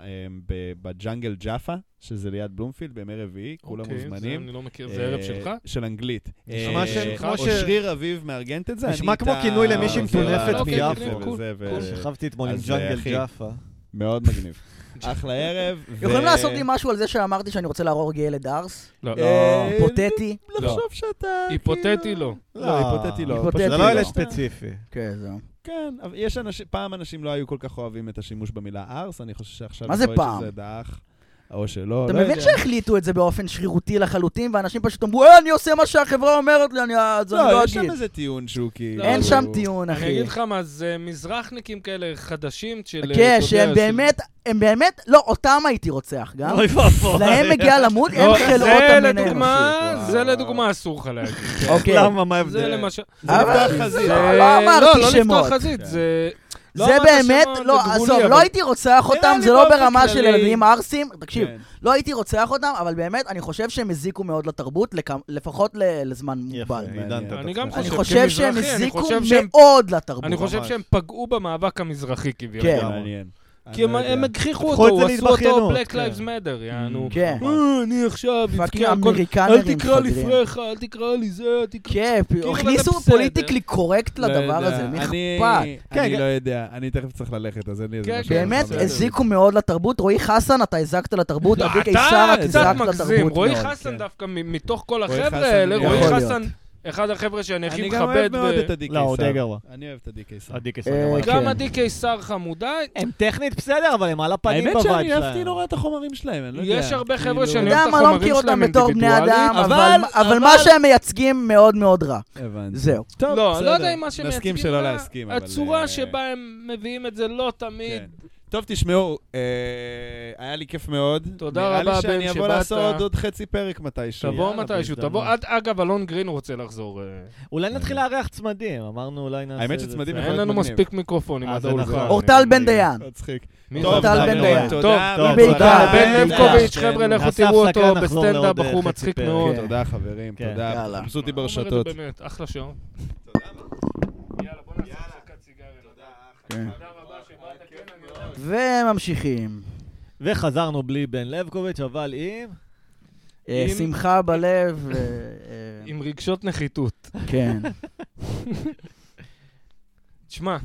[SPEAKER 4] אה, ב- בג'אנגל ג'אפה, שזה ליד בלומפילד, בימי רביעי, כולם
[SPEAKER 1] אוקיי, זה
[SPEAKER 4] מוזמנים.
[SPEAKER 1] אני לא מכיר, זה ערב
[SPEAKER 4] אה,
[SPEAKER 1] שלך?
[SPEAKER 4] של אנגלית.
[SPEAKER 2] נשמע
[SPEAKER 4] אה,
[SPEAKER 1] ש- כמו ש-
[SPEAKER 4] אושריר אביב מארגנת את זה.
[SPEAKER 2] נשמע
[SPEAKER 4] אני
[SPEAKER 2] כמו
[SPEAKER 4] איתה-
[SPEAKER 2] כינוי למישהי
[SPEAKER 4] עוזר לה-
[SPEAKER 2] מטונפת
[SPEAKER 4] אוקיי,
[SPEAKER 2] מיפו.
[SPEAKER 4] וזה,
[SPEAKER 1] קול,
[SPEAKER 4] וזה,
[SPEAKER 1] קול.
[SPEAKER 4] ו-
[SPEAKER 2] שכבתי אתמול עם
[SPEAKER 4] אז,
[SPEAKER 2] ג'אנגל
[SPEAKER 4] אחי.
[SPEAKER 2] ג'אפה.
[SPEAKER 4] <laughs> מאוד מגניב. אחלה ערב.
[SPEAKER 3] <laughs>
[SPEAKER 4] ו-
[SPEAKER 3] יכולים לעשות לי משהו על זה שאמרתי שאני רוצה להרוג ילד ארס?
[SPEAKER 1] לא.
[SPEAKER 4] אה,
[SPEAKER 3] פותטי?
[SPEAKER 4] לחשוב שאתה...
[SPEAKER 1] היפותטי
[SPEAKER 4] כאילו-
[SPEAKER 3] אה,
[SPEAKER 1] לא.
[SPEAKER 4] לא, היפותטי לא.
[SPEAKER 3] היפותטי
[SPEAKER 4] פשוט
[SPEAKER 2] זה
[SPEAKER 3] לא.
[SPEAKER 2] לא ילד ספציפי.
[SPEAKER 3] כן, זהו.
[SPEAKER 4] כן, אבל יש אנשים, פעם אנשים לא היו כל כך אוהבים את השימוש במילה ארס, אני חושב שעכשיו...
[SPEAKER 3] מה זה
[SPEAKER 4] יכול להיות
[SPEAKER 3] פעם?
[SPEAKER 4] שזה דעך, או שלא,
[SPEAKER 3] אתה
[SPEAKER 4] לא
[SPEAKER 3] מבין
[SPEAKER 4] יודע.
[SPEAKER 3] שהחליטו את זה באופן שרירותי לחלוטין, ואנשים פשוט אמרו, אה, אני עושה מה שהחברה אומרת לי, אני אז אני
[SPEAKER 4] לא,
[SPEAKER 3] לא
[SPEAKER 4] יש שם
[SPEAKER 3] אגיד.
[SPEAKER 4] איזה טיעון שהוא כאילו...
[SPEAKER 3] אין
[SPEAKER 1] לא,
[SPEAKER 3] שם טיעון,
[SPEAKER 1] אני
[SPEAKER 3] אחי.
[SPEAKER 1] אגיד לך מה, זה מזרחניקים כאלה חדשים של... אה, אתה
[SPEAKER 3] כן,
[SPEAKER 1] יודע,
[SPEAKER 3] שהם
[SPEAKER 1] של-
[SPEAKER 3] באמת, הם באמת, לא, אותם הייתי רוצח גם.
[SPEAKER 2] אוי ואבוי.
[SPEAKER 3] להם מגיע למות, הם
[SPEAKER 1] לא,
[SPEAKER 3] חלאות
[SPEAKER 1] זה
[SPEAKER 3] המין האנושי.
[SPEAKER 1] לדוגמה, לא,
[SPEAKER 4] וואו.
[SPEAKER 1] זה לדוגמה אסור לך להגיד.
[SPEAKER 3] אוקיי.
[SPEAKER 2] למה, מה ההבדל?
[SPEAKER 1] זה למשל...
[SPEAKER 4] זה
[SPEAKER 3] אבל-
[SPEAKER 4] לפתוח חזית.
[SPEAKER 1] זה-
[SPEAKER 3] לא אמרתי
[SPEAKER 1] לא, לא
[SPEAKER 3] שמות.
[SPEAKER 1] לפתוח
[SPEAKER 4] כן.
[SPEAKER 1] חזית, זה... לא
[SPEAKER 3] זה
[SPEAKER 1] אמרת
[SPEAKER 3] באמת,
[SPEAKER 1] שמות,
[SPEAKER 3] לא,
[SPEAKER 1] זה גבולי,
[SPEAKER 3] עזוב,
[SPEAKER 1] אבל-
[SPEAKER 3] לא הייתי רוצח אותם,
[SPEAKER 4] לי
[SPEAKER 3] זה לא
[SPEAKER 4] באופן
[SPEAKER 3] ברמה של
[SPEAKER 4] כללי.
[SPEAKER 3] ילדים ערסים, תקשיב,
[SPEAKER 4] כן.
[SPEAKER 3] לא הייתי רוצח אותם, אבל באמת, אני חושב שהם הזיקו מאוד לתרבות, לכ- לפחות ל- לזמן
[SPEAKER 2] יפה,
[SPEAKER 3] מוגבל.
[SPEAKER 2] עידנת את
[SPEAKER 1] אני גם
[SPEAKER 2] עצמך.
[SPEAKER 3] אני
[SPEAKER 1] חושב,
[SPEAKER 3] חושב שהם
[SPEAKER 1] כמזרחי, אני
[SPEAKER 3] הזיקו
[SPEAKER 1] חושב שהם-
[SPEAKER 3] מאוד לתרבות.
[SPEAKER 4] לא,
[SPEAKER 1] אני חושב
[SPEAKER 2] ממש.
[SPEAKER 1] שהם פגעו במאבק המזרחי כביכול.
[SPEAKER 3] כן.
[SPEAKER 4] כן, מעניין.
[SPEAKER 1] כי הם-
[SPEAKER 4] אני לא
[SPEAKER 1] הם
[SPEAKER 4] יודע.
[SPEAKER 1] הגחיכו
[SPEAKER 2] הפכו
[SPEAKER 1] אותו,
[SPEAKER 2] את זה
[SPEAKER 1] הוא עשו אותו
[SPEAKER 2] להתבכיינות,
[SPEAKER 1] Black
[SPEAKER 2] כן.
[SPEAKER 1] Lives Matter, יענו.
[SPEAKER 3] כן.
[SPEAKER 1] "אה, אני עכשיו
[SPEAKER 3] פאקינג
[SPEAKER 1] אבכה, הכל-
[SPEAKER 3] אמריקנרים
[SPEAKER 1] אל תקרא לי
[SPEAKER 3] חגרים.
[SPEAKER 1] פרחה, אל תקרא לי זה, אל תקרא...
[SPEAKER 3] כן, פ-
[SPEAKER 1] כאילו,
[SPEAKER 3] הכניסו
[SPEAKER 1] אבל זה
[SPEAKER 3] פוליטיקלי קורקט
[SPEAKER 4] לא
[SPEAKER 3] לדבר
[SPEAKER 4] יודע.
[SPEAKER 3] הזה, מי
[SPEAKER 4] אני-
[SPEAKER 3] אכפת?
[SPEAKER 4] אני
[SPEAKER 2] כן.
[SPEAKER 4] לא יודע, אני תכף צריך ללכת, אז אין לי איזה
[SPEAKER 1] כן,
[SPEAKER 4] משהו.
[SPEAKER 1] כן,
[SPEAKER 3] באמת,
[SPEAKER 1] בסדר.
[SPEAKER 3] הזיקו מאוד לתרבות. רועי חסן, אתה הזקת לתרבות,
[SPEAKER 1] לא,
[SPEAKER 3] אבי קיסר,
[SPEAKER 1] אתה
[SPEAKER 3] את
[SPEAKER 1] קצת
[SPEAKER 3] הזקת
[SPEAKER 1] מגזים,
[SPEAKER 3] לתרבות מאוד.
[SPEAKER 1] רועי חסן דווקא מ- מתוך כל
[SPEAKER 4] רועי
[SPEAKER 1] החבר'ה
[SPEAKER 4] חסן,
[SPEAKER 1] האלה, רועי
[SPEAKER 3] יכול
[SPEAKER 1] חסן, אחד החבר'ה שאני הכי
[SPEAKER 4] אני
[SPEAKER 1] מכבד.
[SPEAKER 4] גם אוהב מאוד
[SPEAKER 1] ב-
[SPEAKER 4] את עדי
[SPEAKER 2] לא, עוד
[SPEAKER 4] קיסר.
[SPEAKER 2] גרוע.
[SPEAKER 4] אני אוהב את עדי קיסר.
[SPEAKER 2] עדי קיסר.
[SPEAKER 3] אה,
[SPEAKER 2] גם
[SPEAKER 3] כן.
[SPEAKER 2] עליו.
[SPEAKER 1] גם עדי קיסר חמודה,
[SPEAKER 2] הם טכנית בסדר, אבל הם על הפנים
[SPEAKER 4] האמת
[SPEAKER 2] בבית שלהם.
[SPEAKER 4] שאני אהבתי נורא את החומרים שלהם, אני לא יודע.
[SPEAKER 1] יש הרבה
[SPEAKER 4] כאילו-
[SPEAKER 1] חבר'ה שאני
[SPEAKER 3] אתה
[SPEAKER 1] אוהב
[SPEAKER 3] יודע
[SPEAKER 1] את
[SPEAKER 3] מה, לא
[SPEAKER 1] החומרים
[SPEAKER 3] מכיר אותם
[SPEAKER 1] שלהם
[SPEAKER 3] בתור בני אדם,
[SPEAKER 1] אינדיבידואלים.
[SPEAKER 3] אבל-
[SPEAKER 4] אבל-
[SPEAKER 3] אבל מה שהם מייצגים מאוד מאוד רע.
[SPEAKER 4] הבנתי.
[SPEAKER 3] זהו.
[SPEAKER 4] טוב,
[SPEAKER 1] לא, אני
[SPEAKER 4] בסדר.
[SPEAKER 1] לא יודע אם מה שמייצגים,
[SPEAKER 4] נסכים שלא
[SPEAKER 1] לה-
[SPEAKER 4] להסכים, אבל... אה,
[SPEAKER 1] הצורה שבה הם מביאים את זה לא תמיד.
[SPEAKER 4] כן. טוב, תשמעו, אה, היה לי כיף מאוד.
[SPEAKER 1] תודה
[SPEAKER 4] נראה
[SPEAKER 1] רבה,
[SPEAKER 4] לי
[SPEAKER 1] בן,
[SPEAKER 4] שאני אבוא
[SPEAKER 1] שבאת.
[SPEAKER 4] לעשות עוד חצי פרק מתישהו.
[SPEAKER 1] תבוא
[SPEAKER 2] יאללה,
[SPEAKER 1] מתישהו,
[SPEAKER 2] בהזדמנות.
[SPEAKER 1] תבוא. עד- אגב, אלון גרין רוצה לחזור. אה.
[SPEAKER 2] אולי נתחיל לארח צמדים, אמרנו אולי נעשה את
[SPEAKER 4] האמת
[SPEAKER 2] זה.
[SPEAKER 4] שצמדים
[SPEAKER 1] אין
[SPEAKER 4] להיות
[SPEAKER 1] לנו
[SPEAKER 4] מגניב.
[SPEAKER 1] מספיק מיקרופונים
[SPEAKER 2] אה,
[SPEAKER 1] עד
[SPEAKER 2] זה
[SPEAKER 1] האולפן.
[SPEAKER 2] נכון.
[SPEAKER 3] אורטל
[SPEAKER 1] אני-
[SPEAKER 3] בן דיין.
[SPEAKER 4] מצחיק.
[SPEAKER 1] מי
[SPEAKER 3] טוב,
[SPEAKER 1] זה?
[SPEAKER 3] טל בן דיין.
[SPEAKER 4] תודה,
[SPEAKER 2] טוב,
[SPEAKER 4] רבה. כן.
[SPEAKER 3] תודה.
[SPEAKER 1] תודה, בן
[SPEAKER 3] בן
[SPEAKER 1] לבקוביץ',
[SPEAKER 2] דיין.
[SPEAKER 1] חבר'ה, לכו
[SPEAKER 2] נעשה
[SPEAKER 1] תראו
[SPEAKER 2] הפסקה,
[SPEAKER 1] אותו
[SPEAKER 2] נחזור לעוד
[SPEAKER 1] בסטנדאפ, בחור
[SPEAKER 2] חצי
[SPEAKER 1] מצחיק
[SPEAKER 2] פרק.
[SPEAKER 1] מאוד.
[SPEAKER 3] כן.
[SPEAKER 4] תודה, חברים,
[SPEAKER 2] כן.
[SPEAKER 4] תודה.
[SPEAKER 3] יאללה.
[SPEAKER 4] חפשו אותי
[SPEAKER 1] אומר את זה
[SPEAKER 4] ברשתות.
[SPEAKER 1] באמת, אחלה שעון. יאללה, בוא נעשה הפסקת סיגריה.
[SPEAKER 3] כן.
[SPEAKER 1] תודה רבה שבאת, כן, אני יודע.
[SPEAKER 3] וממשיכים.
[SPEAKER 2] וחזרנו בלי בן לבקוביץ', אבל עם...
[SPEAKER 3] אה,
[SPEAKER 1] אם-
[SPEAKER 3] שמחה בלב, אה, אה,
[SPEAKER 1] עם רגשות נחיתות.
[SPEAKER 3] כן.
[SPEAKER 1] תשמע,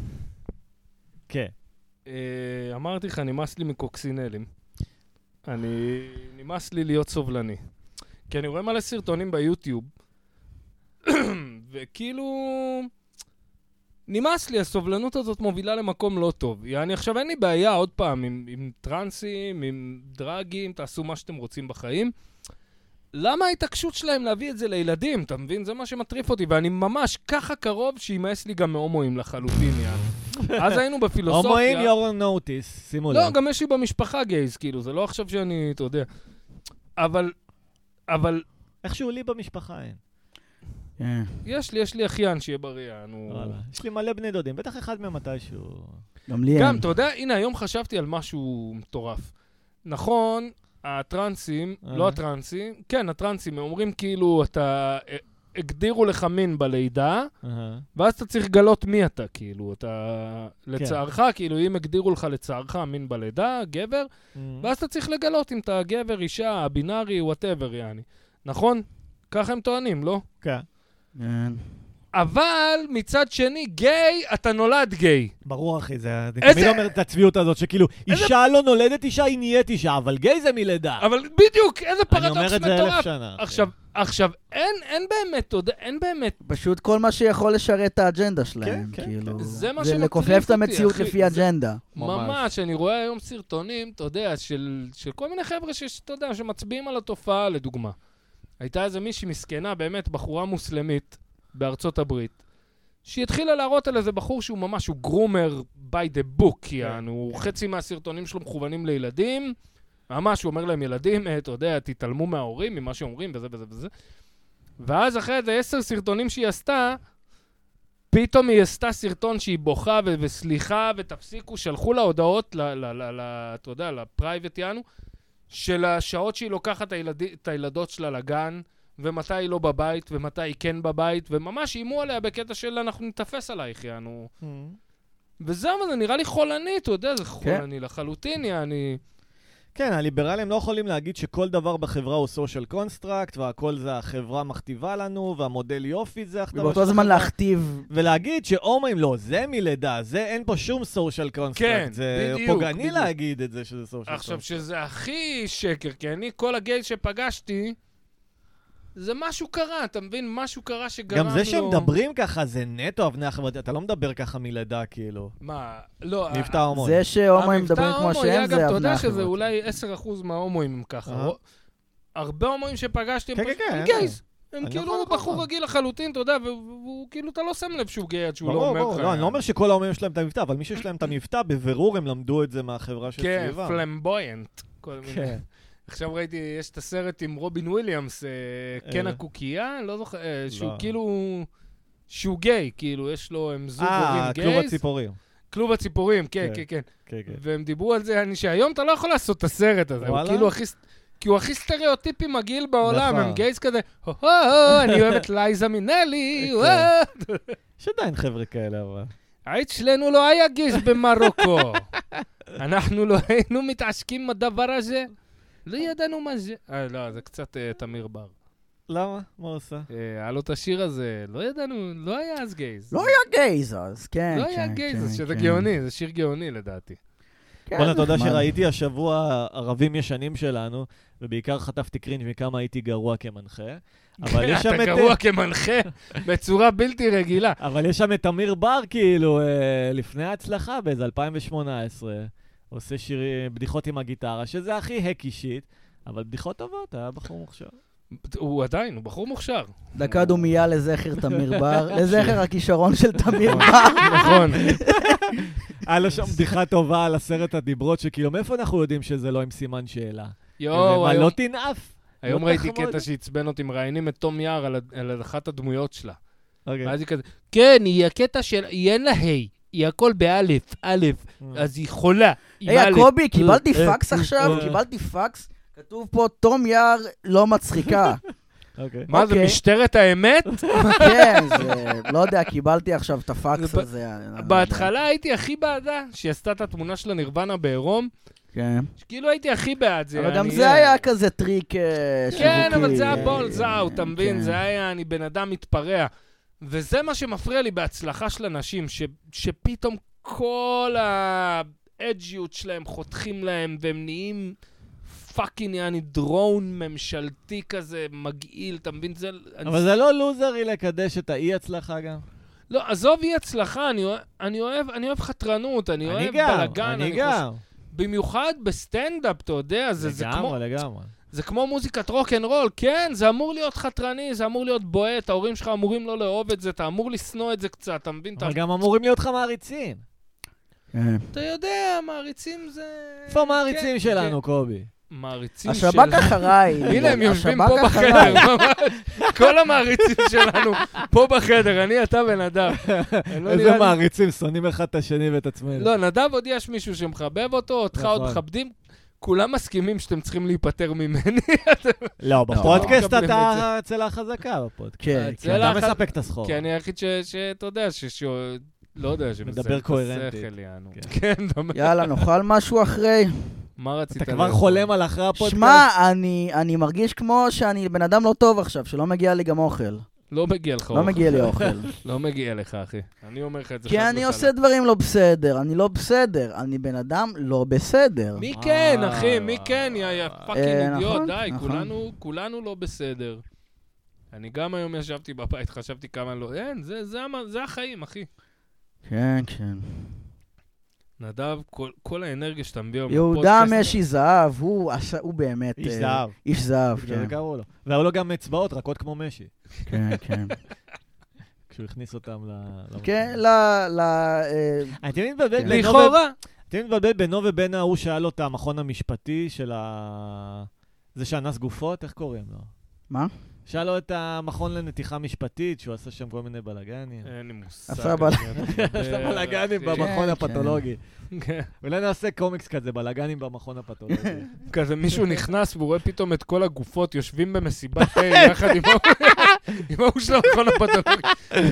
[SPEAKER 2] כן.
[SPEAKER 1] אה, אמרתי לך, נמאס לי מקוקסינלים. אני... נמאס לי להיות סובלני. כי אני רואה מלא סרטונים ביוטיוב, <coughs> וכאילו... נמאס לי, הסובלנות הזאת מובילה למקום לא טוב. יעני, עכשיו אין לי בעיה, עוד פעם, עם, עם טרנסים, עם דרגים, תעשו מה שאתם רוצים בחיים. למה ההתעקשות שלהם להביא את זה לילדים, אתה מבין? זה מה שמטריף אותי, ואני ממש ככה קרוב שימאס לי גם מהומואים לחלוטין, יעני. אז היינו בפילוסופיה.
[SPEAKER 2] הומואים your notice, שימו
[SPEAKER 1] לא,
[SPEAKER 2] לב.
[SPEAKER 1] גם יש לי במשפחה גייז, כאילו, זה לא עכשיו שאני, אתה יודע. אבל, אבל,
[SPEAKER 2] איכשהו לי במשפחה אין.
[SPEAKER 3] כן.
[SPEAKER 1] יש לי, יש לי אחיין שיהיה בריא, נו.
[SPEAKER 2] וואלה. יש לי מלא בני דודים, בטח אחד מהם מתישהו.
[SPEAKER 3] גם לי
[SPEAKER 1] גם,
[SPEAKER 2] כן.
[SPEAKER 3] אין.
[SPEAKER 1] אתה יודע, הנה, היום חשבתי על משהו מטורף. נכון, הטרנסים,
[SPEAKER 2] אה.
[SPEAKER 1] לא הטרנסים, כן, הטרנסים, הם אומרים כאילו, אתה, אה, הגדירו לך מין בלידה,
[SPEAKER 2] אהה.
[SPEAKER 1] ואז אתה צריך לגלות מי אתה, כאילו, אתה,
[SPEAKER 2] כן.
[SPEAKER 1] לצערך, כאילו, אם הגדירו לך לצערך מין בלידה, גבר, ואז אתה צריך לגלות אם אתה גבר, אישה, בינארי, וואטאבר, יעני. נכון? ככה הם טוענים, לא?
[SPEAKER 2] כן.
[SPEAKER 3] כן.
[SPEAKER 1] אבל מצד שני, גיי, אתה נולד גיי.
[SPEAKER 2] ברור, אחי, זה... אני
[SPEAKER 1] איזה-
[SPEAKER 2] תמיד אומר את הצביעות הזאת, שכאילו,
[SPEAKER 1] איזה-
[SPEAKER 2] אישה לא נולדת אישה, היא נהיית אישה, אבל גיי זה מלידה.
[SPEAKER 1] אבל בדיוק, איזה
[SPEAKER 2] אני אומר
[SPEAKER 1] פרדוקס
[SPEAKER 2] את זה אלף
[SPEAKER 1] מטורף.
[SPEAKER 2] שנה. אחי.
[SPEAKER 1] עכשיו, עכשיו, אין, אין באמת, אתה יודע, אין באמת,
[SPEAKER 3] פשוט כל מה שיכול לשרת את האג'נדה שלהם,
[SPEAKER 2] כן,
[SPEAKER 3] כאילו.
[SPEAKER 1] כן. זה מה
[SPEAKER 3] זה
[SPEAKER 1] שמטריף
[SPEAKER 3] לכופף את
[SPEAKER 1] אותי,
[SPEAKER 3] המציאות
[SPEAKER 1] אחי.
[SPEAKER 3] לפי
[SPEAKER 1] זה-
[SPEAKER 3] אג'נדה.
[SPEAKER 1] ממש,
[SPEAKER 2] ממש.
[SPEAKER 1] אני רואה היום סרטונים, אתה יודע, של, של כל מיני חבר'ה שיש, אתה יודע, שמצביעים על התופעה, לדוגמה. הייתה איזה מישהי מסכנה, באמת, בחורה מוסלמית בארצות הברית, שהיא התחילה להראות על איזה בחור שהוא ממש, הוא גרומר by the book, יענו, חצי מהסרטונים שלו מכוונים לילדים, ממש, הוא אומר להם, ילדים, אה, אתה יודע, תתעלמו מההורים, ממה שאומרים, וזה וזה וזה. ואז אחרי איזה עשר סרטונים שהיא עשתה, פתאום היא עשתה סרטון שהיא בוכה ו- וסליחה ותפסיקו, שלחו לה הודעות, ל- ל- ל- ל- אתה יודע, לפרייבט יענו, של השעות שהיא לוקחת את הילדי- את הילדות שלה לגן, ומתי היא לא בבית, ומתי היא כן בבית, וממש איימו עליה בקטע של אנחנו נתפס עלייך, יענו.
[SPEAKER 2] Mm.
[SPEAKER 1] וזהו, זה נראה לי חולני, אתה יודע, זה חולני לחלוטין, יעני.
[SPEAKER 2] כן, הליברלים לא יכולים להגיד שכל דבר בחברה הוא social construct, והכל זה החברה מכתיבה לנו, והמודל יופי זה הכתבה
[SPEAKER 3] ובאותו זמן
[SPEAKER 2] החברה.
[SPEAKER 3] להכתיב...
[SPEAKER 2] ולהגיד שהומואים לא, זה מלידה, זה אין פה שום social construct.
[SPEAKER 1] כן,
[SPEAKER 2] זה
[SPEAKER 1] בדיוק,
[SPEAKER 2] פוגעני
[SPEAKER 1] בדיוק.
[SPEAKER 2] להגיד את זה שזה social
[SPEAKER 1] עכשיו,
[SPEAKER 2] construct.
[SPEAKER 1] שזה הכי שקר, כי אני, כל הגייז שפגשתי, זה משהו קרה, אתה מבין? משהו קרה שגרם לו...
[SPEAKER 2] גם זה שהם מדברים ככה זה נטו הבני החברתי, אתה לא מדבר ככה מלידה, כאילו.
[SPEAKER 1] מה? לא,
[SPEAKER 2] מבטא הומואי.
[SPEAKER 3] זה שהומואים
[SPEAKER 1] המבטא
[SPEAKER 3] מדברים כמו
[SPEAKER 1] ההומואי,
[SPEAKER 3] שהם,
[SPEAKER 1] אגב,
[SPEAKER 3] זה
[SPEAKER 1] אתה יודע
[SPEAKER 3] הבנה
[SPEAKER 1] שזה
[SPEAKER 3] חברתית.
[SPEAKER 1] אולי 10% מההומואים הם ככה.
[SPEAKER 2] אה.
[SPEAKER 1] רוא- הרבה הומואים שפגשתי הם
[SPEAKER 2] כן,
[SPEAKER 1] פשוט
[SPEAKER 2] כן, כן,
[SPEAKER 1] הם
[SPEAKER 2] אין
[SPEAKER 1] גייז. הם
[SPEAKER 2] אני נכון,
[SPEAKER 1] כאילו
[SPEAKER 2] יכול
[SPEAKER 1] הוא
[SPEAKER 2] לכל
[SPEAKER 1] בחור
[SPEAKER 2] אחד.
[SPEAKER 1] רגיל לחלוטין, אתה יודע, והוא והוא- כאילו, אתה לא שם לב שהוא גיי עד שהוא לא
[SPEAKER 2] ברור,
[SPEAKER 1] אומר לך.
[SPEAKER 2] ברור. לא, אני לא אומר שכל ההומואים יש להם את המבטא, אבל מי שיש להם את המבטא, בבירור הם למדו את זה מהחברה
[SPEAKER 1] כן,
[SPEAKER 2] שסביבם.
[SPEAKER 1] פלמבויאנט. כל מיני.
[SPEAKER 2] כן.
[SPEAKER 1] עכשיו ראיתי, יש את הסרט עם רובין וויליאמס, אה, קן
[SPEAKER 2] אה.
[SPEAKER 1] הקוקייה, לא זוכר, אה, שהוא
[SPEAKER 2] לא.
[SPEAKER 1] כאילו... שהוא גיי, כאילו, יש לו, הם זוג הורים
[SPEAKER 2] אה, כלוב
[SPEAKER 1] גייז.
[SPEAKER 2] הציפורים.
[SPEAKER 1] כלוב הציפורים, כן,
[SPEAKER 2] כן.
[SPEAKER 1] כן, כן.
[SPEAKER 2] כן, כן.
[SPEAKER 1] והם דיברו על זה, אני, שהיום אתה לא יכול לעשות את הסרט הזה, הוא
[SPEAKER 2] וואלה?
[SPEAKER 1] כאילו הכי... ס- כי הוא הכי סטריאוטיפי מגעיל בעולם,
[SPEAKER 2] נכון.
[SPEAKER 1] הם גייז כזה, הו-הו, אני אוהב את לייזה
[SPEAKER 2] <laughs>
[SPEAKER 1] מינלי,
[SPEAKER 2] כן.
[SPEAKER 1] וואו.
[SPEAKER 2] יש עדיין חבר'ה כאלה, אבל.
[SPEAKER 1] אצלנו לא היה גייז במרוקו.
[SPEAKER 2] <laughs>
[SPEAKER 1] אנחנו לא היינו מתעסקים בדבר הזה. לא ידענו מה זה. אה, לא, זה קצת אה, תמיר בר.
[SPEAKER 2] למה? מה הוא עושה?
[SPEAKER 1] אה, היה לו את השיר הזה, לא ידענו, לא היה אז גייז.
[SPEAKER 3] לא היה גייז אז, כן,
[SPEAKER 1] לא
[SPEAKER 3] כן,
[SPEAKER 1] היה גייז,
[SPEAKER 3] כן,
[SPEAKER 1] אז שזה
[SPEAKER 3] כן.
[SPEAKER 1] גאוני, זה שיר גאוני לדעתי.
[SPEAKER 3] כן,
[SPEAKER 2] בוא'נה, אתה יודע
[SPEAKER 3] נחמד.
[SPEAKER 2] שראיתי השבוע ערבים ישנים שלנו, ובעיקר חטפתי קרינג' מכמה הייתי גרוע כמנחה. אבל יש שם
[SPEAKER 1] אתה
[SPEAKER 2] את... אה,
[SPEAKER 1] גרוע כמנחה בצורה בלתי רגילה.
[SPEAKER 2] אבל יש שם את אמיר בר, כאילו, אה, לפני ההצלחה באיזה 2018, עושה שיר, אה, בדיחות עם הגיטרה, שזה הכי הק אישית, אבל בדיחות טובות, היה בחור מוכשר.
[SPEAKER 1] הוא עדיין, הוא בחור מוכשר.
[SPEAKER 3] דקה דומייה לזכר
[SPEAKER 1] <laughs>
[SPEAKER 3] תמיר בר,
[SPEAKER 1] כן.
[SPEAKER 3] לזכר הכישרון של תמיר בר.
[SPEAKER 1] נכון.
[SPEAKER 2] <laughs> היה לו שם בדיחה טובה על עשרת הדיברות, שכאילו, מאיפה אנחנו יודעים שזה לא עם סימן שאלה?
[SPEAKER 1] <laughs> יואו,
[SPEAKER 2] ומה,
[SPEAKER 1] היום-
[SPEAKER 2] לא תנאף.
[SPEAKER 1] היום
[SPEAKER 2] לא
[SPEAKER 1] ראיתי
[SPEAKER 2] תחמוד.
[SPEAKER 1] קטע שעצבן אותי, מראיינים את תום יער על ה- על אחת הדמויות שלה.
[SPEAKER 2] אוקיי.
[SPEAKER 1] ואז היא כזה, כן, היא הקטע של, היא אין לה ה', היא הכל באלף, אלף,
[SPEAKER 3] אה.
[SPEAKER 1] אז היא חולה. היא
[SPEAKER 3] היי,
[SPEAKER 1] באלף.
[SPEAKER 3] הקובי, קיבלתי
[SPEAKER 1] אה,
[SPEAKER 3] פקס
[SPEAKER 1] אה,
[SPEAKER 3] עכשיו,
[SPEAKER 1] אה.
[SPEAKER 3] קיבלתי פקס, כתוב פה, תום יער לא מצחיקה. <laughs>
[SPEAKER 2] אוקיי.
[SPEAKER 1] מה זה,
[SPEAKER 3] אוקיי.
[SPEAKER 1] משטרת האמת?
[SPEAKER 3] כן, זה, לא יודע, קיבלתי עכשיו את הפקס
[SPEAKER 1] זה ב-
[SPEAKER 3] הזה. אני לא יודע.
[SPEAKER 1] בהתחלה הייתי הכי בעדה, שהיא עשתה את התמונה של הנירוונה בעירום,
[SPEAKER 3] כן.
[SPEAKER 1] כאילו הייתי הכי בעד זה.
[SPEAKER 3] אבל גם
[SPEAKER 1] אני- אה,
[SPEAKER 3] זה היה כזה טריק אה, שיווקי.
[SPEAKER 1] כן, אבל זה
[SPEAKER 3] אה,
[SPEAKER 1] היה בולס אאוט, אתה מבין?
[SPEAKER 3] כן.
[SPEAKER 1] זה היה, אני בן אדם מתפרע. וזה מה שמפריע לי בהצלחה של אנשים, ש- שפתאום כל האדג'יות שלהם חותכים להם, והם נהיים פאקינג יעני דרון ממשלתי כזה, מגעיל, אתה מבין? זה... אני-
[SPEAKER 2] אבל זה לא לוזרי לקדש את האי-הצלחה גם.
[SPEAKER 1] לא, עזוב אי הצלחה, אני אוהב- אני אוהב- אני אוהב חתרנות, אני
[SPEAKER 2] אני
[SPEAKER 1] אוהב
[SPEAKER 2] גם,
[SPEAKER 1] בלאגן,
[SPEAKER 2] אני גם.
[SPEAKER 1] במיוחד בסטנדאפ, אתה יודע, זה, זה, כמו,
[SPEAKER 2] לגמרי, לגמרי.
[SPEAKER 1] זה כמו מוזיקת רוק אנד רול, כן, זה אמור להיות חתרני, זה אמור להיות בועט, ההורים שלך אמורים לא לאהוב את זה, אתה אמור לשנוא את זה קצת, אתה מבין? אתה,
[SPEAKER 2] אבל גם אמורים להיות לך מעריצים.
[SPEAKER 3] כן.
[SPEAKER 1] אתה יודע, מעריצים זה...
[SPEAKER 2] איפה המעריצים
[SPEAKER 1] כן,
[SPEAKER 2] שלנו, קובי?
[SPEAKER 1] כן. מעריצים
[SPEAKER 3] השב"כ
[SPEAKER 1] שלנו.
[SPEAKER 3] אחריי.
[SPEAKER 1] <laughs> הנה, הם יושבים
[SPEAKER 3] השב"כ
[SPEAKER 1] פה
[SPEAKER 3] אחריי.
[SPEAKER 1] בחדר, ממש. כל המעריצים שלנו פה בחדר, אני, אתה ונדב. לא
[SPEAKER 2] איזה
[SPEAKER 1] נראה לי-
[SPEAKER 2] מעריצים, שונאים אחד את השני ואת עצמנו.
[SPEAKER 1] לא, נדב עוד יש מישהו שמחבב אותו, אותך עוד
[SPEAKER 2] נכון.
[SPEAKER 1] מכבדים. כולם מסכימים שאתם צריכים להיפטר ממני.
[SPEAKER 2] לא, בפודקאסט
[SPEAKER 1] לא.
[SPEAKER 2] אתה הצלע החזקה בפודקאסט.
[SPEAKER 3] כן,
[SPEAKER 1] אה,
[SPEAKER 3] כן.
[SPEAKER 1] צלע.
[SPEAKER 2] אתה
[SPEAKER 1] אחת-
[SPEAKER 2] מספק את הסחורה.
[SPEAKER 1] כי אני היחיד ש- שאתה יודע, ש... ש- לא יודע, שמזהם
[SPEAKER 2] מדבר
[SPEAKER 1] את
[SPEAKER 2] קוהרנטית.
[SPEAKER 1] השכל, יענו.
[SPEAKER 2] כן.
[SPEAKER 1] <laughs> כן, דומה.
[SPEAKER 3] יאללה, נאכל משהו אחרי?
[SPEAKER 1] מה רצית?
[SPEAKER 2] אתה כבר
[SPEAKER 1] לאכול?
[SPEAKER 2] חולם על אחרי הפודקאסט?
[SPEAKER 3] שמע, אני- אני מרגיש כמו שאני בן אדם לא טוב עכשיו, שלא מגיע לי גם אוכל.
[SPEAKER 1] לא מגיע לך
[SPEAKER 3] לא
[SPEAKER 1] אוכל. <laughs>
[SPEAKER 3] מגיע לי אוכל.
[SPEAKER 1] לא מגיע לך, אחי. אני אומר לך את זה
[SPEAKER 3] כי
[SPEAKER 1] חד
[SPEAKER 3] אני
[SPEAKER 1] וחלק.
[SPEAKER 3] עושה דברים לא בסדר, אני לא בסדר, אני בן אדם לא בסדר.
[SPEAKER 1] מי כן,
[SPEAKER 2] וואי,
[SPEAKER 1] אחי? מי
[SPEAKER 2] וואי,
[SPEAKER 1] כן? יא
[SPEAKER 2] וואי.
[SPEAKER 1] יא
[SPEAKER 3] אה,
[SPEAKER 1] פאקינג אידיוט,
[SPEAKER 3] נכון,
[SPEAKER 1] די,
[SPEAKER 3] נכון.
[SPEAKER 1] כולנו- כולנו לא בסדר. אני גם היום ישבתי בבית, חשבתי כמה לא... אין, זה- זה המ- זה החיים, אחי.
[SPEAKER 3] כן, כן.
[SPEAKER 1] נדב, כל- כל האנרגיה שאתה מביא היום
[SPEAKER 3] יהודה משי זהב, הוא עשה- הוא באמת...
[SPEAKER 2] איש
[SPEAKER 3] אה,
[SPEAKER 2] זהב.
[SPEAKER 3] איש זהב,
[SPEAKER 2] בגלל
[SPEAKER 3] כן.
[SPEAKER 2] זה קראו לו. והיו לו גם אצבעות רכות כמו משי,
[SPEAKER 3] כן,
[SPEAKER 1] <laughs>
[SPEAKER 3] כן.
[SPEAKER 2] כשהוא הכניס אותם ל...
[SPEAKER 3] כן,
[SPEAKER 2] למקום.
[SPEAKER 3] ל... ל... אה,
[SPEAKER 2] אני תמיד מתבלבל
[SPEAKER 3] כן.
[SPEAKER 2] בינו ו-
[SPEAKER 1] לכאורה.
[SPEAKER 2] תמיד מתבלבל בינו ובין ההוא שהיה לו את המכון המשפטי של ה... זה שאנס גופות, איך קוראים לו?
[SPEAKER 3] מה?
[SPEAKER 2] שהיה לו את המכון לנתיחה משפטית, שהוא עשה שם כל מיני בלאגנים. <laughs>
[SPEAKER 1] אין לי מושג.
[SPEAKER 3] עשה בל-
[SPEAKER 2] עשה
[SPEAKER 1] אה,
[SPEAKER 2] בלאגנים במכון
[SPEAKER 3] כן.
[SPEAKER 2] הפתולוגי.
[SPEAKER 1] כן.
[SPEAKER 2] אולי נעשה קומיקס כזה, בלאגנים במכון
[SPEAKER 1] <laughs>
[SPEAKER 2] הפתולוגי.
[SPEAKER 1] כזה מישהו נכנס והוא רואה פתאום את כל הגופות יושבים במסיבת תה יחד עם ה- עם ההוא <laughs> של המכון הפתולוגי.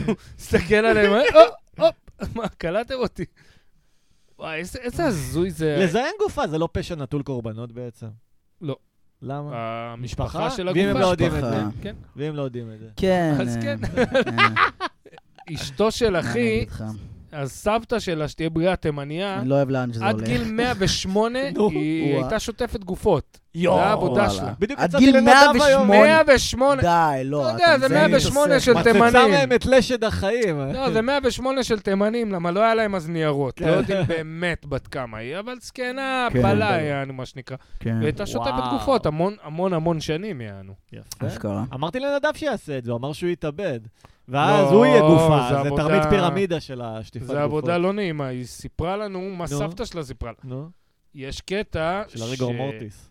[SPEAKER 1] הוא מסתכל עליהם, אה, הופ, הופ, מה, קלטתם אותי? וואי, איזה- איזה הזוי זה.
[SPEAKER 2] לזיין גופה זה לא פשע נטול קורבנות בעצם.
[SPEAKER 1] לא.
[SPEAKER 2] למה?
[SPEAKER 1] המשפחה
[SPEAKER 2] משפחה?
[SPEAKER 1] של
[SPEAKER 2] ואם הם לא
[SPEAKER 1] הגופה.
[SPEAKER 2] יודעים את
[SPEAKER 3] משפחה.
[SPEAKER 2] זה.
[SPEAKER 1] כן.
[SPEAKER 2] ואם לא יודעים את זה.
[SPEAKER 3] כן.
[SPEAKER 1] אז
[SPEAKER 3] אה,
[SPEAKER 1] כן. <laughs>
[SPEAKER 3] אה, מה
[SPEAKER 1] אשתו של
[SPEAKER 3] אני
[SPEAKER 1] אחי,
[SPEAKER 3] אגיד לך?
[SPEAKER 1] אז סבתא שלה, שתהיה בריאה תימניה,
[SPEAKER 3] אני לא אוהב לאן שזה
[SPEAKER 1] עד
[SPEAKER 3] הולך.
[SPEAKER 1] גיל 108
[SPEAKER 2] נו.
[SPEAKER 1] היא
[SPEAKER 3] וואו.
[SPEAKER 1] הייתה שוטפת גופות.
[SPEAKER 2] יואו,
[SPEAKER 1] זה העבודה
[SPEAKER 3] לא, וואלה.
[SPEAKER 1] שלה.
[SPEAKER 2] בדיוק
[SPEAKER 3] עד
[SPEAKER 2] יצאתי
[SPEAKER 3] גיל
[SPEAKER 2] לנדב היום.
[SPEAKER 1] 108,
[SPEAKER 3] 108. די, לא.
[SPEAKER 1] אתה יודע, זה
[SPEAKER 3] מזיין לי את
[SPEAKER 1] 108
[SPEAKER 3] השכל.
[SPEAKER 1] של
[SPEAKER 2] מצצה
[SPEAKER 1] תימנים.
[SPEAKER 2] מהם את לשד החיים.
[SPEAKER 1] לא, זה 108 של תימנים, למה לא היה להם אז ניירות.
[SPEAKER 2] כן.
[SPEAKER 1] לא יודעים באמת בת כמה היא, אבל זקנה,
[SPEAKER 3] כן.
[SPEAKER 1] פלה יענו, מה שנקרא.
[SPEAKER 3] כן,
[SPEAKER 1] והייתה שוטפת
[SPEAKER 2] וואו.
[SPEAKER 1] גופות המון המון המון שנים יענו.
[SPEAKER 2] יפה.
[SPEAKER 3] אשכרה.
[SPEAKER 2] אמרתי לנדב שיעשה את זה, הוא אמר שהוא יתאבד. ואז
[SPEAKER 1] לא,
[SPEAKER 2] הוא יהיה גופה,
[SPEAKER 1] זה
[SPEAKER 2] זה
[SPEAKER 1] עבודה-
[SPEAKER 2] תרמית פירמידה של השטיפת גופות.
[SPEAKER 1] זו עבודה לא נעימה, היא סיפרה לנו מה
[SPEAKER 2] נו.
[SPEAKER 1] סבתא שלה סיפרה לה.
[SPEAKER 2] נו,
[SPEAKER 1] יש קטע
[SPEAKER 2] של אריגו מורטיס.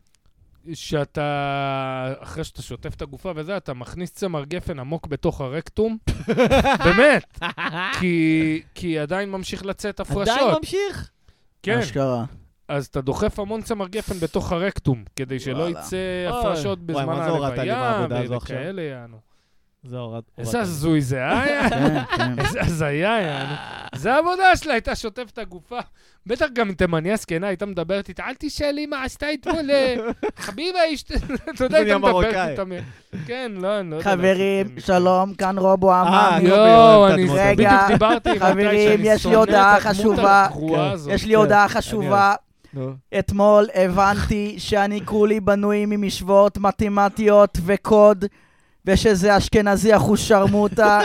[SPEAKER 1] שאתה, אחרי שאתה שוטף את הגופה וזה, אתה מכניס צמר גפן עמוק בתוך הרקטום. באמת, כי- כי עדיין ממשיך לצאת
[SPEAKER 2] עדיין
[SPEAKER 1] הפרשות.
[SPEAKER 2] ממשיך?
[SPEAKER 1] כן. <laughs>
[SPEAKER 3] אשכרה.
[SPEAKER 1] אז אתה דוחף המון צמר גפן בתוך הרקטום, כדי שלא
[SPEAKER 3] וואלה.
[SPEAKER 1] יצא
[SPEAKER 2] אוי.
[SPEAKER 1] הפרשות
[SPEAKER 2] וואי,
[SPEAKER 1] בזמן
[SPEAKER 2] מה זה הורדת לי
[SPEAKER 1] הלוויה,
[SPEAKER 2] מהעבודה הזו עכשיו?
[SPEAKER 1] וכאלה יענו.
[SPEAKER 2] זה הורד.
[SPEAKER 1] איזה הזוי זה היה,
[SPEAKER 3] כן, כן.
[SPEAKER 1] איזה הזיה יענו. זה העבודה שלה, הייתה שוטפת הגופה. בטח גם אם תימניה זקנה, הייתה מדברת איתה, אל תשאלי מה עשתה אתמול, אה, חביבה אשת... <laughs> אתה
[SPEAKER 2] זה
[SPEAKER 1] יודע,
[SPEAKER 2] נהיה
[SPEAKER 1] הייתה מדברת
[SPEAKER 2] מרוקאי.
[SPEAKER 1] איתה. מ- כן, לא, אני לא יודע.
[SPEAKER 3] חברים, שלום, כאן רובו
[SPEAKER 2] אה,
[SPEAKER 3] עממי.
[SPEAKER 2] קובי
[SPEAKER 1] יואו,
[SPEAKER 2] אוהב את
[SPEAKER 1] אני
[SPEAKER 2] הדמות
[SPEAKER 3] רגע,
[SPEAKER 1] בדיוק דיברתי עם איתי
[SPEAKER 3] חברים,
[SPEAKER 1] שאני
[SPEAKER 3] יש לי
[SPEAKER 1] שונא את
[SPEAKER 3] הודעה
[SPEAKER 1] הדמות
[SPEAKER 3] חשובה.
[SPEAKER 1] הגרועה
[SPEAKER 2] כן.
[SPEAKER 1] הזאת.
[SPEAKER 3] יש לי
[SPEAKER 2] כן,
[SPEAKER 3] הודעה
[SPEAKER 2] אני
[SPEAKER 3] חשובה.
[SPEAKER 2] אוהב. נו.
[SPEAKER 3] אתמול הבנתי שאני כולי בנוי ממשוואות מתמטיות וקוד, ושזה
[SPEAKER 1] <laughs>
[SPEAKER 3] אשכנזי אחושרמוטה,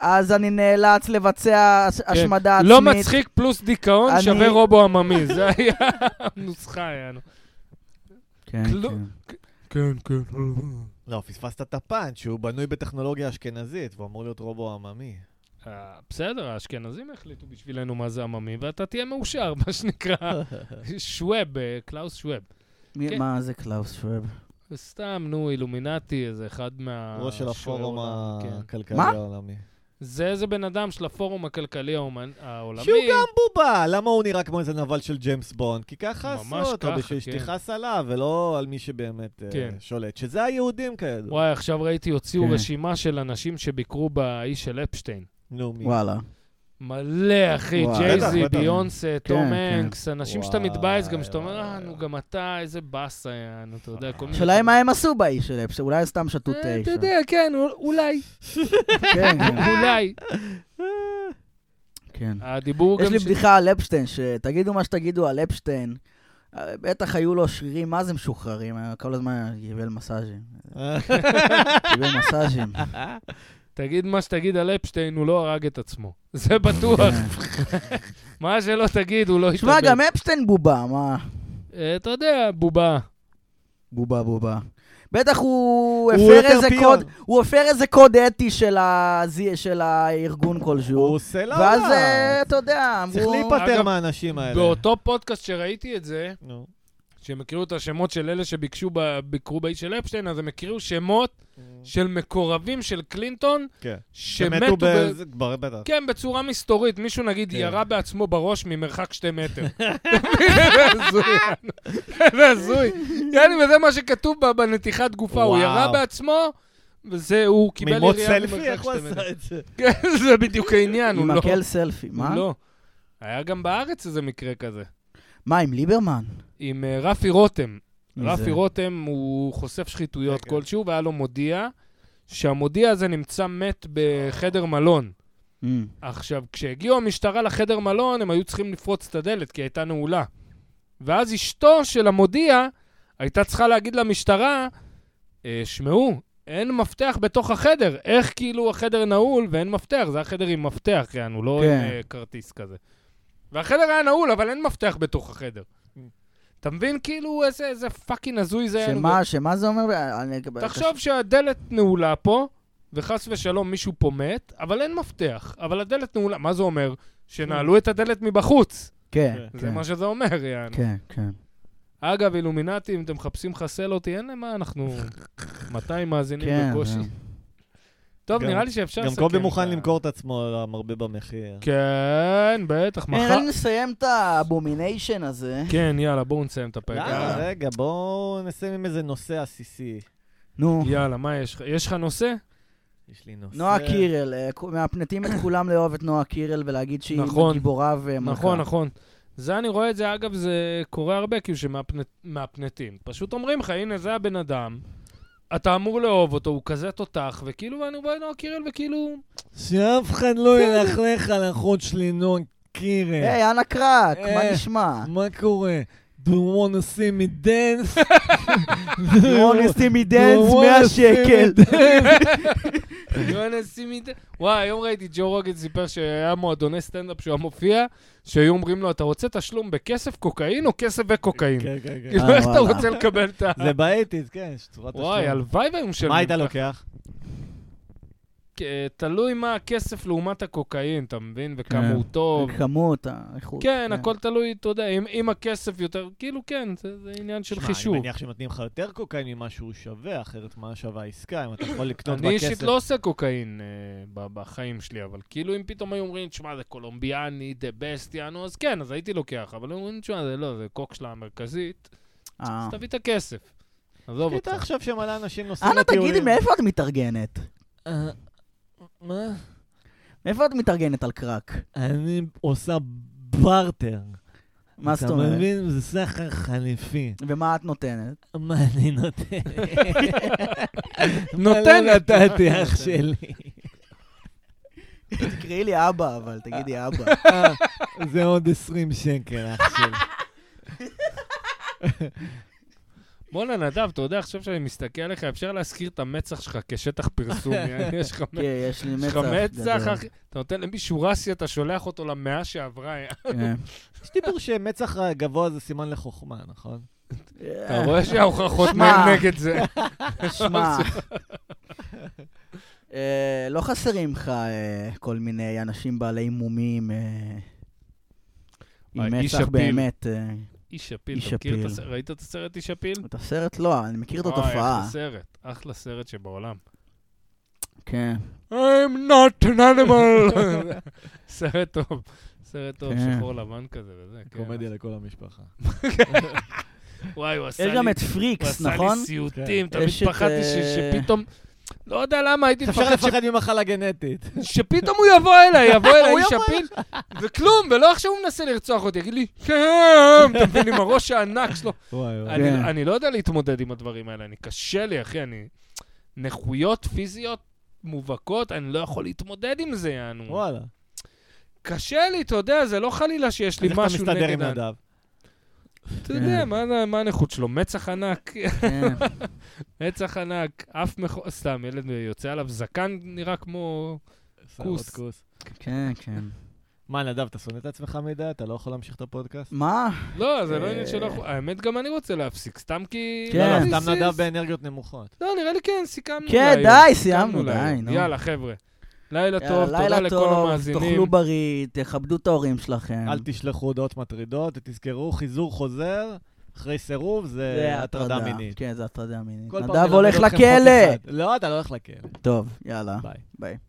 [SPEAKER 3] אז אני נאלץ לבצע הש- השמדה עצמית.
[SPEAKER 1] לא מצחיק פלוס דיכאון
[SPEAKER 3] אני-
[SPEAKER 1] שווה רובו עממי, <laughs> זה היה הנוסחה, יענו.
[SPEAKER 3] כן,
[SPEAKER 1] כלום.
[SPEAKER 3] כן.
[SPEAKER 1] כן, כן.
[SPEAKER 2] לא, פספסת את הפאנץ', שהוא בנוי בטכנולוגיה אשכנזית, והוא אמור להיות רובו עממי.
[SPEAKER 1] אה, בסדר, האשכנזים החליטו בשבילנו מה זה עממי, ואתה תהיה מאושר, <laughs> מה שנקרא. שווב, אה, קלאוס שווב.
[SPEAKER 3] מי-
[SPEAKER 1] כן.
[SPEAKER 3] מה זה קלאוס שווב?
[SPEAKER 1] סתם, נו, אילומינטי, איזה אחד מה...
[SPEAKER 2] ראש של
[SPEAKER 1] שוער
[SPEAKER 2] הפורום
[SPEAKER 1] העולם, אה, כן.
[SPEAKER 2] הכלכלי
[SPEAKER 3] מה?
[SPEAKER 2] העולמי.
[SPEAKER 1] זה איזה בן אדם של הפורום הכלכלי האומן- העולמי.
[SPEAKER 2] שהוא גם בובה, למה הוא נראה כמו איזה נבל של ג'יימס בונד? כי ככה
[SPEAKER 1] ממש
[SPEAKER 2] עשו אותו,
[SPEAKER 1] ככה,
[SPEAKER 2] בשביל
[SPEAKER 1] כן.
[SPEAKER 2] שתכעס עליו, ולא על מי שבאמת אה,
[SPEAKER 1] כן.
[SPEAKER 2] שולט. שזה היהודים כידוע.
[SPEAKER 1] וואי, עכשיו ראיתי, הוציאו
[SPEAKER 3] כן.
[SPEAKER 1] רשימה של אנשים שביקרו באיש של אפשטיין.
[SPEAKER 2] נו, מי?
[SPEAKER 3] וואלה.
[SPEAKER 1] מלא, אחי,
[SPEAKER 3] אה, וואי,
[SPEAKER 1] ג'ייזי,
[SPEAKER 2] בטח, בטח.
[SPEAKER 1] ביונסה, תום
[SPEAKER 3] כן.
[SPEAKER 1] הנקס, אנשים שאתה
[SPEAKER 2] וואי,
[SPEAKER 1] מתבאס, גם שאתה אומר,
[SPEAKER 2] וואי,
[SPEAKER 1] אה,
[SPEAKER 2] וואי.
[SPEAKER 1] נו, גם אתה, איזה באסה, יענו, אתה יודע, כל מיני...
[SPEAKER 3] השאלה היא מה הם עשו באיש שלהם, שאולי הם סתם שתו
[SPEAKER 1] אה,
[SPEAKER 3] תשע.
[SPEAKER 1] אתה יודע, כן, אול- אולי,
[SPEAKER 3] כן, כן.
[SPEAKER 1] אולי.
[SPEAKER 3] כן.
[SPEAKER 1] הדיבור
[SPEAKER 3] יש
[SPEAKER 1] גם
[SPEAKER 3] לי
[SPEAKER 1] ש-
[SPEAKER 3] בדיחה על אפשטיין, שתגידו מה שתגידו על אפשטיין. אה, בטח היו לו שרירים מה זה משוחררים, היה כל הזמן קיבל מסאז'ים.
[SPEAKER 2] אה,
[SPEAKER 3] <laughs> קיבל
[SPEAKER 1] <laughs>
[SPEAKER 3] מסאז'ים.
[SPEAKER 1] תגיד מה שתגיד על אפשטיין, הוא לא הרג את עצמו. <laughs> זה
[SPEAKER 3] <laughs>
[SPEAKER 1] בטוח. מה שלא תגיד, הוא לא יתאבד.
[SPEAKER 3] תשמע, גם אפשטיין בובה, מה?
[SPEAKER 1] אה, אתה יודע, בובה.
[SPEAKER 3] בובה, בובה. בטח הוא
[SPEAKER 2] הוא
[SPEAKER 3] הפר
[SPEAKER 2] יותר
[SPEAKER 3] איזה
[SPEAKER 2] פיון.
[SPEAKER 3] קוד, הוא הפר איזה קוד אטי של הזי- של הארגון
[SPEAKER 2] הוא
[SPEAKER 3] כלשהו.
[SPEAKER 1] לא,
[SPEAKER 2] עושה לה...
[SPEAKER 3] ואז, אה, אתה יודע, אמרו...
[SPEAKER 2] צריך
[SPEAKER 1] אגב,
[SPEAKER 2] להיפטר מהאנשים
[SPEAKER 3] אה.
[SPEAKER 2] האלה.
[SPEAKER 1] באותו פודקאסט שראיתי את זה,
[SPEAKER 2] נו.
[SPEAKER 1] שהם הכירו את השמות של אלה שביקשו, ב- ביקרו באי של אפשטיין, אז הם הכירו שמות
[SPEAKER 3] אה.
[SPEAKER 1] של מקורבים של קלינטון,
[SPEAKER 2] כן.
[SPEAKER 1] שמתו ב...
[SPEAKER 2] בזה- כבר, בטח.
[SPEAKER 1] כן, בצורה מסתורית. מישהו נגיד
[SPEAKER 2] כן.
[SPEAKER 1] ירה בעצמו בראש ממרחק שתי מטר.
[SPEAKER 2] <laughs>
[SPEAKER 1] איזה הזוי. איזה הזוי. יעני, וזה מה שכתוב ב- בנתיחת גופה. הוא ירה
[SPEAKER 2] וואו.
[SPEAKER 1] בעצמו, וזה, הוא קיבל
[SPEAKER 2] מימות
[SPEAKER 1] ירייה
[SPEAKER 2] סלפי,
[SPEAKER 1] ממרחק
[SPEAKER 2] איך הוא
[SPEAKER 1] שתי מטר.
[SPEAKER 2] עשה את זה?
[SPEAKER 1] כן, זה בדיוק העניין, הוא
[SPEAKER 3] עם
[SPEAKER 1] לא...
[SPEAKER 3] מקל סלפי, מה?
[SPEAKER 1] הוא לא. היה גם בארץ איזה מקרה כזה.
[SPEAKER 3] מה, עם ליברמן?
[SPEAKER 1] עם אה, רפי רותם.
[SPEAKER 3] מי
[SPEAKER 1] רפי
[SPEAKER 3] זה?
[SPEAKER 1] רותם הוא חושף שחיתויות
[SPEAKER 2] כן.
[SPEAKER 1] כלשהו, והיה לו מודיע שהמודיע הזה נמצא מת בחדר מלון.
[SPEAKER 3] Mm.
[SPEAKER 1] עכשיו, כשהגיעו המשטרה לחדר מלון, הם היו צריכים לפרוץ את הדלת, כי הייתה נעולה. ואז אשתו של המודיע הייתה צריכה להגיד למשטרה, "אה, שמעו, אין מפתח בתוך החדר. איך כאילו החדר נעול ואין מפתח? זה החדר עם מפתח, יענו, לא
[SPEAKER 3] כן.
[SPEAKER 1] עם אה, כרטיס כזה. והחדר היה נעול, אבל אין מפתח בתוך החדר.
[SPEAKER 3] Mm.
[SPEAKER 1] אתה מבין כאילו איזה, איזה פאקינג הזוי זה יענו?
[SPEAKER 3] שמה, שמה זה אומר? אני-
[SPEAKER 1] תחשוב שהדלת נעולה פה, וחס ושלום מישהו פה מת, אבל אין מפתח. אבל הדלת נעולה, מה זה אומר? שנעלו את הדלת מבחוץ.
[SPEAKER 3] כן,
[SPEAKER 1] זה
[SPEAKER 3] כן,
[SPEAKER 1] מה שזה אומר, יענו.
[SPEAKER 3] כן, כן.
[SPEAKER 1] אגב, אילומינטי, אם אתם מחפשים חסל אותי, אין למה,
[SPEAKER 3] <laughs>
[SPEAKER 1] אנחנו 200 מאזינים
[SPEAKER 3] כן,
[SPEAKER 1] בקושי.
[SPEAKER 3] כן.
[SPEAKER 1] טוב,
[SPEAKER 2] גם-
[SPEAKER 1] נראה לי שאפשר
[SPEAKER 2] גם
[SPEAKER 1] לסכם. אה,
[SPEAKER 2] קובי
[SPEAKER 1] את
[SPEAKER 2] מוכן
[SPEAKER 1] ה-
[SPEAKER 2] למכור את עצמו למרבה במחיר.
[SPEAKER 1] כן, בטח, מחר...
[SPEAKER 3] נראה לי נסיים את האבומיניישן הזה.
[SPEAKER 1] כן, יאללה, בואו נסיים את הפרק.
[SPEAKER 2] למה? רגע, בואו נסיים עם איזה נושא עסיסי.
[SPEAKER 3] נו,
[SPEAKER 1] יאללה, מה יש לך? יש לך נושא?
[SPEAKER 2] יש לי נושא...
[SPEAKER 3] נועה קירל, אה, כו- מהפנטים את כולם לאהוב את נועה קירל ולהגיד שהיא
[SPEAKER 1] נכון.
[SPEAKER 3] גיבורה ומלכה.
[SPEAKER 1] נכון, נכון. זה אני רואה את זה, אגב, זה קורה הרבה, כאילו שמהפנטים. פשוט אומרים לך, הנה, זה הבן אדם, אתה אמור לאהוב אותו, הוא כזה תותח, וכאילו, ואני רואה את נועה קירל, וכאילו...
[SPEAKER 5] שאף אחד לא ילכלך על אחות שלי, נועה קירל.
[SPEAKER 3] היי, אנה קרק, מה
[SPEAKER 5] אה.
[SPEAKER 3] נשמע?
[SPEAKER 5] מה קורה? Do you want to see me dance?
[SPEAKER 2] <laughs>
[SPEAKER 3] אונסטי
[SPEAKER 5] Do
[SPEAKER 3] מדנס,
[SPEAKER 5] you wanna
[SPEAKER 3] 100
[SPEAKER 5] see
[SPEAKER 3] שקל.
[SPEAKER 5] me dance?
[SPEAKER 1] יואנה סימיד... וואי, היום ראיתי ג'ו רוגן סיפר שהיה מועדוני סטנדאפ שהוא היה מופיע, שהיו אומרים לו, אתה רוצה תשלום בכסף קוקאין או כסף וקוקאין?
[SPEAKER 2] <laughs> כן, כן, כן.
[SPEAKER 1] כאילו, איך אתה
[SPEAKER 3] וואלה.
[SPEAKER 1] רוצה לקבל את ה...
[SPEAKER 2] זה באייטיז, כן, יש צורת
[SPEAKER 1] וואי,
[SPEAKER 2] תשלום.
[SPEAKER 1] הלוואי והיו משלמים.
[SPEAKER 2] מה היית
[SPEAKER 1] ככה.
[SPEAKER 2] לוקח?
[SPEAKER 1] אה, תלוי מה הכסף לעומת הקוקאין, אתה מבין? וכמה
[SPEAKER 3] כן.
[SPEAKER 1] הוא טוב.
[SPEAKER 3] כמות, האיכות. אה.
[SPEAKER 1] כן, הכל תלוי, אתה יודע, אם- אם הכסף יותר, כאילו כן, זה זה עניין של
[SPEAKER 2] שמע,
[SPEAKER 1] חישוב.
[SPEAKER 2] אני מניח שנותנים לך יותר קוקאין ממה שהוא שווה, אחרת מה שווה העסקה, אם אתה יכול לקנות בכסף.
[SPEAKER 1] אני אישית לא עושה קוקאין אה, ב- בחיים שלי, אבל כאילו אם פתאום היו אומרים, תשמע, זה קולומביאני, דה בסט, יענו, אז כן, אז הייתי לוקח, אבל היו אומרים, תשמע, זה לא, זה קוק שלה המרכזית,
[SPEAKER 3] אה.
[SPEAKER 1] אז תביא את הכסף. עזוב אותך.
[SPEAKER 2] אתה עכשיו שמלא אנשים נוסעים
[SPEAKER 3] אנה,
[SPEAKER 2] לטיולים.
[SPEAKER 3] תגידי, מאיפה את מתארגנת?
[SPEAKER 5] אה, מה?
[SPEAKER 3] מאיפה את מתארגנת על קרק?
[SPEAKER 5] אני עושה בארטר.
[SPEAKER 3] מה זאת אומרת?
[SPEAKER 5] אתה מבין? זה סחר חליפי.
[SPEAKER 3] ומה את נותנת?
[SPEAKER 5] מה אני נותן? מה לא
[SPEAKER 1] נותנת.
[SPEAKER 5] נתתי אח שלי?
[SPEAKER 3] תקראי לי אבא, אבל תגידי
[SPEAKER 1] <laughs>
[SPEAKER 3] אבא.
[SPEAKER 5] אה, זה עוד 20 שקל, אח שלי.
[SPEAKER 1] בואנה, נדב, אתה יודע, עכשיו שאני מסתכל עליך, אפשר להזכיר את המצח שלך כשטח פרסום, יעני, יש לך מצח.
[SPEAKER 3] כן, יש לי
[SPEAKER 1] יש
[SPEAKER 3] מצח.
[SPEAKER 1] לך מצח,
[SPEAKER 3] גדול.
[SPEAKER 1] אחי. אתה נותן למישהו רסי, אתה שולח אותו למאה שעברה.
[SPEAKER 3] כן.
[SPEAKER 2] יש דיבור שמצח גבוה זה סימן לחוכמה, נכון?
[SPEAKER 1] אתה רואה שההוכחות
[SPEAKER 3] שמע.
[SPEAKER 1] מהן נגד זה.
[SPEAKER 3] <laughs> שמע, אוקיי. אה, לא חסרים לך אה, כל מיני אנשים בעלי מומים אה, עם
[SPEAKER 1] אה, איש
[SPEAKER 3] מצח
[SPEAKER 1] הפיל.
[SPEAKER 3] באמת. אה,
[SPEAKER 1] איש הפיל,
[SPEAKER 3] איש
[SPEAKER 1] אתה מכיר את
[SPEAKER 3] הפיל.
[SPEAKER 1] הס- ראית את הסרט איש הפיל?
[SPEAKER 3] את הסרט לא, אני מכיר את
[SPEAKER 1] אה, וואי,
[SPEAKER 3] התופעה.
[SPEAKER 1] אחלה סרט, אחלה סרט שבעולם.
[SPEAKER 3] כן.
[SPEAKER 1] I'm not an animal. סרט טוב, סרט טוב,
[SPEAKER 3] כן.
[SPEAKER 1] שחור לבן כזה וזה, כן.
[SPEAKER 2] קומדיה לכל המשפחה.
[SPEAKER 1] וואי, הוא עשה לי...
[SPEAKER 3] יש גם את
[SPEAKER 1] הוא
[SPEAKER 3] פריקס,
[SPEAKER 1] עשה לי
[SPEAKER 3] נכון?
[SPEAKER 1] סיוטים,
[SPEAKER 3] כן.
[SPEAKER 1] תמיד
[SPEAKER 3] יש את,
[SPEAKER 1] פחדתי ש-
[SPEAKER 3] אה,
[SPEAKER 1] שפתאום... לא יודע למה, הייתי
[SPEAKER 2] אפשר
[SPEAKER 1] מפחד ש-
[SPEAKER 2] לפחד ממחלה גנטית.
[SPEAKER 1] שפתאום הוא יבוא אליי, יבוא אליי
[SPEAKER 2] הוא
[SPEAKER 1] איש
[SPEAKER 2] יבוא
[SPEAKER 1] הפיל, וכלום, ולא עכשיו הוא מנסה לרצוח אותי, יגיד לי, כן, אתה מבין, עם הראש הענק שלו.
[SPEAKER 2] וואי, וואי.
[SPEAKER 1] אני-
[SPEAKER 3] כן.
[SPEAKER 1] אני לא יודע להתמודד עם הדברים האלה, אני קשה לי, אחי, אני... נכויות פיזיות מובהקות, אני לא יכול להתמודד עם זה, יענו.
[SPEAKER 2] וואלה.
[SPEAKER 1] קשה לי, אתה יודע, זה לא חלילה שיש לי
[SPEAKER 2] אז איך אתה
[SPEAKER 1] משהו נגד...
[SPEAKER 2] מסתדר עם
[SPEAKER 1] ה-
[SPEAKER 2] נדב?
[SPEAKER 1] אתה יודע, מה- מה הנכות שלו? מצח ענק, <laughs>
[SPEAKER 3] כן.
[SPEAKER 1] מצח ענק, אף מכו... סתם, ילד יוצא עליו זקן, נראה כמו... כוס.
[SPEAKER 2] עוד כוס.
[SPEAKER 3] כן, כן.
[SPEAKER 2] מה, נדב, אתה שונא את עצמך מדי? אתה לא יכול להמשיך את הפודקאסט?
[SPEAKER 3] מה?
[SPEAKER 1] לא, זה לא עניין של...
[SPEAKER 2] אה.
[SPEAKER 1] אחו- האמת, גם אני רוצה להפסיק, סתם כי...
[SPEAKER 3] כן.
[SPEAKER 2] לא,
[SPEAKER 1] נראה לי
[SPEAKER 2] לא, סתם
[SPEAKER 1] סיס.
[SPEAKER 2] נדב באנרגיות נמוכות.
[SPEAKER 1] לא, נראה לי כן, סיכמנו
[SPEAKER 3] כן,
[SPEAKER 1] להיום.
[SPEAKER 3] די,
[SPEAKER 1] סיכמנו
[SPEAKER 3] סיימנו, די,
[SPEAKER 1] להיום.
[SPEAKER 3] נו.
[SPEAKER 1] יאללה, חבר'ה. לילה
[SPEAKER 3] יאללה,
[SPEAKER 1] טוב, תודה
[SPEAKER 3] לילה
[SPEAKER 1] לכל
[SPEAKER 3] טוב,
[SPEAKER 1] המאזינים.
[SPEAKER 3] תאכלו בריא, תכבדו את ההורים שלכם.
[SPEAKER 2] אל תשלחו הודעות מטרידות, ותזכרו, חיזור חוזר, אחרי סירוב זה
[SPEAKER 1] אה,
[SPEAKER 3] זה
[SPEAKER 2] הטרדה מינית.
[SPEAKER 3] כן, זה הטרדה מינית.
[SPEAKER 2] כל פעם
[SPEAKER 3] נדב
[SPEAKER 2] נלמד
[SPEAKER 3] הולך
[SPEAKER 2] אתכם חוק
[SPEAKER 3] לכלא! אה.
[SPEAKER 2] אחד. לא, אתה לא הולך לכלא.
[SPEAKER 3] טוב, יאללה,
[SPEAKER 2] ביי.
[SPEAKER 3] ביי.